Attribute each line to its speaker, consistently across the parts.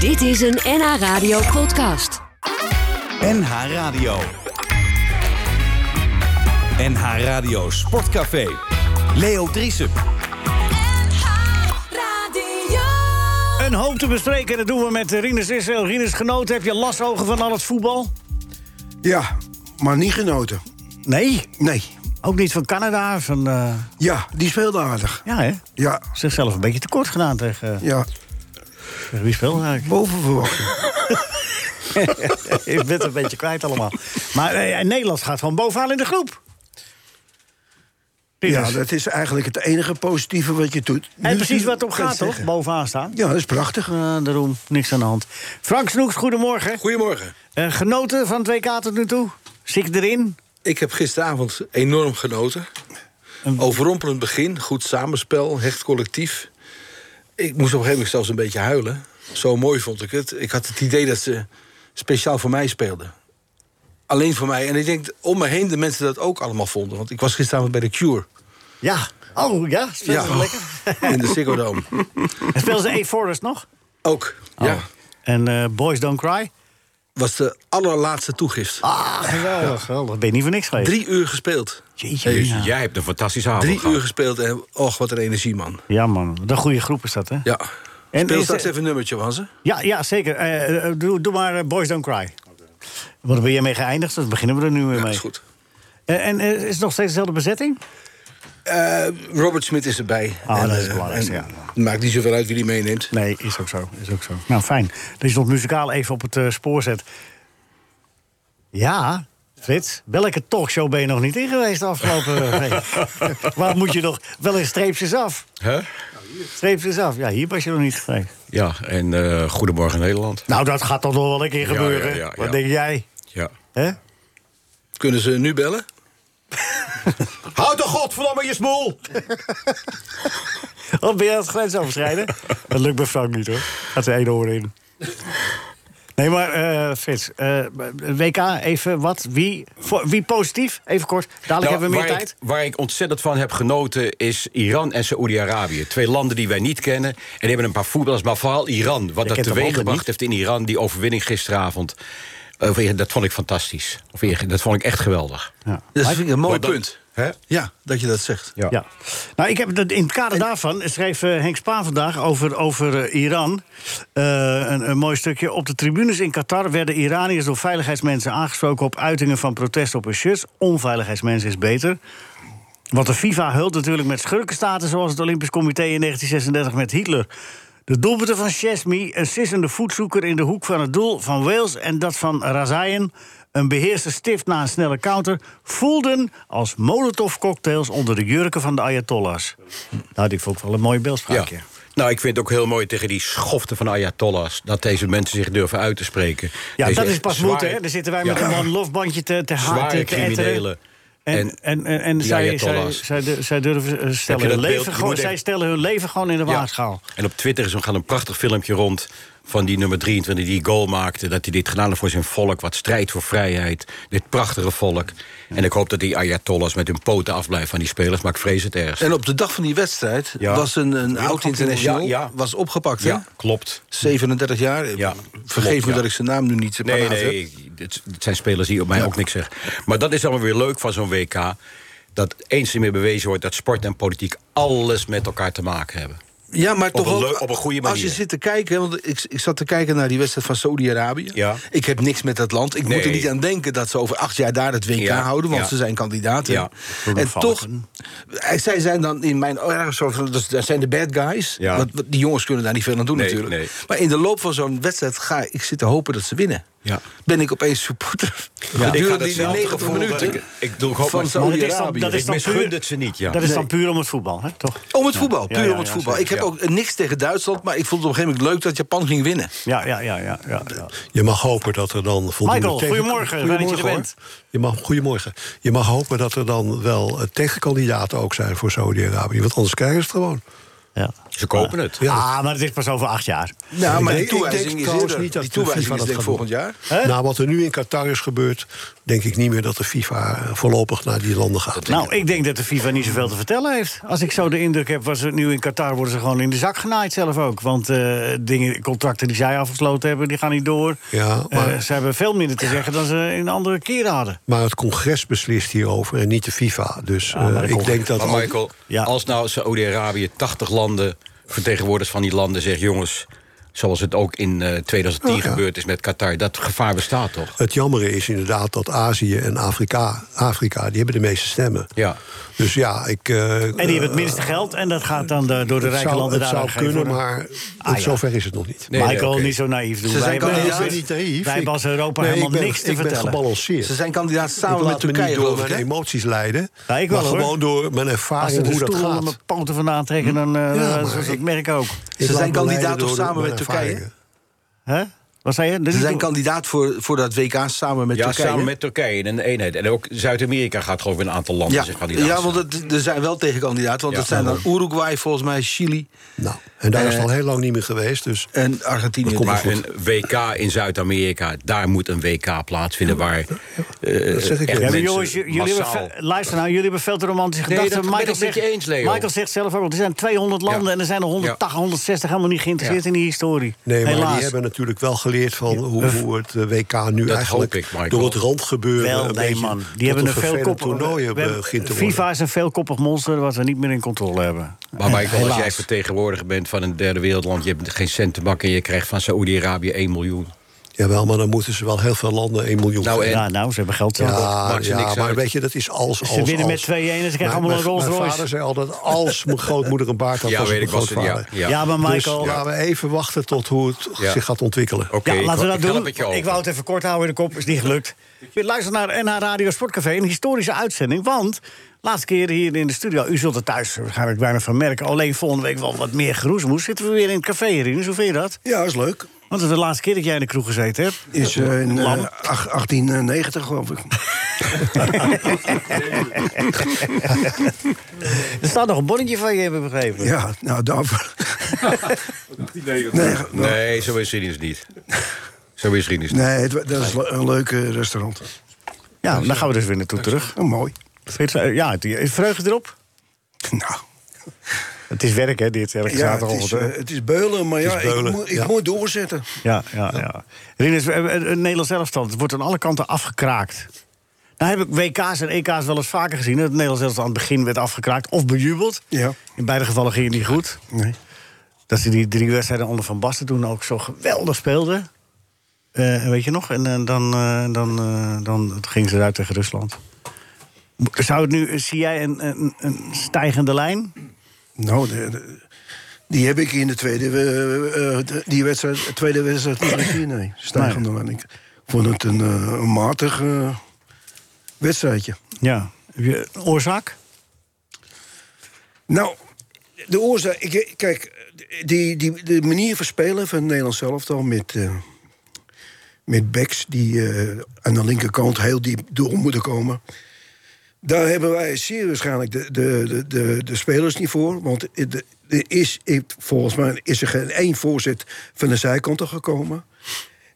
Speaker 1: Dit is een NH Radio podcast.
Speaker 2: NH Radio. NH Radio Sportcafé. Leo Driessen.
Speaker 3: Een hoop te bespreken, dat doen we met Rinus Israël. Rinus, genoten? Heb je lasogen van al het voetbal?
Speaker 4: Ja, maar niet genoten.
Speaker 3: Nee.
Speaker 4: Nee.
Speaker 3: Ook niet van Canada, van... eh,
Speaker 4: Ja, die speelde aardig.
Speaker 3: ja, hè?
Speaker 4: Ja,
Speaker 3: Zichzelf een beetje tekort gedaan tegen...
Speaker 4: ja.
Speaker 3: tegen wie speelde eigenlijk?
Speaker 4: Boven verwachting.
Speaker 3: Ik ben het een beetje kwijt allemaal. Maar eh, Nederland gaat gewoon bovenaan in de groep.
Speaker 4: Ja,
Speaker 3: Rinus.
Speaker 4: dat is eigenlijk het enige positieve wat je doet.
Speaker 3: En
Speaker 4: Nu
Speaker 3: precies
Speaker 4: zie-
Speaker 3: wat het om
Speaker 4: kan
Speaker 3: gaat, toch?
Speaker 4: zeggen.
Speaker 3: Bovenaan staan.
Speaker 4: Ja, dat is prachtig.
Speaker 3: Eh, daarom niks aan de hand. Frank Snoeks, goedemorgen.
Speaker 5: Goedemorgen.
Speaker 3: Eh, genoten van het WK tot nu toe? Zit erin?
Speaker 5: Ik heb gisteravond enorm genoten. Overrompelend begin, goed samenspel, hecht collectief. Ik moest op een gegeven moment zelfs een beetje huilen. Zo mooi vond ik het. Ik had het idee dat ze speciaal voor mij speelden. Alleen voor mij. En ik denk om me heen de mensen dat ook allemaal vonden. Want ik was gisteravond bij de Cure.
Speaker 3: Ja. Oh, ja? Speelt ze lekker?
Speaker 5: In de Ziggo Dome.
Speaker 3: En speelden ze A Forest nog?
Speaker 5: Ook. Ja.
Speaker 3: Oh. En eh, Boys Don't Cry?
Speaker 5: Was de allerlaatste toegift.
Speaker 3: Ah, geweldig. geweldig. Ben je niet voor niks geweest?
Speaker 5: Drie uur gespeeld.
Speaker 3: Jeetje.
Speaker 6: Dus
Speaker 3: ja.
Speaker 6: jij hebt een fantastische avond
Speaker 5: Drie
Speaker 6: gehad.
Speaker 5: uur gespeeld en och, wat een energie, man.
Speaker 3: Ja, man. De goede groep is dat, hè?
Speaker 5: Ja.
Speaker 3: En
Speaker 5: Speel
Speaker 3: is-
Speaker 5: straks even een nummertje van ze.
Speaker 3: Ja, ja zeker. Eh, eh, doe, doe maar eh, Boys Don't Cry. Want daar ben je mee geëindigd, dus beginnen we er nu weer
Speaker 5: Ja,
Speaker 3: mee.
Speaker 5: is goed.
Speaker 3: Eh, en eh, is het nog steeds dezelfde bezetting?
Speaker 5: Eh, Robert Smit is erbij.
Speaker 3: Ah, dat is
Speaker 5: eh,
Speaker 3: het belangrijkste,
Speaker 5: en
Speaker 3: ja.
Speaker 5: het Maakt niet zoveel uit wie die meeneemt.
Speaker 3: Nee, is ook zo. Is ook zo. Nou, fijn. Dat je ons muzikaal even op het eh, spoor zet. Ja, Frits. Welke talkshow ben je nog niet in geweest de afgelopen week? Waar moet je nog... Wel eens streepjes af.
Speaker 6: Hè?
Speaker 3: Streepjes af. Ja, hier was je nog niet geweest.
Speaker 6: Ja, en eh, Goedemorgen Nederland.
Speaker 3: Nou, dat gaat toch nog wel een keer
Speaker 6: Ja,
Speaker 3: gebeuren.
Speaker 6: ja, ja, ja.
Speaker 3: Wat denk jij?
Speaker 6: Ja.
Speaker 3: hè?
Speaker 5: Kunnen ze nu bellen?
Speaker 6: Houd de godverdomme je smoel!
Speaker 3: Of ben je aan het grensoverschrijden? dat lukt bij Frank niet hoor. Gaat zijn ene oor in. Nee, maar eh Frits, eh, WK, even wat, wie, voor, wie positief? Even kort, dadelijk hebben we
Speaker 6: Nou,
Speaker 3: meer
Speaker 6: waar
Speaker 3: tijd.
Speaker 6: Ik, waar ik ontzettend van heb genoten is Iran en Saoedi-Arabië. Twee landen die wij niet kennen. En die hebben een paar voetballers, maar vooral Iran. Wat dat
Speaker 3: kent de landen
Speaker 6: teweeggebracht
Speaker 3: niet.
Speaker 6: heeft in Iran, die overwinning gisteravond. Of eer- dat vond ik fantastisch. Of eer- dat vond ik echt geweldig.
Speaker 5: Dat vind ik een mooi
Speaker 6: Wat dan?
Speaker 5: punt.
Speaker 6: Hè?
Speaker 5: Ja, dat je dat zegt.
Speaker 6: Ja.
Speaker 3: Ja. Nou, ik heb dat, in het kader daarvan schreef eh, Henk Spaan vandaag over, over eh, Iran. Eh, een, een mooi stukje. Op de tribunes in Qatar werden Iraniërs door veiligheidsmensen aangesproken op uitingen van protest op hun shirts. Onveiligheidsmensen is beter. Want de FIFA hult natuurlijk met schurkenstaten, zoals het Olympisch Comité in 1936 met Hitler. De doelpunten van Chesmi, een sissende voetzoeker in de hoek van het doel van Wales en dat van Razayan, een beheerste stift na een snelle counter, voelden als molotovcocktails onder de jurken van de Ayatollahs. Nou, dit vond ik wel een mooie beeldspraak. Ja.
Speaker 6: Ja. Nou, ik vind het ook heel mooi tegen die schoften van Ayatollahs... dat deze mensen zich durven uit te spreken.
Speaker 3: Ja,
Speaker 6: Deze
Speaker 3: dat is pas
Speaker 6: zwaar-
Speaker 3: moeten, hè? Daar zitten wij met
Speaker 6: Ja.
Speaker 3: een one-love-bandje te, te haat-
Speaker 6: Zware
Speaker 3: te- te etteren.
Speaker 6: criminelen.
Speaker 3: En,
Speaker 6: En-
Speaker 3: en, en, en
Speaker 6: die
Speaker 3: zij, zij,
Speaker 6: Ayatollahs.
Speaker 3: zij, du- zij durven eh, stellen
Speaker 6: dat
Speaker 3: hun
Speaker 6: beeld?
Speaker 3: leven
Speaker 6: Je
Speaker 3: gewoon,
Speaker 6: moet
Speaker 3: zij
Speaker 6: even-
Speaker 3: stellen hun leven gewoon in de waagschaal.
Speaker 6: En op Twitter is er gaan een prachtig filmpje rond van die nummer 23 die goal maakte. Dat hij dit gedaan heeft voor zijn volk, wat strijdt voor vrijheid. Dit prachtige volk. En ik hoop dat die Ayatollahs met hun poten afblijven van die spelers. Maar ik vrees het ergst.
Speaker 5: En op de dag van die wedstrijd
Speaker 6: Ja.
Speaker 5: was een, een oud international
Speaker 6: Ja, ja.
Speaker 5: Was opgepakt.
Speaker 6: ja,
Speaker 5: Hè?
Speaker 6: klopt.
Speaker 5: 37 jaar.
Speaker 6: Ja,
Speaker 5: Vergeef
Speaker 6: klopt,
Speaker 5: me
Speaker 6: ja.
Speaker 5: dat ik zijn naam nu niet
Speaker 6: Nee,
Speaker 5: paraat
Speaker 6: nee,
Speaker 5: heb.
Speaker 6: ik- dit- het zijn spelers die op mij ook niks zeggen. Maar dat is allemaal weer leuk van zo'n WK. Dat eens ermee bewezen wordt dat sport en politiek alles met elkaar te maken hebben.
Speaker 5: Ja, maar toch
Speaker 6: een
Speaker 5: ook,
Speaker 6: leu- op een goede
Speaker 5: Als je
Speaker 6: manier.
Speaker 5: zit te kijken, want ik, ik zat te kijken naar die wedstrijd van Saudi-Arabië.
Speaker 6: Ja.
Speaker 5: Ik heb niks met dat land. Ik moet er
Speaker 6: Nee.
Speaker 5: niet aan denken dat ze over acht jaar daar het WK
Speaker 6: Ja,
Speaker 5: houden, want
Speaker 6: ja.
Speaker 5: ze zijn kandidaten.
Speaker 6: Ja,
Speaker 5: En
Speaker 3: Valken.
Speaker 5: toch, eh, zij zijn dan in mijn ergens soort van, dat dat zijn de bad guys.
Speaker 6: Ja.
Speaker 5: Want, want die jongens kunnen daar niet veel aan doen
Speaker 6: Nee,
Speaker 5: natuurlijk.
Speaker 6: nee.
Speaker 5: Maar in de loop van zo'n wedstrijd ga ik zitten hopen dat ze winnen.
Speaker 6: Ja.
Speaker 5: Ben ik opeens supporter.
Speaker 6: ga
Speaker 5: Gedurende die
Speaker 6: datzelfde
Speaker 5: 90
Speaker 6: gevoel dat
Speaker 5: minuten.
Speaker 6: ik- ik doe ook hoop
Speaker 5: van
Speaker 6: maar-
Speaker 3: Maar dat is dan-
Speaker 5: Saudi-Arabië.
Speaker 3: dat is
Speaker 6: Ik
Speaker 3: dan
Speaker 6: misgun
Speaker 3: puur-
Speaker 6: het ze niet, ja.
Speaker 3: Dat is dan puur om het voetbal, hè? toch?
Speaker 5: Om het voetbal, puur
Speaker 3: Ja, ja,
Speaker 5: om het
Speaker 3: ja,
Speaker 5: voetbal.
Speaker 3: zeker,
Speaker 5: ik heb
Speaker 6: ja.
Speaker 5: ook niks tegen Duitsland, maar ik vond het op een gegeven moment leuk dat Japan ging winnen.
Speaker 3: Ja, ja, ja, ja. ja, ja.
Speaker 7: Je mag hopen dat er dan voldoende...
Speaker 3: Michael,
Speaker 7: tegen-
Speaker 3: goedemorgen. Fijn dat je er
Speaker 7: hoor.
Speaker 3: bent.
Speaker 7: Je mag, goedemorgen. Je mag hopen dat er dan wel eh, tegenkandidaten ook zijn voor Saudi-Arabië. Want anders krijgen ze het gewoon.
Speaker 6: Ze kopen het.
Speaker 7: Ja.
Speaker 3: Ah, maar het is pas over acht jaar.
Speaker 5: Nou, maar
Speaker 7: Ik
Speaker 5: die
Speaker 7: denk- ik denk
Speaker 5: toewijzing is
Speaker 7: trouwens
Speaker 5: eerder.
Speaker 7: niet dat
Speaker 5: Die
Speaker 7: de
Speaker 5: toewijzing
Speaker 7: FIFA
Speaker 5: is
Speaker 7: dat
Speaker 5: denk ik
Speaker 7: gaat Nou,
Speaker 5: volgend jaar.
Speaker 7: Na wat er nu in Qatar is gebeurd... denk ik niet meer dat de FIFA eh, voorlopig naar die landen gaat.
Speaker 3: Nou, ik denk dat de FIFA niet zoveel te vertellen heeft. Als ik zo de indruk heb, was het nu in Qatar worden ze gewoon in de zak genaaid zelf ook. Want eh, dingen, contracten die zij afgesloten hebben, die gaan niet door.
Speaker 7: Ja,
Speaker 3: Eh,
Speaker 7: Oh, maar-
Speaker 3: ze hebben veel minder te zeggen dan ze in andere keren hadden.
Speaker 7: Maar het congres beslist hierover en niet de FIFA. Dus eh,
Speaker 3: maar de
Speaker 7: ik
Speaker 3: congres-
Speaker 7: denk dat...
Speaker 6: Maar Michael,
Speaker 3: Ja.
Speaker 6: als nou Saoedi-Arabië 80 landen, vertegenwoordigers van die landen, zegt: jongens, zoals het ook in eh, 2010
Speaker 7: Oh, ja.
Speaker 6: gebeurd is met Qatar, dat gevaar bestaat toch?
Speaker 7: Het jammere is inderdaad dat Azië en Afrika, Afrika die hebben de meeste stemmen.
Speaker 6: Ja.
Speaker 7: Dus ja, ik... eh,
Speaker 3: En die hebben het minste geld en dat gaat dan de- door de
Speaker 7: het
Speaker 3: rijke
Speaker 7: zou,
Speaker 3: landen
Speaker 7: Het
Speaker 3: daar
Speaker 7: zou
Speaker 3: aangegeven
Speaker 7: kunnen,
Speaker 3: worden.
Speaker 7: maar
Speaker 3: Ah, ja.
Speaker 7: zover is het nog niet.
Speaker 6: Nee, nee,
Speaker 3: Michael,
Speaker 6: oké.
Speaker 3: niet zo naïef doen.
Speaker 5: Ze zijn
Speaker 3: hebben-
Speaker 5: kandidaat.
Speaker 7: ik
Speaker 5: ben
Speaker 7: ben niet naïef.
Speaker 3: Wij
Speaker 7: Ik-
Speaker 3: hebben als Europa
Speaker 7: Nee, ik
Speaker 3: helemaal
Speaker 7: ben-
Speaker 3: niks te
Speaker 7: ik ben
Speaker 3: vertellen.
Speaker 7: gebalanceerd.
Speaker 5: Ze zijn kandidaat
Speaker 7: Ik
Speaker 5: samen
Speaker 7: laat
Speaker 5: met Turkije,
Speaker 7: me niet door
Speaker 5: geloof ik.
Speaker 7: mijn
Speaker 5: hè?
Speaker 7: emoties leiden.
Speaker 3: Ja, ik wel,
Speaker 7: maar
Speaker 3: hoor.
Speaker 7: gewoon door mijn
Speaker 3: Als ze
Speaker 7: ervaring
Speaker 3: de
Speaker 7: hoe dat
Speaker 3: stoel aan
Speaker 7: gaat.
Speaker 3: mijn poten vandaan trekken, dan eh
Speaker 7: Ja,
Speaker 3: eh,
Speaker 7: maar
Speaker 3: zoals
Speaker 7: ik-
Speaker 3: ik merk ook.
Speaker 7: Ik
Speaker 5: Ze
Speaker 7: laat
Speaker 5: zijn
Speaker 7: me leiden
Speaker 5: kandidaat toch
Speaker 7: door de-
Speaker 5: samen
Speaker 7: mijn
Speaker 5: met Turkije?
Speaker 7: ervaringen.
Speaker 3: Hè? Wat zei je? Dat
Speaker 5: Ze
Speaker 3: is
Speaker 5: zijn
Speaker 3: toch-
Speaker 5: kandidaat voor, voor dat WK samen met
Speaker 6: Ja,
Speaker 5: Turkije.
Speaker 6: samen met Turkije in een eenheid. En ook Zuid-Amerika gaat gewoon weer een aantal landen
Speaker 5: ja.
Speaker 6: zijn kandidaat.
Speaker 5: ja, want
Speaker 6: zijn.
Speaker 5: het, er zijn wel tegenkandidaten. Want
Speaker 6: Ja,
Speaker 5: dat zijn dan Uruguay, volgens mij Chili
Speaker 7: Nou, en daar is het
Speaker 5: Eh,
Speaker 7: al heel lang niet meer geweest. Dus
Speaker 5: en Argentinië.
Speaker 7: komt
Speaker 5: Maar
Speaker 6: maar een WK in Zuid-Amerika, daar moet een WK plaatsvinden waar. eh,
Speaker 7: Dat zeg ik
Speaker 6: echt
Speaker 7: ook.
Speaker 3: Ja, maar
Speaker 6: mensen
Speaker 3: jongens, j- jullie hebben,
Speaker 6: massaal-
Speaker 3: ve- luister nou, jullie hebben veel te romantische
Speaker 6: Nee,
Speaker 3: gedachten.
Speaker 6: dat ben ik met je eens, Leo.
Speaker 3: Michael zegt zelf ook, er zijn 200 landen
Speaker 6: Ja.
Speaker 3: en er zijn er 180, 160 helemaal niet geïnteresseerd
Speaker 6: Ja.
Speaker 3: in die historie.
Speaker 7: Nee, maar
Speaker 3: Helaas.
Speaker 7: die hebben natuurlijk wel geleerd van hoe, hoe het eh, WK nu
Speaker 6: hoop
Speaker 7: eigenlijk
Speaker 6: ik, Michael.
Speaker 7: door het randgebeuren
Speaker 3: Wel,
Speaker 7: een
Speaker 3: nee
Speaker 7: beetje
Speaker 3: man.
Speaker 7: tot
Speaker 3: Die hebben een
Speaker 7: een vervelend
Speaker 3: veelkoppig...
Speaker 7: toernooien
Speaker 3: we hebben-
Speaker 7: begint te
Speaker 3: FIFA
Speaker 7: worden.
Speaker 3: is een veelkoppig monster wat we niet meer in controle hebben.
Speaker 6: Maar Michael, als
Speaker 3: Helaas.
Speaker 6: jij vertegenwoordiger bent van een derde wereldland... je hebt geen cent te bakken en je krijgt van Saoedi-Arabië 1 miljoen.
Speaker 7: Jawel, maar dan moeten ze wel heel veel landen 1 miljoen
Speaker 6: Nou, en-
Speaker 7: geven.
Speaker 3: Ja, nou, ze hebben geld. zelf.
Speaker 7: ja,
Speaker 6: maakt ze
Speaker 7: ja,
Speaker 6: niks
Speaker 7: maar
Speaker 6: uit.
Speaker 7: weet je, dat is als, als,
Speaker 3: Ze winnen
Speaker 7: als.
Speaker 3: met 2-1 en ze krijgen
Speaker 7: Nou,
Speaker 3: allemaal
Speaker 7: mijn-
Speaker 3: een Rolls
Speaker 7: Mijn
Speaker 3: Royce.
Speaker 7: vader zei altijd, als mijn grootmoeder een baard had,
Speaker 6: Ja,
Speaker 7: was
Speaker 6: weet
Speaker 7: het
Speaker 6: ik
Speaker 7: mijn
Speaker 6: was het. Ja,
Speaker 7: grootvader.
Speaker 6: ja.
Speaker 3: Ja, maar Michael...
Speaker 7: Dus laten we even wachten tot hoe het
Speaker 6: Ja.
Speaker 7: zich gaat ontwikkelen.
Speaker 6: Oké,
Speaker 3: ja,
Speaker 6: ik-
Speaker 3: laten we dat
Speaker 6: ik help
Speaker 3: doen.
Speaker 6: het je over.
Speaker 3: Ik wou het even kort houden in de kop, is niet gelukt. Je luistert naar NH Radio Sportcafé, een historische uitzending. Want, laatste keer hier in de studio, u zult het thuis waarschijnlijk bijna van merken... alleen volgende week wel wat meer geroezemoes, zitten we weer in het café hierin. Hoe vind je dat?
Speaker 4: Ja, is leuk.
Speaker 3: Want het is de laatste keer dat jij in de kroeg gezeten hebt.
Speaker 4: Is eh, in eh,
Speaker 3: Lam.
Speaker 4: ach- 1890, geloof ik.
Speaker 3: Er staat nog een bonnetje van je, hebben we begrepen.
Speaker 4: Ja, nou, daarvoor... nee, ge-
Speaker 6: Nee, zo is het niet. Zo is het niet.
Speaker 4: nee het, wa- dat is le- een leuk eh, restaurant.
Speaker 3: Ja, dan gaan we dus weer naartoe terug.
Speaker 4: Oh, mooi.
Speaker 3: Vind je het- Ja, het- is vreugde erop?
Speaker 4: Nou,
Speaker 3: Het is werk, hè, dit,
Speaker 4: ja,
Speaker 3: elke
Speaker 4: het, is,
Speaker 3: zaterdagochtend. hè?
Speaker 4: eh, het is beulen, maar ja,
Speaker 7: is beulen,
Speaker 4: ik, moet, ik
Speaker 7: ja.
Speaker 4: moet doorzetten.
Speaker 3: Ja, ja, ja. Rinus, eh, eh, het Nederlands elftal het wordt aan alle kanten afgekraakt. Nou heb ik WK's en EK's wel eens vaker gezien. Dat het Nederlands elftal aan het begin werd afgekraakt of bejubeld.
Speaker 4: Ja.
Speaker 3: In beide gevallen ging het niet goed.
Speaker 4: Nee.
Speaker 3: Dat ze die drie wedstrijden onder Van Basten toen ook zo geweldig speelden. Eh, weet je nog? En eh, dan, eh, dan, eh, dan gingen ze eruit tegen Rusland. Zou het nu, eh, zie jij een, een, een stijgende lijn?
Speaker 4: Nou, de- de- die heb ik in de tweede, eh, eh, de- die wedstrijd, tweede wedstrijd niet gezien. Nee, stijgende lijn. Ik vond het een, eh, een matig eh, wedstrijdje.
Speaker 3: Ja. Heb je een oorzaak?
Speaker 4: Nou, de oorzaak... Ik, eh, kijk, die, die, de manier van spelen van Nederland zelf al met... eh, met backs die eh, aan de linkerkant heel diep door moeten komen. Daar hebben wij zeer waarschijnlijk de, de, de, de, de spelers niet voor. Want het- er is, volgens mij is er geen één voorzet van de zijkanten gekomen.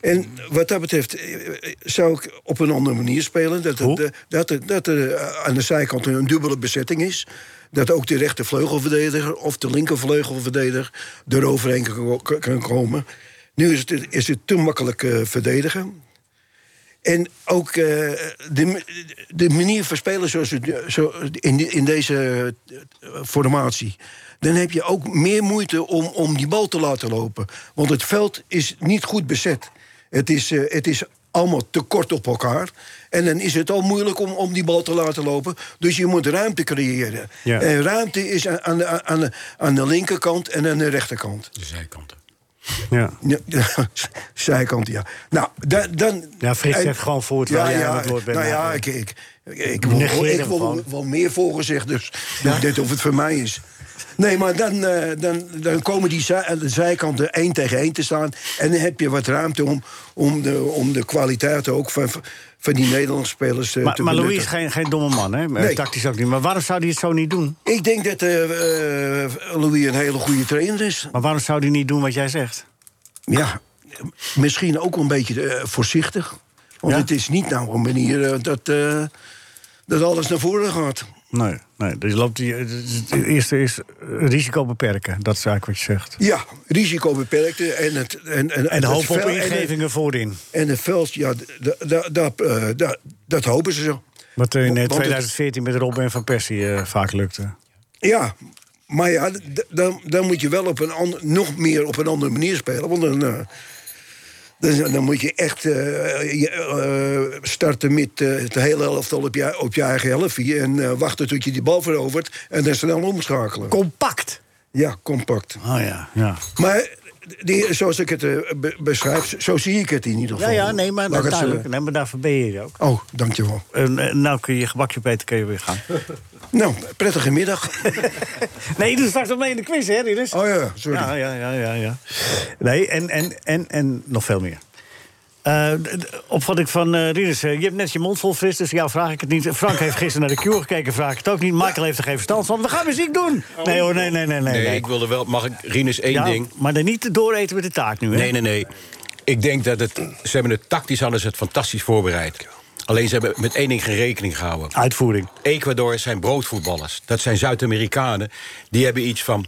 Speaker 4: En wat dat betreft eh, zou ik op een andere manier spelen. Dat er,
Speaker 3: Hoe?
Speaker 4: de- dat er, dat er eh, aan de zijkant een dubbele bezetting is. Dat ook de rechtervleugelverdediger of de linkervleugelverdediger eroverheen kan, ko- kan komen. Nu is het, is het te makkelijk eh, verdedigen. En ook eh, de, de manier van spelen zoals het, nu- zo, in, die- in deze eh, formatie. Dan heb je ook meer moeite om, om die bal te laten lopen. Want het veld is niet goed bezet. Het is, eh, het is allemaal te kort op elkaar. En dan is het al moeilijk om, om die bal te laten lopen. Dus je moet ruimte creëren.
Speaker 3: Ja.
Speaker 4: En ruimte is aan, aan, de, aan, de, aan de linkerkant en aan de rechterkant.
Speaker 6: De zijkanten.
Speaker 3: Ja.
Speaker 4: Ja, ja, zijkant, ja. Nou, dan... dan
Speaker 3: Ja, Nou, Frits
Speaker 4: eh,
Speaker 3: zegt gewoon voor terwijl jij aan het woord bent.
Speaker 4: Nou ja,
Speaker 3: Maar-
Speaker 4: ik, ik, ik, ik
Speaker 3: Negeer
Speaker 4: wil,
Speaker 3: hem
Speaker 4: ik wil
Speaker 3: gewoon.
Speaker 4: wel meer voor gezegd, dus dit net of het voor mij is. Nee, maar dan, eh, dan, dan komen die zij, aan de zijkanten één tegen één te staan... en dan heb je wat ruimte om, om, de, om de kwaliteiten ook van, van die Nederlandse spelers eh,
Speaker 3: Maar,
Speaker 4: te
Speaker 3: maar Louis
Speaker 4: benutten.
Speaker 3: is geen, geen domme man, hè? Eh,
Speaker 4: Nee.
Speaker 3: Tactisch ook niet. Maar waarom zou hij het zo niet doen?
Speaker 4: Ik denk dat eh, eh, Louis een hele goede trainer is.
Speaker 3: Maar waarom zou hij niet doen wat jij zegt?
Speaker 4: Ja, misschien ook wel een beetje eh, voorzichtig. Want
Speaker 3: Ja.
Speaker 4: het is niet nou een manier eh, dat, eh, dat alles naar voren gaat.
Speaker 3: Nee, nee. Dus loopt die, het eerste is eh, risico beperken. Dat is eigenlijk wat je zegt.
Speaker 4: Ja, risico beperkte en het... En, en,
Speaker 3: En
Speaker 4: het
Speaker 3: hoop op
Speaker 4: vel- en het-
Speaker 3: ingevingen voorin.
Speaker 4: En het veld, ja, d- d- d- dat, eh, dat- dat hopen ze zo.
Speaker 3: Wat er in eh,
Speaker 4: Want het-
Speaker 3: 2014 met Robben en Van Persie eh, vaak lukte.
Speaker 4: Ja, maar ja, d- dan, dan moet je wel op een ander, nog meer op een andere manier spelen. Want dan, eh, dan, dan moet je echt eh, je, eh, starten met eh, het hele elftal op je, op je eigen helftje... en eh, wachten tot je die bal verovert en dan snel omschakelen.
Speaker 3: Compact.
Speaker 4: ja, compact.
Speaker 3: Oh ja, ja.
Speaker 4: Maar die, zoals ik het eh, be- beschrijf, zo zie ik het in ieder
Speaker 3: Ja,
Speaker 4: geval.
Speaker 3: ja, nee, maar,
Speaker 4: Laat ik het
Speaker 3: duidelijk.
Speaker 4: zeggen.
Speaker 3: Nee, maar daarvoor ben je hier ook.
Speaker 4: Oh, dankjewel.
Speaker 3: En, eh, nou kun je je gebakje Peter kun je weer gaan.
Speaker 4: Nou, prettige middag.
Speaker 3: Nee, je doet straks nog mee in de quiz, hè, Rinus?
Speaker 4: Oh ja, sorry.
Speaker 3: Ja, ja, ja, ja, ja. Nee, en, en, en, en nog veel meer. Eh, d- d- opvatting van eh Rinus, eh, je hebt net je mond vol fris, dus jou vraag ik het niet. Frank heeft gisteren naar de Cure gekeken, vraag ik het ook niet. Michael heeft er geen verstand van, we gaan muziek doen! Nee hoor, nee, nee, nee, nee.
Speaker 6: Oh. Nee,
Speaker 3: nee.
Speaker 6: ik wilde wel... Mag ik, Rinus, één
Speaker 3: Ja,
Speaker 6: ding?
Speaker 3: Maar dan niet dooreten met de taart nu, hè?
Speaker 6: Nee, nee, nee. Ik denk dat het... Ze hebben het tactisch hadden ze het fantastisch voorbereid. Alleen ze hebben met één ding geen rekening gehouden.
Speaker 3: Uitvoering.
Speaker 6: Ecuador zijn broodvoetballers. Dat zijn Zuid-Amerikanen. Die hebben iets van...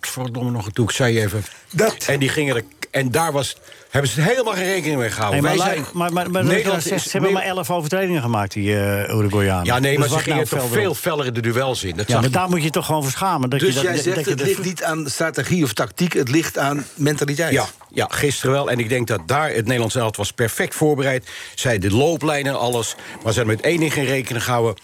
Speaker 6: Godverdomme nog een toe, ik zei even...
Speaker 4: Dat-
Speaker 6: En, die gingen er, en daar was, hebben ze helemaal geen rekening mee
Speaker 3: Nee,
Speaker 6: gehouden.
Speaker 3: maar,
Speaker 6: Wij
Speaker 3: lui-
Speaker 6: zijn,
Speaker 3: maar, maar, maar
Speaker 6: Nederland
Speaker 3: ze,
Speaker 6: is-
Speaker 3: ze hebben maar elf overtredingen gemaakt, die eh Uruguayanen.
Speaker 6: Ja, nee,
Speaker 3: Dus
Speaker 6: maar
Speaker 3: wat
Speaker 6: ze gingen
Speaker 3: nou
Speaker 6: toch
Speaker 3: verder
Speaker 6: veel
Speaker 3: op?
Speaker 6: feller de duels in. Dat
Speaker 3: Ja,
Speaker 6: zag
Speaker 3: maar
Speaker 6: je.
Speaker 3: daar moet je toch gewoon voor schamen. Dat je
Speaker 5: Dus
Speaker 3: dat,
Speaker 5: jij
Speaker 3: dat- dat
Speaker 5: zegt,
Speaker 3: je
Speaker 5: het
Speaker 3: dat-
Speaker 5: ligt niet aan strategie of tactiek, het ligt aan mentaliteit.
Speaker 6: Ja, ja, gisteren wel. En ik denk dat daar het Nederlands elftal was perfect voorbereid. Zij de looplijnen en alles. Maar ze hebben met één ding geen rekening gehouden.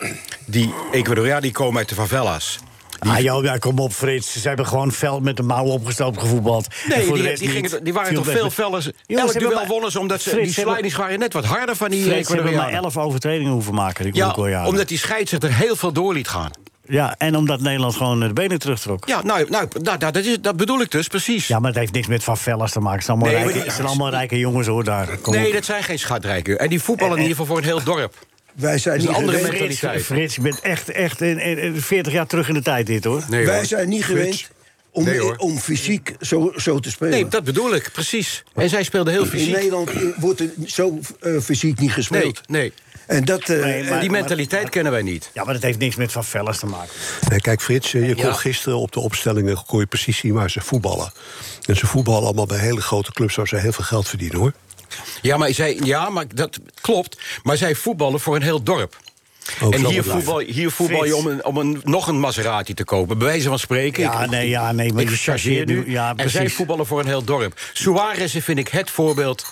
Speaker 6: Die Ecuadorianen die komen uit de favela's.
Speaker 3: Ah, joh, ja, kom op, Frits. Ze hebben gewoon veld met de mouwen opgestoopt gevoetbald. En
Speaker 6: Nee,
Speaker 3: voor de
Speaker 6: die,
Speaker 3: rest
Speaker 6: die, gingen,
Speaker 3: niet.
Speaker 6: toch- die waren
Speaker 3: Viel
Speaker 6: toch
Speaker 3: weg
Speaker 6: veel
Speaker 3: met-
Speaker 6: feller.
Speaker 3: Jongens,
Speaker 6: Elk
Speaker 3: ze hebben
Speaker 6: duel
Speaker 3: maar-
Speaker 6: wonnen ze omdat ze...
Speaker 3: Frits,
Speaker 6: die
Speaker 3: ze hebben-
Speaker 6: slijdings waren net wat harder van die
Speaker 3: Frits, ze hebben maar
Speaker 6: Ecuadorianen.
Speaker 3: elf overtredingen hoeven maken. die
Speaker 6: Ja,
Speaker 3: Uruguayanen.
Speaker 6: omdat die scheidsrechter heel veel door liet gaan.
Speaker 3: ja, en omdat Nederland gewoon de benen terugtrok. Ja.
Speaker 6: Ja, nou, nou nou, nou, dat, is, dat bedoel ik dus, precies.
Speaker 3: maar het heeft niks met Van Vellas te maken. Het zijn allemaal,
Speaker 6: Nee, maar
Speaker 3: rijke,
Speaker 6: die-
Speaker 3: het zijn allemaal rijke jongens hoor daar. Kom
Speaker 6: nee,
Speaker 3: op. Eh,
Speaker 6: dat zijn geen schatrijken. En die voetballen in ieder geval voor een heel dorp.
Speaker 4: Wij zijn
Speaker 6: is een
Speaker 4: niet
Speaker 6: andere
Speaker 4: gewend-
Speaker 6: mentaliteit.
Speaker 3: Frits, Frits, je bent echt, echt in, in- in 40 jaar terug in de tijd dit hoor.
Speaker 6: Nee,
Speaker 4: Wij
Speaker 6: hoor.
Speaker 4: zijn niet gewend om,
Speaker 6: Nee, hoor.
Speaker 4: om fysiek zo, zo te spelen.
Speaker 6: Nee, dat bedoel ik, precies. En zij speelden heel
Speaker 4: In
Speaker 6: fysiek.
Speaker 4: Nederland eh, wordt er zo eh, fysiek niet
Speaker 6: Nee,
Speaker 4: gespeeld.
Speaker 6: nee.
Speaker 4: En dat, eh,
Speaker 3: Nee, maar-
Speaker 6: die mentaliteit kennen wij niet.
Speaker 3: Ja, maar dat heeft niks met Van Vellas te maken.
Speaker 7: Nee, kijk, Frits, eh, je
Speaker 6: Ja.
Speaker 7: kon gisteren op de opstellingen kon je precies zien waar ze voetballen. En ze voetballen allemaal bij hele grote clubs waar ze heel veel geld verdienen hoor.
Speaker 6: Ja, maar, zij, ja, maar dat klopt. Maar zij voetballen voor een heel dorp.
Speaker 5: Oh,
Speaker 7: Ook
Speaker 6: en
Speaker 7: zal
Speaker 6: hier
Speaker 7: het blijven.
Speaker 6: voetbal, hier voetbal je
Speaker 3: Frits.
Speaker 6: om, een, om een, nog een Maserati te kopen. Bij wijze van spreken.
Speaker 3: Ja,
Speaker 6: Ik-
Speaker 3: nee, ja, nee, maar
Speaker 6: ik
Speaker 3: je
Speaker 6: chargeer
Speaker 3: chargeert
Speaker 6: nu.
Speaker 3: nu. Ja,
Speaker 6: en zij
Speaker 3: precies.
Speaker 6: voetballen voor een heel dorp. Suarez vind ik het voorbeeld.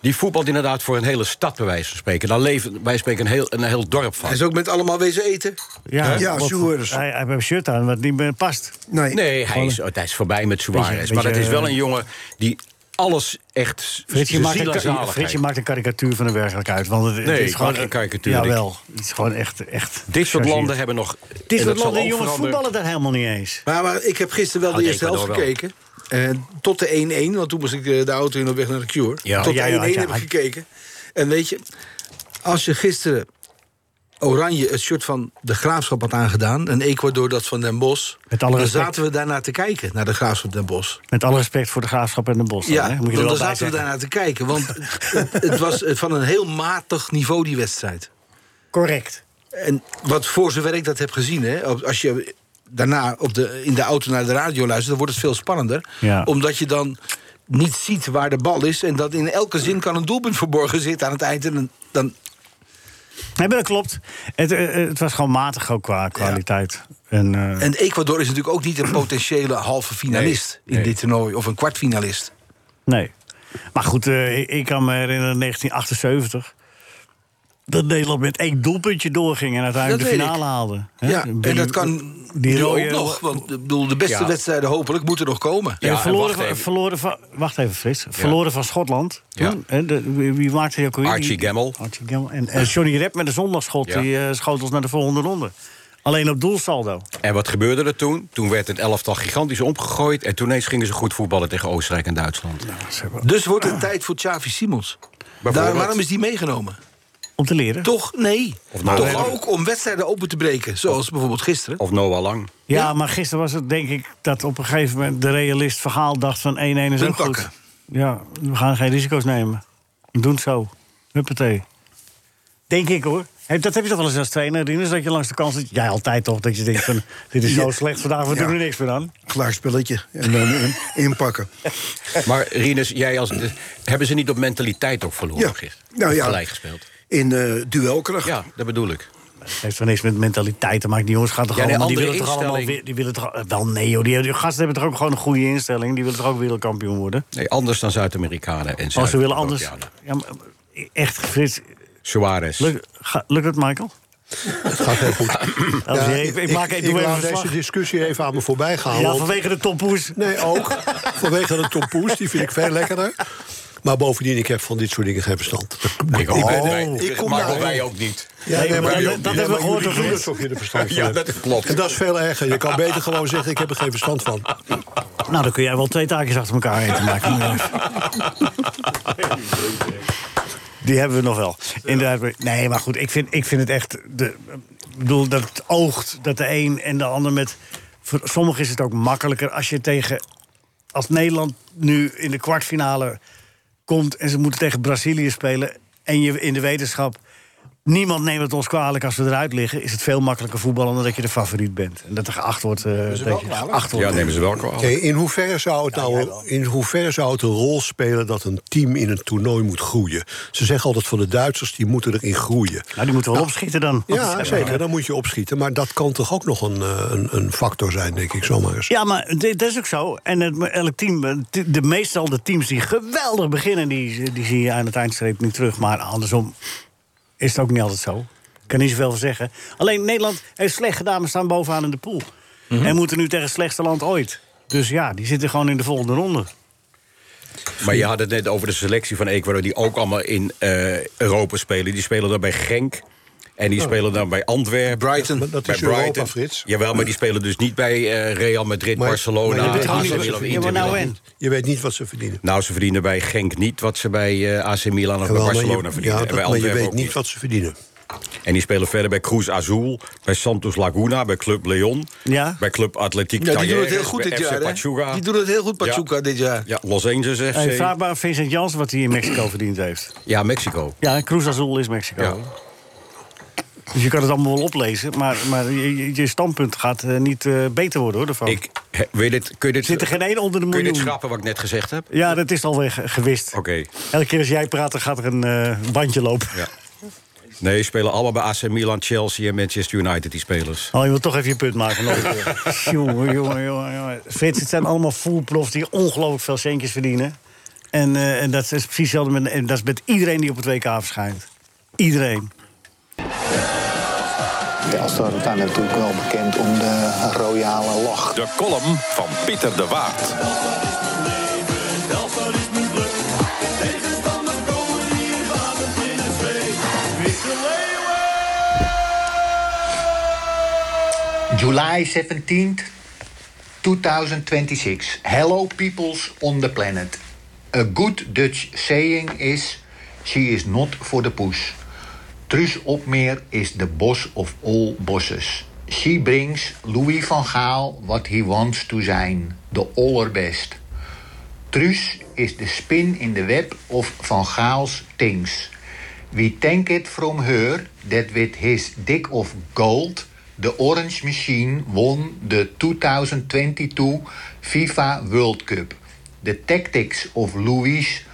Speaker 6: Die voetbalt inderdaad voor een hele stad, bij wijze van spreken. Daar leven wij spreken een heel, een heel dorp van.
Speaker 5: Hij is ook met allemaal wezen eten.
Speaker 3: Ja,
Speaker 4: Ja,
Speaker 3: want
Speaker 4: Suarez.
Speaker 3: Hij, hij heeft een shirt aan wat niet meer past.
Speaker 4: nee.
Speaker 6: Nee, hij is, oh, hij is voorbij met Suarez.
Speaker 3: Beetje-
Speaker 6: maar dat
Speaker 3: beetje,
Speaker 6: is wel
Speaker 3: eh,
Speaker 6: een jongen die alles echt...
Speaker 3: Frits, je
Speaker 6: zijn
Speaker 3: maakt,
Speaker 6: ziel
Speaker 3: een,
Speaker 6: en
Speaker 3: ka-
Speaker 6: zaligheid.
Speaker 3: Frits, je maakt een karikatuur van de werkelijkheid. Want het, het
Speaker 6: Nee,
Speaker 3: is
Speaker 6: ik
Speaker 3: gewoon
Speaker 6: maak een karikatuur, ik-
Speaker 3: Jawel, het is gewoon echt. echt
Speaker 6: Dit soort
Speaker 3: gechargeerd.
Speaker 6: landen hebben nog... en
Speaker 3: Dit
Speaker 6: dat
Speaker 3: soort
Speaker 6: zal
Speaker 3: landen,
Speaker 6: ook
Speaker 3: jongens,
Speaker 6: veranderen.
Speaker 3: voetballen daar helemaal niet eens.
Speaker 5: Maar, maar ik heb gisteren wel
Speaker 3: Ah,
Speaker 6: Oh,
Speaker 5: de eerste helft
Speaker 6: Ecuador wel.
Speaker 5: gekeken. Eh, tot de 1-1, want toen moest ik eh, de auto in op weg naar de Cure.
Speaker 6: Ja.
Speaker 5: tot
Speaker 3: Ja,
Speaker 5: de
Speaker 3: ja,
Speaker 5: 1-1
Speaker 3: ja,
Speaker 5: heb ik
Speaker 3: ja.
Speaker 5: gekeken. En weet je, als je gisteren Oranje het shirt van de Graafschap had aangedaan... en Ecuador dat van Den Bosch...
Speaker 3: Met alle
Speaker 5: dan
Speaker 3: respect.
Speaker 5: zaten we daarnaar te kijken, naar de Graafschap Den Bosch.
Speaker 3: Met alle respect voor de graafschap en de bos.
Speaker 5: Ja,
Speaker 3: hè?
Speaker 5: want
Speaker 3: er
Speaker 5: dan
Speaker 3: wel bij
Speaker 5: zaten we
Speaker 3: zeggen.
Speaker 5: daarnaar te kijken. Want het- het was van een heel matig niveau, die wedstrijd.
Speaker 3: Correct.
Speaker 5: En wat voor zover ik dat heb gezien, hè, op- als je daarna op de, in de auto naar de radio luistert, dan wordt het veel spannender.
Speaker 3: Ja.
Speaker 5: Omdat je dan niet ziet waar de bal is. En dat in elke zin kan een doelpunt verborgen zitten aan het eind. En dan- dan,
Speaker 3: Nee, maar dat klopt. Het, eh, eh, het was gewoon matig ook qua kwaliteit. En, eh,
Speaker 5: en Ecuador is natuurlijk ook niet een potentiële halve finalist in dit toernooi. Of een kwartfinalist.
Speaker 3: Nee. Maar goed, eh, ik- ik kan me herinneren 1978. Dat Nederland met één doelpuntje doorging en uiteindelijk
Speaker 5: Dat
Speaker 3: de
Speaker 5: weet
Speaker 3: finale haalde. hè?
Speaker 5: ja, en
Speaker 3: Die-
Speaker 5: dat kan
Speaker 3: die
Speaker 5: nu
Speaker 3: rode-
Speaker 5: ook nog. Want ik bedoel, de beste
Speaker 6: Ja.
Speaker 5: wedstrijden hopelijk moeten nog komen.
Speaker 3: Ja,
Speaker 6: Ja, en
Speaker 3: verloren,
Speaker 6: wacht
Speaker 3: van,
Speaker 6: even.
Speaker 3: verloren van. Wacht even, Frits. Verloren van Schotland.
Speaker 6: Ja.
Speaker 3: Toen, hè, de- wie, wie maakte die ook weer?
Speaker 6: Archie
Speaker 3: Die-
Speaker 6: Gemmel.
Speaker 3: Archie Gemmel. En, en Johnny Rep met een zondagsschot.
Speaker 6: Ja.
Speaker 3: Die eh, schoot ons naar de volgende ronde. Alleen op doelsaldo.
Speaker 6: En wat gebeurde er toen? Toen werd het elftal gigantisch omgegooid... en toen ineens gingen ze goed voetballen tegen Oostenrijk en Duitsland.
Speaker 4: Nou,
Speaker 5: Dus wordt het tijd voor Xavi Simons. Daar,
Speaker 6: Bijvoorbeeld.
Speaker 5: waarom is die meegenomen?
Speaker 3: Om te leren.
Speaker 5: Toch nee.
Speaker 6: nou-
Speaker 5: Toch ook om wedstrijden open te breken. Zoals bijvoorbeeld gisteren.
Speaker 6: Of Noah Lang.
Speaker 3: ja, maar gisteren was het denk ik dat op een gegeven moment de realist verhaal dacht van 1-1 is ook
Speaker 5: Punt
Speaker 3: goed.
Speaker 5: pakken.
Speaker 3: Ja, we gaan geen risico's nemen. We doen het zo. Huppatee. Denk ik hoor. Heb, dat heb je toch wel eens als trainer, Rinus, dat je langs de kant zit? Jij altijd toch, dat je denkt van... dit is zo slecht vandaag, we
Speaker 4: Ja.
Speaker 3: doen er niks meer aan.
Speaker 4: Klaar spelletje. En dan eh, inpakken.
Speaker 6: Maar Rinus, jij als, de- hebben ze niet op mentaliteit ook verloren
Speaker 4: Ja.
Speaker 6: gisteren?
Speaker 4: Nou
Speaker 6: Of
Speaker 4: ja.
Speaker 6: Gelijk gespeeld.
Speaker 4: In eh, duelkracht.
Speaker 6: Ja, dat bedoel ik.
Speaker 3: Het heeft toch niks met mentaliteit te maken. Die jongens gaan toch
Speaker 6: Ja, nee,
Speaker 3: allemaal... Die
Speaker 6: andere
Speaker 3: willen toch allemaal...
Speaker 6: instelling.
Speaker 3: weer- Die willen toch, eh, wel nee, joh. Die, die gasten hebben toch ook gewoon een goede instelling. Die willen toch ook wereldkampioen worden.
Speaker 6: Nee, anders dan Zuid-Amerikanen en
Speaker 3: Als ze willen anders...
Speaker 6: Zuid-Amerikanen.
Speaker 3: Ja, maar, eh, echt, Frits.
Speaker 6: Suarez.
Speaker 3: Lukt, ga- lukt het, Michael?
Speaker 7: Het gaat heel goed.
Speaker 3: Als
Speaker 7: Ja,
Speaker 3: je- ik, ik maak ik doe even een
Speaker 7: laat
Speaker 3: verslag.
Speaker 7: deze discussie even aan me voorbij gaan.
Speaker 3: Ja,
Speaker 7: want-
Speaker 3: vanwege de toppoes.
Speaker 7: Nee, ook. Vanwege de tompoes, die vind ik veel lekkerder. Maar bovendien, ik heb van dit soort dingen geen verstand.
Speaker 6: Ik, hoop
Speaker 7: ben-
Speaker 6: wij-
Speaker 7: ik kom
Speaker 6: maar
Speaker 7: daar-
Speaker 6: wij ook niet.
Speaker 7: Ja,
Speaker 3: Nee,
Speaker 7: nee,
Speaker 3: maar
Speaker 7: maar
Speaker 3: dat- dat hebben we gehoord
Speaker 7: jullie
Speaker 3: over
Speaker 7: doen
Speaker 3: dit.
Speaker 7: alsof je er verstand van
Speaker 6: Ja,
Speaker 7: hebt.
Speaker 6: dat klopt.
Speaker 7: En dat is veel erger. Je kan beter gewoon zeggen, ik heb er geen verstand van.
Speaker 3: Nou, dan kun jij wel twee taakjes achter elkaar eten maken. Die hebben we nog wel. Inderdaad, nee, maar goed, ik vind, ik vind het echt... De, ik bedoel, dat het oogt dat de een en de ander met... Voor sommigen is het ook makkelijker als je tegen... Als Nederland nu in de kwartfinale komt... en ze moeten tegen Brazilië spelen... en je in de wetenschap... niemand neemt het ons kwalijk als we eruit liggen... is het veel makkelijker voetballen dan dat je de favoriet bent. En dat er geacht wordt... eh, dat je geacht wordt.
Speaker 6: Ja, nemen ze wel kwalijk.
Speaker 7: Oké, in, hoeverre zou het nou, in hoeverre zou het een rol spelen dat een team in een toernooi moet groeien? Ze zeggen altijd van de Duitsers, die moeten erin groeien.
Speaker 3: Nou, die moeten wel opschieten dan.
Speaker 7: Ja, zeker. Dan moet je opschieten. Maar dat kan toch ook nog een, eh, een, een factor zijn, denk ik, zomaar eens.
Speaker 3: Ja, maar dit- dat is ook zo. En het, elk team, eh, t- de meestal de teams die geweldig beginnen, die, die zie je aan het eindstreep niet terug. Maar andersom is het ook niet altijd zo. Ik kan niet zoveel van zeggen. Alleen Nederland heeft slecht gedaan, maar staan bovenaan in de pool. En moeten nu tegen het slechtste land ooit. Dus ja, die zitten gewoon in de volgende ronde.
Speaker 6: Maar je had het net over de selectie van Ecuador... die ook allemaal in eh, Europa spelen. Die spelen dan bij Genk. En die spelen dan bij Antwerpen.
Speaker 5: Brighton.
Speaker 7: Maar dat
Speaker 6: bij
Speaker 7: is Europa, Frits.
Speaker 6: Jawel, maar die spelen dus niet bij eh, Real Madrid,
Speaker 7: Maar-
Speaker 6: Barcelona...
Speaker 7: maar je
Speaker 6: AC
Speaker 7: weet gewoon niet
Speaker 6: Milan,
Speaker 7: wat ze
Speaker 6: Inter
Speaker 3: Ja, maar
Speaker 6: Milan.
Speaker 3: nou en?
Speaker 7: Je weet niet wat ze verdienen.
Speaker 6: Nou, ze verdienen bij Genk niet wat ze bij eh, AC Milan of bij
Speaker 7: Jawel, maar je-
Speaker 6: Barcelona verdienen.
Speaker 7: Ja,
Speaker 6: En
Speaker 7: dat-
Speaker 6: bij
Speaker 7: maar je
Speaker 6: Antwerpen
Speaker 7: weet
Speaker 6: ook
Speaker 7: niet wat ze verdienen.
Speaker 6: En die spelen verder bij Cruz Azul, bij Santos Laguna, bij Club Leon...
Speaker 3: Ja.
Speaker 6: bij Club
Speaker 5: Ja,
Speaker 6: Atletiek
Speaker 5: die doen het
Speaker 6: Talleres,
Speaker 5: heel goed
Speaker 6: bij
Speaker 5: dit
Speaker 6: FC
Speaker 5: jaar. hè?
Speaker 6: Pachuca.
Speaker 5: Die doen het heel goed, Pachuca, dit jaar.
Speaker 6: Ja, Los Angeles FC.
Speaker 3: Hey, Eh, vraag maar aan Vincent Jans wat hij in Mexico verdiend heeft.
Speaker 6: Ja, Mexico.
Speaker 3: Ja, Cruz Azul is Mexico.
Speaker 6: Ja.
Speaker 3: Dus je kan het allemaal wel oplezen, maar, maar je, je- je standpunt gaat eh, niet eh, beter worden hoor. Daarvan.
Speaker 6: Ik, he, wil je dit, kun je dit,
Speaker 3: Zit er geen één onder de
Speaker 6: kun je dit
Speaker 3: miljoen?
Speaker 6: schrappen wat ik net gezegd heb?
Speaker 3: Ja, dat is alweer ge- gewist.
Speaker 6: Oké.
Speaker 3: Elke keer als jij praat, dan gaat er een eh, bandje lopen.
Speaker 6: Ja. Nee, ze spelen allemaal bij AC Milan, Chelsea en Manchester United, die spelers.
Speaker 3: Oh, je wilt toch even je punt maken. nog een keer. jongen, jongen, jongen, jongen. Frits, het zijn allemaal voelprofs die ongelooflijk veel centjes verdienen. En, eh, en dat is precies hetzelfde met, en dat is met iedereen die op het WK verschijnt. Iedereen.
Speaker 8: Telstar staan natuurlijk wel bekend om de royale lach.
Speaker 2: De column van Pieter de Waard.
Speaker 9: July 17th, 2026. Hello, peoples on the planet. A good Dutch saying is: She is not for the poes. Truus Opmeer is the boss of all bosses. She brings Louis van Gaal what he wants to zijn, the allerbest. Truus is the spin in the web of Van Gaal's things. We take it from her that with his dick of gold, the Orange Machine won the 2022 FIFA World Cup. The tactics of Louis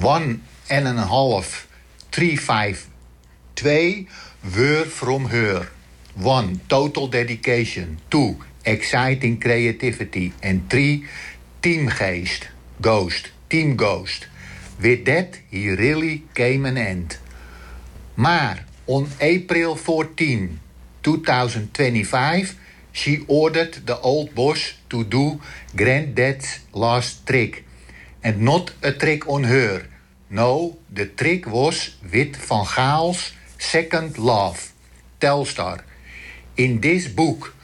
Speaker 9: one and a half, three five, Twee were from her. One, total dedication. Two, exciting creativity. And three, teamgeest. Ghost. Team ghost. With that, he really came an end. Maar on April 14, 2025, she ordered the old boss to do granddad's last trick. And not a trick on her. No, the trick was with Van Gaal's second love, Telstar. In this book,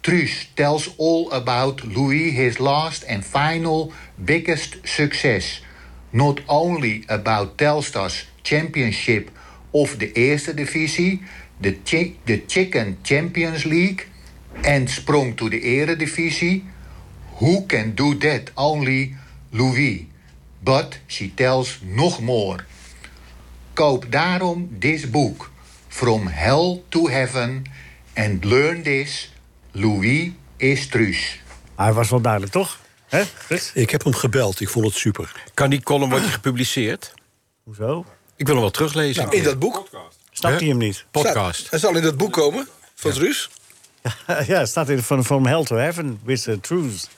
Speaker 9: Truus tells all about Louis, his last and final biggest success. Not only about Telstar's championship of the Eerste Divisie, the, chi- the Chicken Champions League, and sprong to the Eredivisie. Who can do that? Only Louis. But she tells nog more. Koop daarom dit boek. from hell to heaven and learn this, Louis is truus.
Speaker 3: Hij was wel duidelijk, toch? Hè? Frits?
Speaker 7: Ik heb hem gebeld, ik vond het super.
Speaker 6: Kan die column worden gepubliceerd?
Speaker 3: Ah. Hoezo? Nou,
Speaker 6: Ik wil hem wel teruglezen.
Speaker 5: in dat boek?
Speaker 3: Snapt hij hem niet?
Speaker 6: Podcast.
Speaker 5: Hij zal in dat boek komen, van het Ruus.
Speaker 3: ja, het staat in van From Hell to Heaven with the Truth.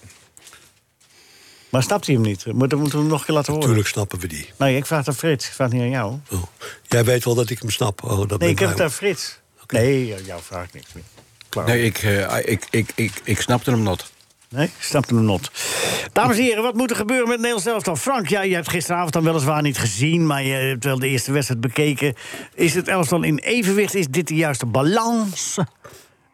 Speaker 3: Maar snapt hij hem niet? Moeten moeten we hem nog een keer laten horen?
Speaker 7: Tuurlijk snappen we die.
Speaker 3: Nee, ik vraag het aan Frits. Ik vraag het niet aan jou.
Speaker 7: Oh. Jij weet wel dat ik hem snap. Oh, dat
Speaker 3: Nee,
Speaker 7: ben
Speaker 3: ik
Speaker 7: blij
Speaker 3: heb het aan Frits. Nee, aan jou vraag ik niks meer. Klaar.
Speaker 6: Nee, ik, eh, ik, ik, ik, ik snapte hem not.
Speaker 3: Nee, ik snapte hem not. Dames en heren, wat moet er gebeuren met Nederland zelf dan? Frank, ja, je hebt gisteravond dan weliswaar niet gezien... maar je hebt wel de eerste wedstrijd bekeken. Is het elftal in evenwicht? Is dit de juiste balans?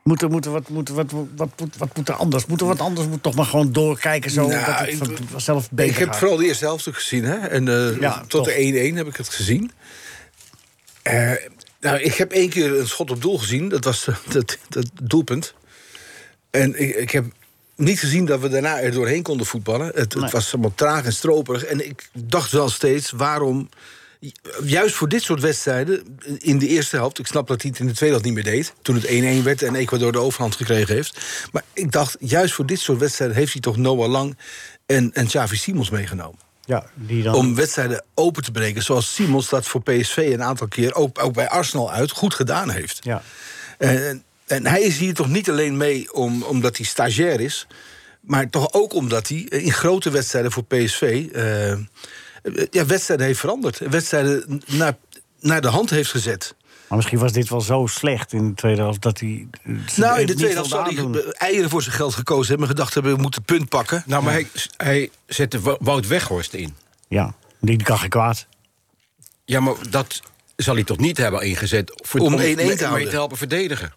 Speaker 3: Moet er, moet er wat, moet, er wat, wat, moet- wat moet er anders? Moet er wat anders? Moet toch maar gewoon doorkijken zo
Speaker 5: Nou,
Speaker 3: dat het
Speaker 5: ik-
Speaker 3: van- vanzelf beter
Speaker 5: ik heb
Speaker 3: gaat.
Speaker 5: vooral de eerste helft ook gezien. Hè? En, eh,
Speaker 3: Ja,
Speaker 5: tot
Speaker 3: toch.
Speaker 5: de 1-1 heb ik het gezien. Eh, nou, ik heb één keer een schot op doel gezien. Dat was eh, dat, dat doelpunt. En ik, ik heb niet gezien dat we daarna er doorheen konden voetballen. Het, het was allemaal traag en stroperig. En ik dacht wel steeds, waarom... Juist voor dit soort wedstrijden, in de eerste helft... ik snap dat hij het in de tweede helft niet meer deed... toen het 1-1 werd en Ecuador de overhand gekregen heeft. Maar ik dacht, juist voor dit soort wedstrijden... heeft hij toch Noah Lang en, en Xavi Simons meegenomen
Speaker 3: Ja, die dan...
Speaker 5: om wedstrijden open te breken. Zoals Simons dat voor PSV een aantal keer, ook, ook bij Arsenal uit, goed gedaan heeft.
Speaker 3: Ja.
Speaker 5: En, en hij is hier toch niet alleen mee om, omdat hij stagiair is... maar toch ook omdat hij in grote wedstrijden voor PSV... eh, ja, wedstrijden heeft veranderd. Wedstrijden naar, naar de hand heeft gezet.
Speaker 3: Maar misschien was dit wel zo slecht in de tweede helft dat hij...
Speaker 5: Nou, in de tweede helft zal hij eieren voor zijn geld gekozen hebben... en gedacht hebben, we moeten punt pakken.
Speaker 6: Nou, maar hij, hij zette Wo- Wout Weghorst in.
Speaker 3: Ja, die kan geen kwaad.
Speaker 6: Ja, maar dat zal hij toch niet hebben ingezet... Voor,
Speaker 5: Om 1-1 te
Speaker 6: mee- mee
Speaker 5: houden.
Speaker 6: te helpen verdedigen.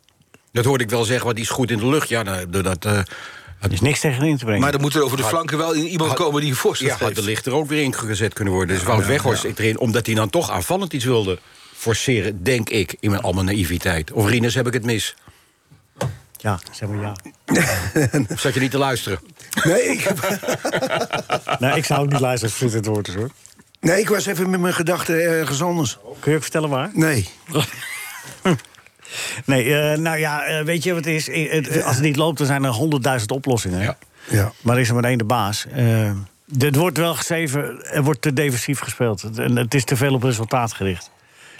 Speaker 6: Dat hoorde ik wel zeggen, want die is goed in de lucht. Ja, nou, door dat... eh,
Speaker 3: Er is niks tegen in te brengen.
Speaker 5: Maar dan moet er over de flanken wel iemand komen die een voorzet
Speaker 6: ja, had de
Speaker 5: geeft.
Speaker 6: licht er ook weer in gezet kunnen worden. Dus Wout Weghorst erin, omdat hij dan toch aanvallend iets wilde forceren... denk ik, in mijn allemaal naïviteit. Of Rinus, heb ik het mis?
Speaker 3: Ja, zeg maar ja.
Speaker 6: Of zat je niet te luisteren?
Speaker 4: Nee ik,
Speaker 3: nou, ik zou ook niet luisteren als Frits het woord is, hoor.
Speaker 4: nee, ik was even met mijn gedachten ergens anders.
Speaker 3: Kun je ook vertellen waar?
Speaker 4: Nee.
Speaker 3: Nee, eh, nou ja, eh, weet je wat het is? Eh, het- als het niet loopt, dan zijn er honderdduizend oplossingen. hè?
Speaker 6: Ja.
Speaker 4: Ja.
Speaker 3: Maar er is er maar één de baas. Eh dit wordt wel geschreven, er wordt te defensief gespeeld. Het- En het is te veel op resultaat gericht.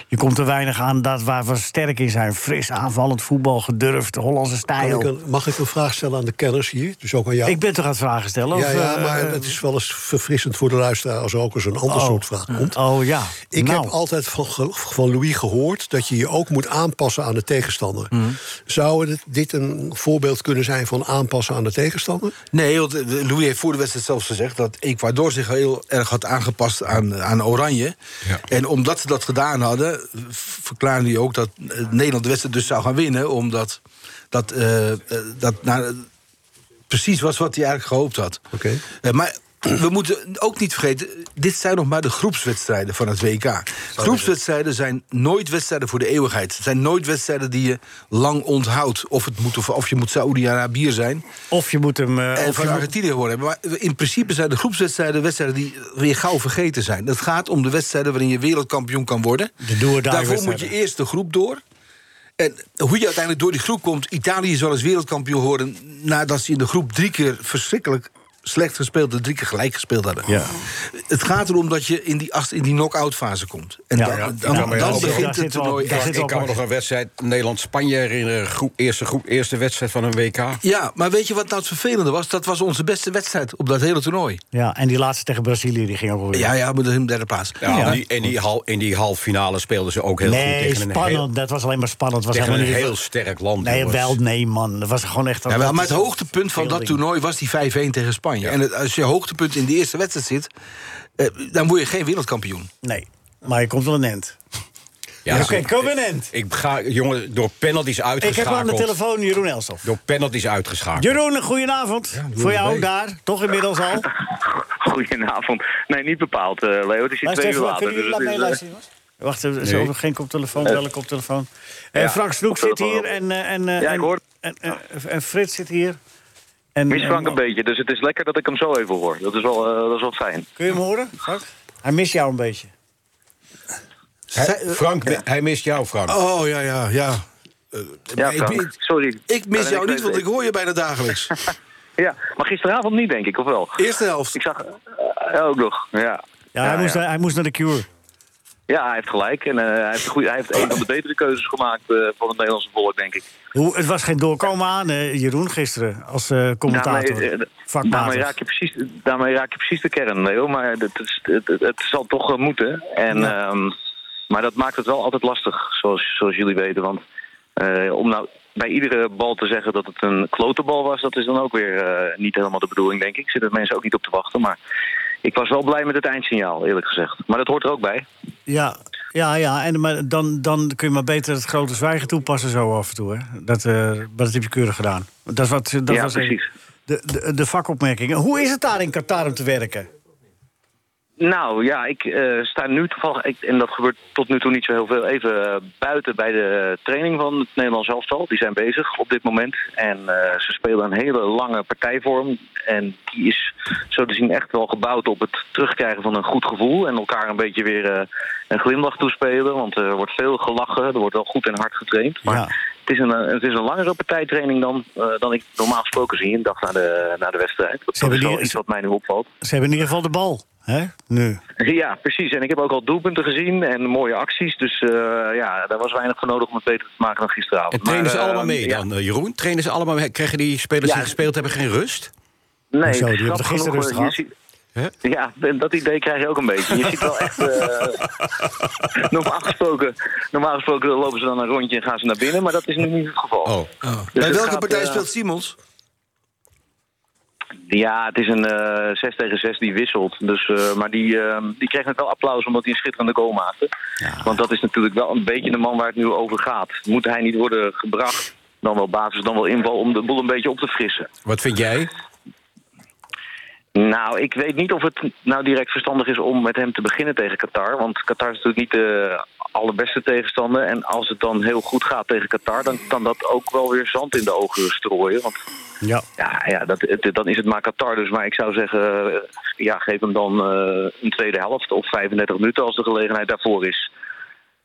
Speaker 3: Je komt te weinig aan dat waar we sterk in zijn. Fris, aanvallend voetbal, gedurfd, Hollandse
Speaker 7: Kan ik
Speaker 3: stijl.
Speaker 7: een- mag ik een vraag stellen aan de kenners hier? Dus ook aan jou.
Speaker 3: Ik ben toch aan het vragen stellen?
Speaker 7: ja,
Speaker 3: of,
Speaker 7: ja,
Speaker 3: eh,
Speaker 7: maar het is wel eens verfrissend voor de luisteraar... als er ook eens een ander soort vraag komt.
Speaker 3: Oh ja.
Speaker 7: Ik
Speaker 3: Nou.
Speaker 7: heb altijd van, ge- van Louis gehoord dat je je ook moet aanpassen aan de tegenstander.
Speaker 3: Mm.
Speaker 5: Mhm.
Speaker 7: Zou dit, dit een voorbeeld kunnen zijn van aanpassen aan de tegenstander?
Speaker 5: Nee, want eh, Louis heeft voor de wedstrijd zelfs gezegd dat Ecuador zich heel erg had aangepast aan, aan Oranje. En omdat ze dat gedaan hadden, v- verklaarde hij ook dat eh, Nederland de wedstrijd dus zou gaan winnen. Omdat dat, eh, eh, dat nou, precies was wat hij eigenlijk gehoopt had.
Speaker 7: Oké.
Speaker 5: Eh, maar we moeten ook niet vergeten, dit zijn nog maar de groepswedstrijden van het WK. groepswedstrijden zijn nooit wedstrijden voor de eeuwigheid. Het zijn nooit wedstrijden die je lang onthoudt. Of, het moet, of, of je moet Saoedi-Arabië zijn.
Speaker 3: Of je moet hem... eh,
Speaker 5: En
Speaker 3: of je
Speaker 5: van
Speaker 3: moet-
Speaker 5: Argentinië geworden hebben. Maar in principe zijn de groepswedstrijden wedstrijden die weer gauw vergeten zijn. Het gaat om de wedstrijden waarin je wereldkampioen kan worden.
Speaker 3: De do-or-die
Speaker 5: Daarvoor moet je
Speaker 3: wedstrijden.
Speaker 5: eerst de groep door. En hoe je uiteindelijk door die groep komt... Italië is wel eens wereldkampioen geworden... nadat ze in de groep drie keer verschrikkelijk slecht gespeeld... en drie keer gelijk gespeeld hadden.
Speaker 3: Ja.
Speaker 5: Het gaat erom dat je in die, acht- in die knock-out fase komt. En
Speaker 3: Ja,
Speaker 5: dan,
Speaker 3: ja.
Speaker 5: dan-
Speaker 3: Ja, maar
Speaker 5: dan
Speaker 3: ja, daar
Speaker 5: begint
Speaker 3: zit
Speaker 5: het
Speaker 3: wel-
Speaker 5: toernooi.
Speaker 3: daar
Speaker 5: echt.
Speaker 3: zit wel
Speaker 6: Ik kan me nog een wedstrijd Nederland-Spanje herinneren. Groep, eerste, groep, eerste wedstrijd van een WK.
Speaker 5: Ja, maar weet je wat nou het vervelende was? Dat was onze beste wedstrijd op dat hele toernooi.
Speaker 3: Ja, en die laatste tegen Brazilië, die ging ook wel weer.
Speaker 5: Ja, ja, maar dat is in de derde plaats.
Speaker 6: Ja, maar die, in, die hal, in die halffinale speelden ze ook heel goed
Speaker 3: nee,
Speaker 6: tegen een
Speaker 3: spannend.
Speaker 6: heel,
Speaker 3: Dat was alleen maar spannend. Het Was
Speaker 6: tegen een
Speaker 3: helemaal niet...
Speaker 6: heel sterk land.
Speaker 3: Nee,
Speaker 6: jongens.
Speaker 3: wel, nee, man. Dat was gewoon echt...
Speaker 5: Ja, wel, maar het hoogtepunt van dat toernooi was die 5-1 tegen Spanje. En het- als je hoogtepunt in de eerste wedstrijd zit, eh, dan word je geen wereldkampioen.
Speaker 3: Nee, maar je komt wel een end.
Speaker 6: Ja,
Speaker 3: Oké,
Speaker 6: ik-
Speaker 3: kom een end.
Speaker 6: Ik ga, jongen, door penalties
Speaker 3: Ik heb
Speaker 6: uitgeschakeld.
Speaker 3: aan de telefoon Jeroen Elstof.
Speaker 6: Door penalties uitgeschakeld.
Speaker 3: Jeroen, een goedenavond. Voor jou daar, toch inmiddels al.
Speaker 10: Goedenavond. Nee, niet bepaald, eh, Leo. Het is hier
Speaker 3: Luister
Speaker 10: twee uur
Speaker 3: even, wat,
Speaker 10: later.
Speaker 3: kunnen jullie
Speaker 10: dus
Speaker 3: laat
Speaker 10: het is, eh,
Speaker 3: meeluisteren, jongens? Wacht, er is over geen koptelefoon, wel een koptelefoon. Eh,
Speaker 10: Ja,
Speaker 3: Frank Snoek zit
Speaker 10: koptelefoon
Speaker 3: hier
Speaker 10: op.
Speaker 3: en, eh, en, eh,
Speaker 10: Ja, ik
Speaker 3: en,
Speaker 10: hoor.
Speaker 3: en, eh, en Frits zit hier. En, eh,
Speaker 10: mis Frank
Speaker 3: en-
Speaker 10: een beetje, dus het is lekker dat ik hem zo even hoor. Dat is wel, eh, dat is wel fijn.
Speaker 3: Kun je hem horen, Frank? Hij mist jou een beetje.
Speaker 6: Hij, Frank, hij mist jou, Frank.
Speaker 5: Oh ja, ja, ja. Eh,
Speaker 10: Ja,
Speaker 5: ik-
Speaker 10: Frank,
Speaker 5: ik,
Speaker 10: sorry.
Speaker 5: ik mis
Speaker 10: Ben
Speaker 5: jou
Speaker 10: ik-
Speaker 5: niet, want ik hoor je bijna dagelijks.
Speaker 10: Ja, maar gisteravond niet, denk ik, of wel?
Speaker 5: Eerste helft.
Speaker 10: Ik zag eh, ook nog, ja.
Speaker 3: Ja, hij, moest,
Speaker 10: ja.
Speaker 3: hij moest naar de Cure.
Speaker 10: Ja, hij heeft gelijk. En eh, hij, heeft een goeie, hij heeft een van de betere keuzes gemaakt eh, van het Nederlandse volk, denk ik.
Speaker 3: Hoe, het was geen doorkomen aan, eh, Jeroen, gisteren. Als eh, commentator.
Speaker 10: Daarmee, eh, daarmee,
Speaker 3: vakmatig.
Speaker 10: raak je precies, daarmee raak je precies de kern, Leo. Maar het, is- het, het, het zal toch eh, moeten. En, ehm, maar dat maakt het wel altijd lastig, zoals, zoals jullie weten. Want eh, om nou bij iedere bal te zeggen dat het een klote bal was... dat is dan ook weer eh, niet helemaal de bedoeling, denk ik. Zitten mensen ook niet op te wachten. Maar ik was wel blij met het eindsignaal, eerlijk gezegd. Maar dat hoort er ook bij.
Speaker 3: Ja, ja, ja. En, maar dan, dan kun je maar beter het grote zwijgen toepassen zo af en toe. Hè? Dat, eh, maar dat heb je keurig gedaan. Dat, is wat, dat
Speaker 10: Ja,
Speaker 3: was even
Speaker 10: precies.
Speaker 3: De, de, de vakopmerkingen. Hoe is het daar in Qatar om te werken?
Speaker 10: Nou ja, ik eh, sta nu toevallig, ik, en dat gebeurt tot nu toe niet zo heel veel, even eh, buiten bij de training van het Nederlands elftal. Die zijn bezig op dit moment. En eh, ze spelen een hele lange partijvorm. En die is zo te zien echt wel gebouwd op het terugkrijgen van een goed gevoel. En elkaar een beetje weer eh, een glimlach toespelen. Want er wordt veel gelachen, er wordt wel goed en hard getraind. Maar het, is een, eh, het is een langere partijtraining dan, eh, dan ik normaal gesproken zie een dag na de, na de wedstrijd. Dat is
Speaker 3: hebben
Speaker 10: wel
Speaker 3: die-
Speaker 10: iets wat mij nu opvalt.
Speaker 3: Ze hebben in ieder geval de bal. Hè? Nu.
Speaker 10: Ja, precies. En ik heb ook al doelpunten gezien en mooie acties. Dus eh, ja, daar was weinig voor nodig om het beter te maken dan gisteravond.
Speaker 6: En trainen ze
Speaker 10: Maar, eh,
Speaker 6: allemaal mee
Speaker 10: ja.
Speaker 6: dan, eh, Jeroen? Trainen ze allemaal mee? Krijgen die spelers
Speaker 10: Ja.
Speaker 6: die gespeeld hebben geen rust?
Speaker 10: Nee,
Speaker 6: Hoezo? Die
Speaker 10: ik snap
Speaker 6: hebben toch gisteren
Speaker 10: genoeg,
Speaker 6: rust
Speaker 10: eh, je
Speaker 6: gehad?
Speaker 10: ziet- Ja, en dat idee krijg je ook een beetje. Je ziet wel echt... eh, normaal, gesproken, normaal gesproken lopen ze dan een rondje en gaan ze naar binnen. Maar dat is nu niet het geval.
Speaker 6: Oh.
Speaker 10: Dus
Speaker 5: Bij
Speaker 10: het
Speaker 5: welke
Speaker 10: gaat,
Speaker 5: partij
Speaker 10: eh,
Speaker 5: speelt Simons?
Speaker 10: Ja, het is een eh 6 tegen 6 die wisselt. Dus, eh, maar die, eh, die kreeg net wel applaus omdat hij een schitterende goal maakte. Want dat is natuurlijk wel een beetje de man waar het nu over gaat. Moet hij niet worden gebracht, dan wel basis, dan wel inval... om de boel een beetje op te frissen.
Speaker 6: Wat vind jij?
Speaker 10: Nou, ik weet niet of het nou direct verstandig is om met hem te beginnen tegen Qatar. Want Qatar is natuurlijk niet de allerbeste tegenstander. En als het dan heel goed gaat tegen Qatar, dan kan dat ook wel weer zand in de ogen strooien. Want
Speaker 3: Ja.
Speaker 10: ja, ja dat, het- dan is het maar Qatar dus. Maar ik zou zeggen, eh, ja, geef hem dan eh, een tweede helft of 35 minuten als de gelegenheid daarvoor is.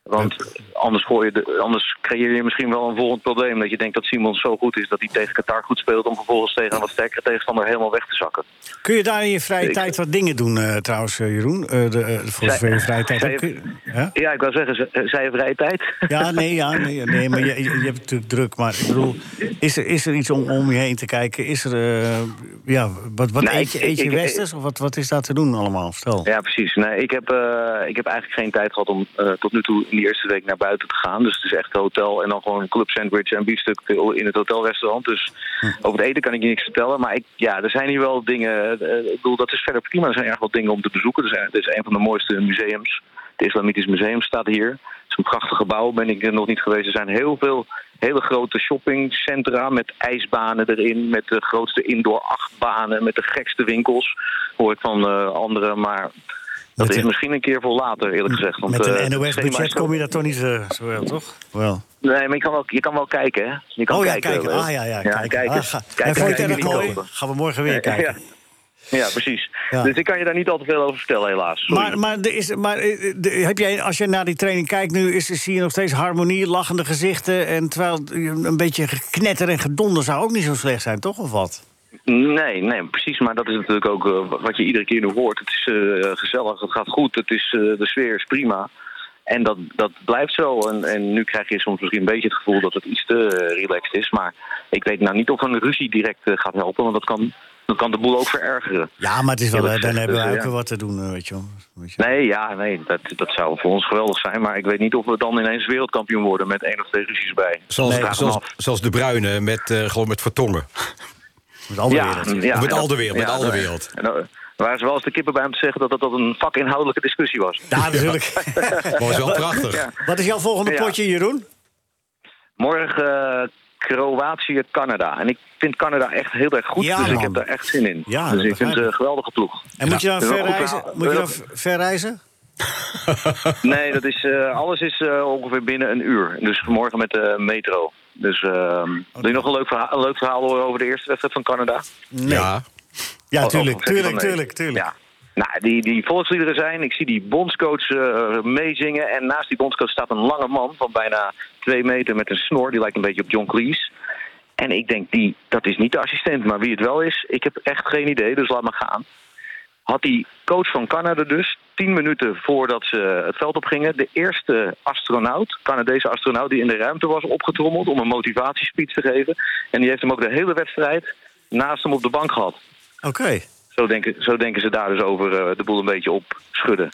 Speaker 10: Want anders, gooi je de, anders creëer je misschien wel een volgend probleem. Dat je denkt dat Simons zo goed is dat hij tegen Qatar goed speelt... om vervolgens tegen een wat sterkere tegenstander helemaal weg te zakken.
Speaker 3: Kun je daar in je vrije
Speaker 10: Ik-
Speaker 3: tijd wat dingen doen, eh, trouwens, eh, Jeroen? Eh, de, eh, voor zover je vrije tijd
Speaker 10: zij-
Speaker 3: hebt. Kun je- hè?
Speaker 10: Ja, ik wou zeggen, ze- eh, zij heeft vrije tijd.
Speaker 3: Ja, nee, ja, nee, nee maar je, je je hebt natuurlijk druk. Maar ik bedoel, is er, is er iets om, om je heen te kijken? Is er, eh, ja, wat, wat
Speaker 10: Nee,
Speaker 3: eet je,
Speaker 10: ik-
Speaker 3: eet je
Speaker 10: ik- ik-
Speaker 3: westers? Of wat, wat is daar te doen allemaal? Vertel.
Speaker 10: Ja, precies. Nee, ik, heb, eh, ik heb eigenlijk geen tijd gehad om eh, tot nu toe in die eerste week naar buiten te gaan. Dus het is echt hotel en dan gewoon een club sandwich en biefstuk in het hotelrestaurant. Dus
Speaker 3: Hm.
Speaker 10: over het eten kan ik je niks vertellen. Maar ik, ja, er zijn hier wel dingen. eh, ik bedoel, dat is verder prima. Er zijn erg wat dingen om te bezoeken. Er zijn, het is een van de mooiste museums. Het Islamitisch Museum staat hier. Het is een prachtig gebouw, ben ik er nog niet geweest. Er zijn heel veel hele grote shoppingcentra met ijsbanen erin, met de grootste indoor achtbanen, met de gekste winkels. Hoor ik van eh, anderen, maar dat is misschien een keer voor later, eerlijk gezegd. Want,
Speaker 3: Met
Speaker 10: eh, het
Speaker 3: een
Speaker 10: schema is
Speaker 3: NOS-budget
Speaker 10: zo-
Speaker 3: kom je daar toch niet eh, zo wel, toch? Wel.
Speaker 10: Nee, maar je kan wel, je kan wel kijken, hè? Je kan
Speaker 3: oh ja,
Speaker 10: kijken.
Speaker 3: kijken.
Speaker 10: wel.
Speaker 3: Ah ja, ja,
Speaker 10: kijken.
Speaker 3: kijken. Ah, ga- en vond je het erg
Speaker 10: niet
Speaker 3: mooi?
Speaker 10: kopen.
Speaker 3: Gaan we morgen weer
Speaker 10: Ja,
Speaker 3: kijken.
Speaker 10: Ja, ja, precies.
Speaker 3: Ja.
Speaker 10: Dus ik kan je daar niet al te veel over vertellen, helaas. Sorry.
Speaker 3: Maar, maar, er is, maar eh, de- heb jij, als je naar die training kijkt nu, is, zie je nog steeds harmonie, lachende gezichten. En terwijl eh, een beetje geknetter en gedonder zou ook niet zo slecht zijn, toch? Of wat?
Speaker 10: Nee, nee, precies. Maar dat is natuurlijk ook eh, wat je iedere keer nu hoort. Het is eh, gezellig, het gaat goed, het is, eh, de sfeer is prima. En dat, dat blijft zo. En, en nu krijg je soms misschien een beetje het gevoel dat het iets te eh, relaxed is. Maar ik weet nou niet of een ruzie direct eh, gaat helpen, want dat kan, dat kan de boel ook verergeren.
Speaker 3: Ja, maar het is wel,
Speaker 10: Eerlijk
Speaker 3: eh, dan
Speaker 10: gezegd,
Speaker 3: hebben wij
Speaker 10: dus,
Speaker 3: ook
Speaker 10: eh, ja.
Speaker 3: weer wat te doen, eh, weet je wel.
Speaker 10: Nee, ja, nee, dat, dat zou voor ons geweldig zijn. Maar ik weet niet of we dan ineens wereldkampioen worden met één of twee ruzies bij.
Speaker 6: Zoals,
Speaker 10: Ik vraag me
Speaker 6: zoals,
Speaker 10: af.
Speaker 6: zoals de Bruine met, eh, gewoon met Vertongen.
Speaker 3: Met al de
Speaker 10: Ja,
Speaker 3: wereld.
Speaker 10: ja,
Speaker 6: Of met
Speaker 10: en
Speaker 6: al de
Speaker 10: dat-
Speaker 6: wereld, met
Speaker 10: ja,
Speaker 6: al de
Speaker 10: dat-
Speaker 6: wereld.
Speaker 10: en dat- Waar ze wel eens de kippen bij om te zeggen dat dat, dat een vakinhoudelijke discussie was.
Speaker 3: Ja, natuurlijk.
Speaker 6: Was wel prachtig.
Speaker 10: Ja.
Speaker 3: Wat is jouw volgende
Speaker 10: Ja.
Speaker 3: potje, Jeroen?
Speaker 10: Morgen eh, Kroatië-Canada. En ik vind Canada echt heel erg goed,
Speaker 3: Ja,
Speaker 10: dus
Speaker 3: man.
Speaker 10: ik heb daar echt zin in.
Speaker 3: Ja, dat
Speaker 10: dus ik vind
Speaker 3: begrijp
Speaker 10: het
Speaker 3: ik.
Speaker 10: een geweldige ploeg.
Speaker 3: En moet je dan
Speaker 10: Dat is wel goed
Speaker 3: verreizen?
Speaker 10: verhaal.
Speaker 3: Moet je dan
Speaker 10: Dat-
Speaker 3: ver- verreizen?
Speaker 10: Nee, dat is, eh, alles is eh, ongeveer binnen een uur. Dus morgen met de metro. Dus eh, wil je nog een leuk, verhaal, een leuk verhaal horen over de eerste wedstrijd van Canada?
Speaker 6: Ja.
Speaker 3: Ja,
Speaker 10: Of- of
Speaker 3: tuurlijk,
Speaker 10: zeg je
Speaker 3: tuurlijk,
Speaker 10: van nee?
Speaker 3: tuurlijk, tuurlijk.
Speaker 10: Ja. Nou, die, die volksliederen zijn. Ik zie die bondscoach eh, meezingen. En naast die bondscoach staat een lange man van bijna twee meter met een snor. Die lijkt een beetje op John Cleese. En ik denk, die, dat is niet de assistent. Maar wie het wel is, ik heb echt geen idee. Dus laat maar gaan. Had die coach van Canada dus, tien minuten voordat ze het veld op gingen... de eerste astronaut, Canadese astronaut, die in de ruimte was opgetrommeld... om een motivatiespeech te geven. En die heeft hem ook de hele wedstrijd naast hem op de bank gehad.
Speaker 3: Oké.
Speaker 10: Zo denken, zo denken ze daar dus over eh, de boel een beetje op schudden.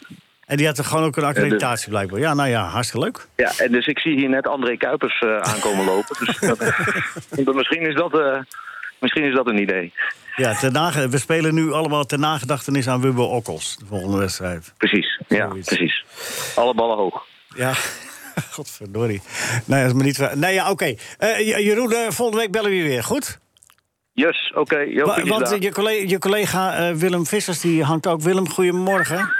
Speaker 3: En die had er gewoon ook een accreditatie blijkbaar. Ja, nou ja, hartstikke leuk.
Speaker 10: Ja, en dus ik zie hier net André Kuipers eh, aankomen lopen. Dus dat, dat- misschien, is dat, eh, misschien is dat een idee.
Speaker 3: Ja, ter nage- we spelen nu allemaal ter nagedachtenis aan Wubbo Okkels. De volgende wedstrijd.
Speaker 10: Precies, ja, precies. Alle ballen hoog.
Speaker 3: Ja. Godverdorie. Nee, dat is me niet... waar. Nee, ja, oké. Eh, J- Jeroen, eh, volgende week bellen we je weer, goed?
Speaker 10: Yes, oké. Joop,
Speaker 3: Wa-
Speaker 10: die is
Speaker 3: want
Speaker 10: daar.
Speaker 3: eh, je collega, je collega eh, Willem Vissers die hangt ook. Willem, goedemorgen.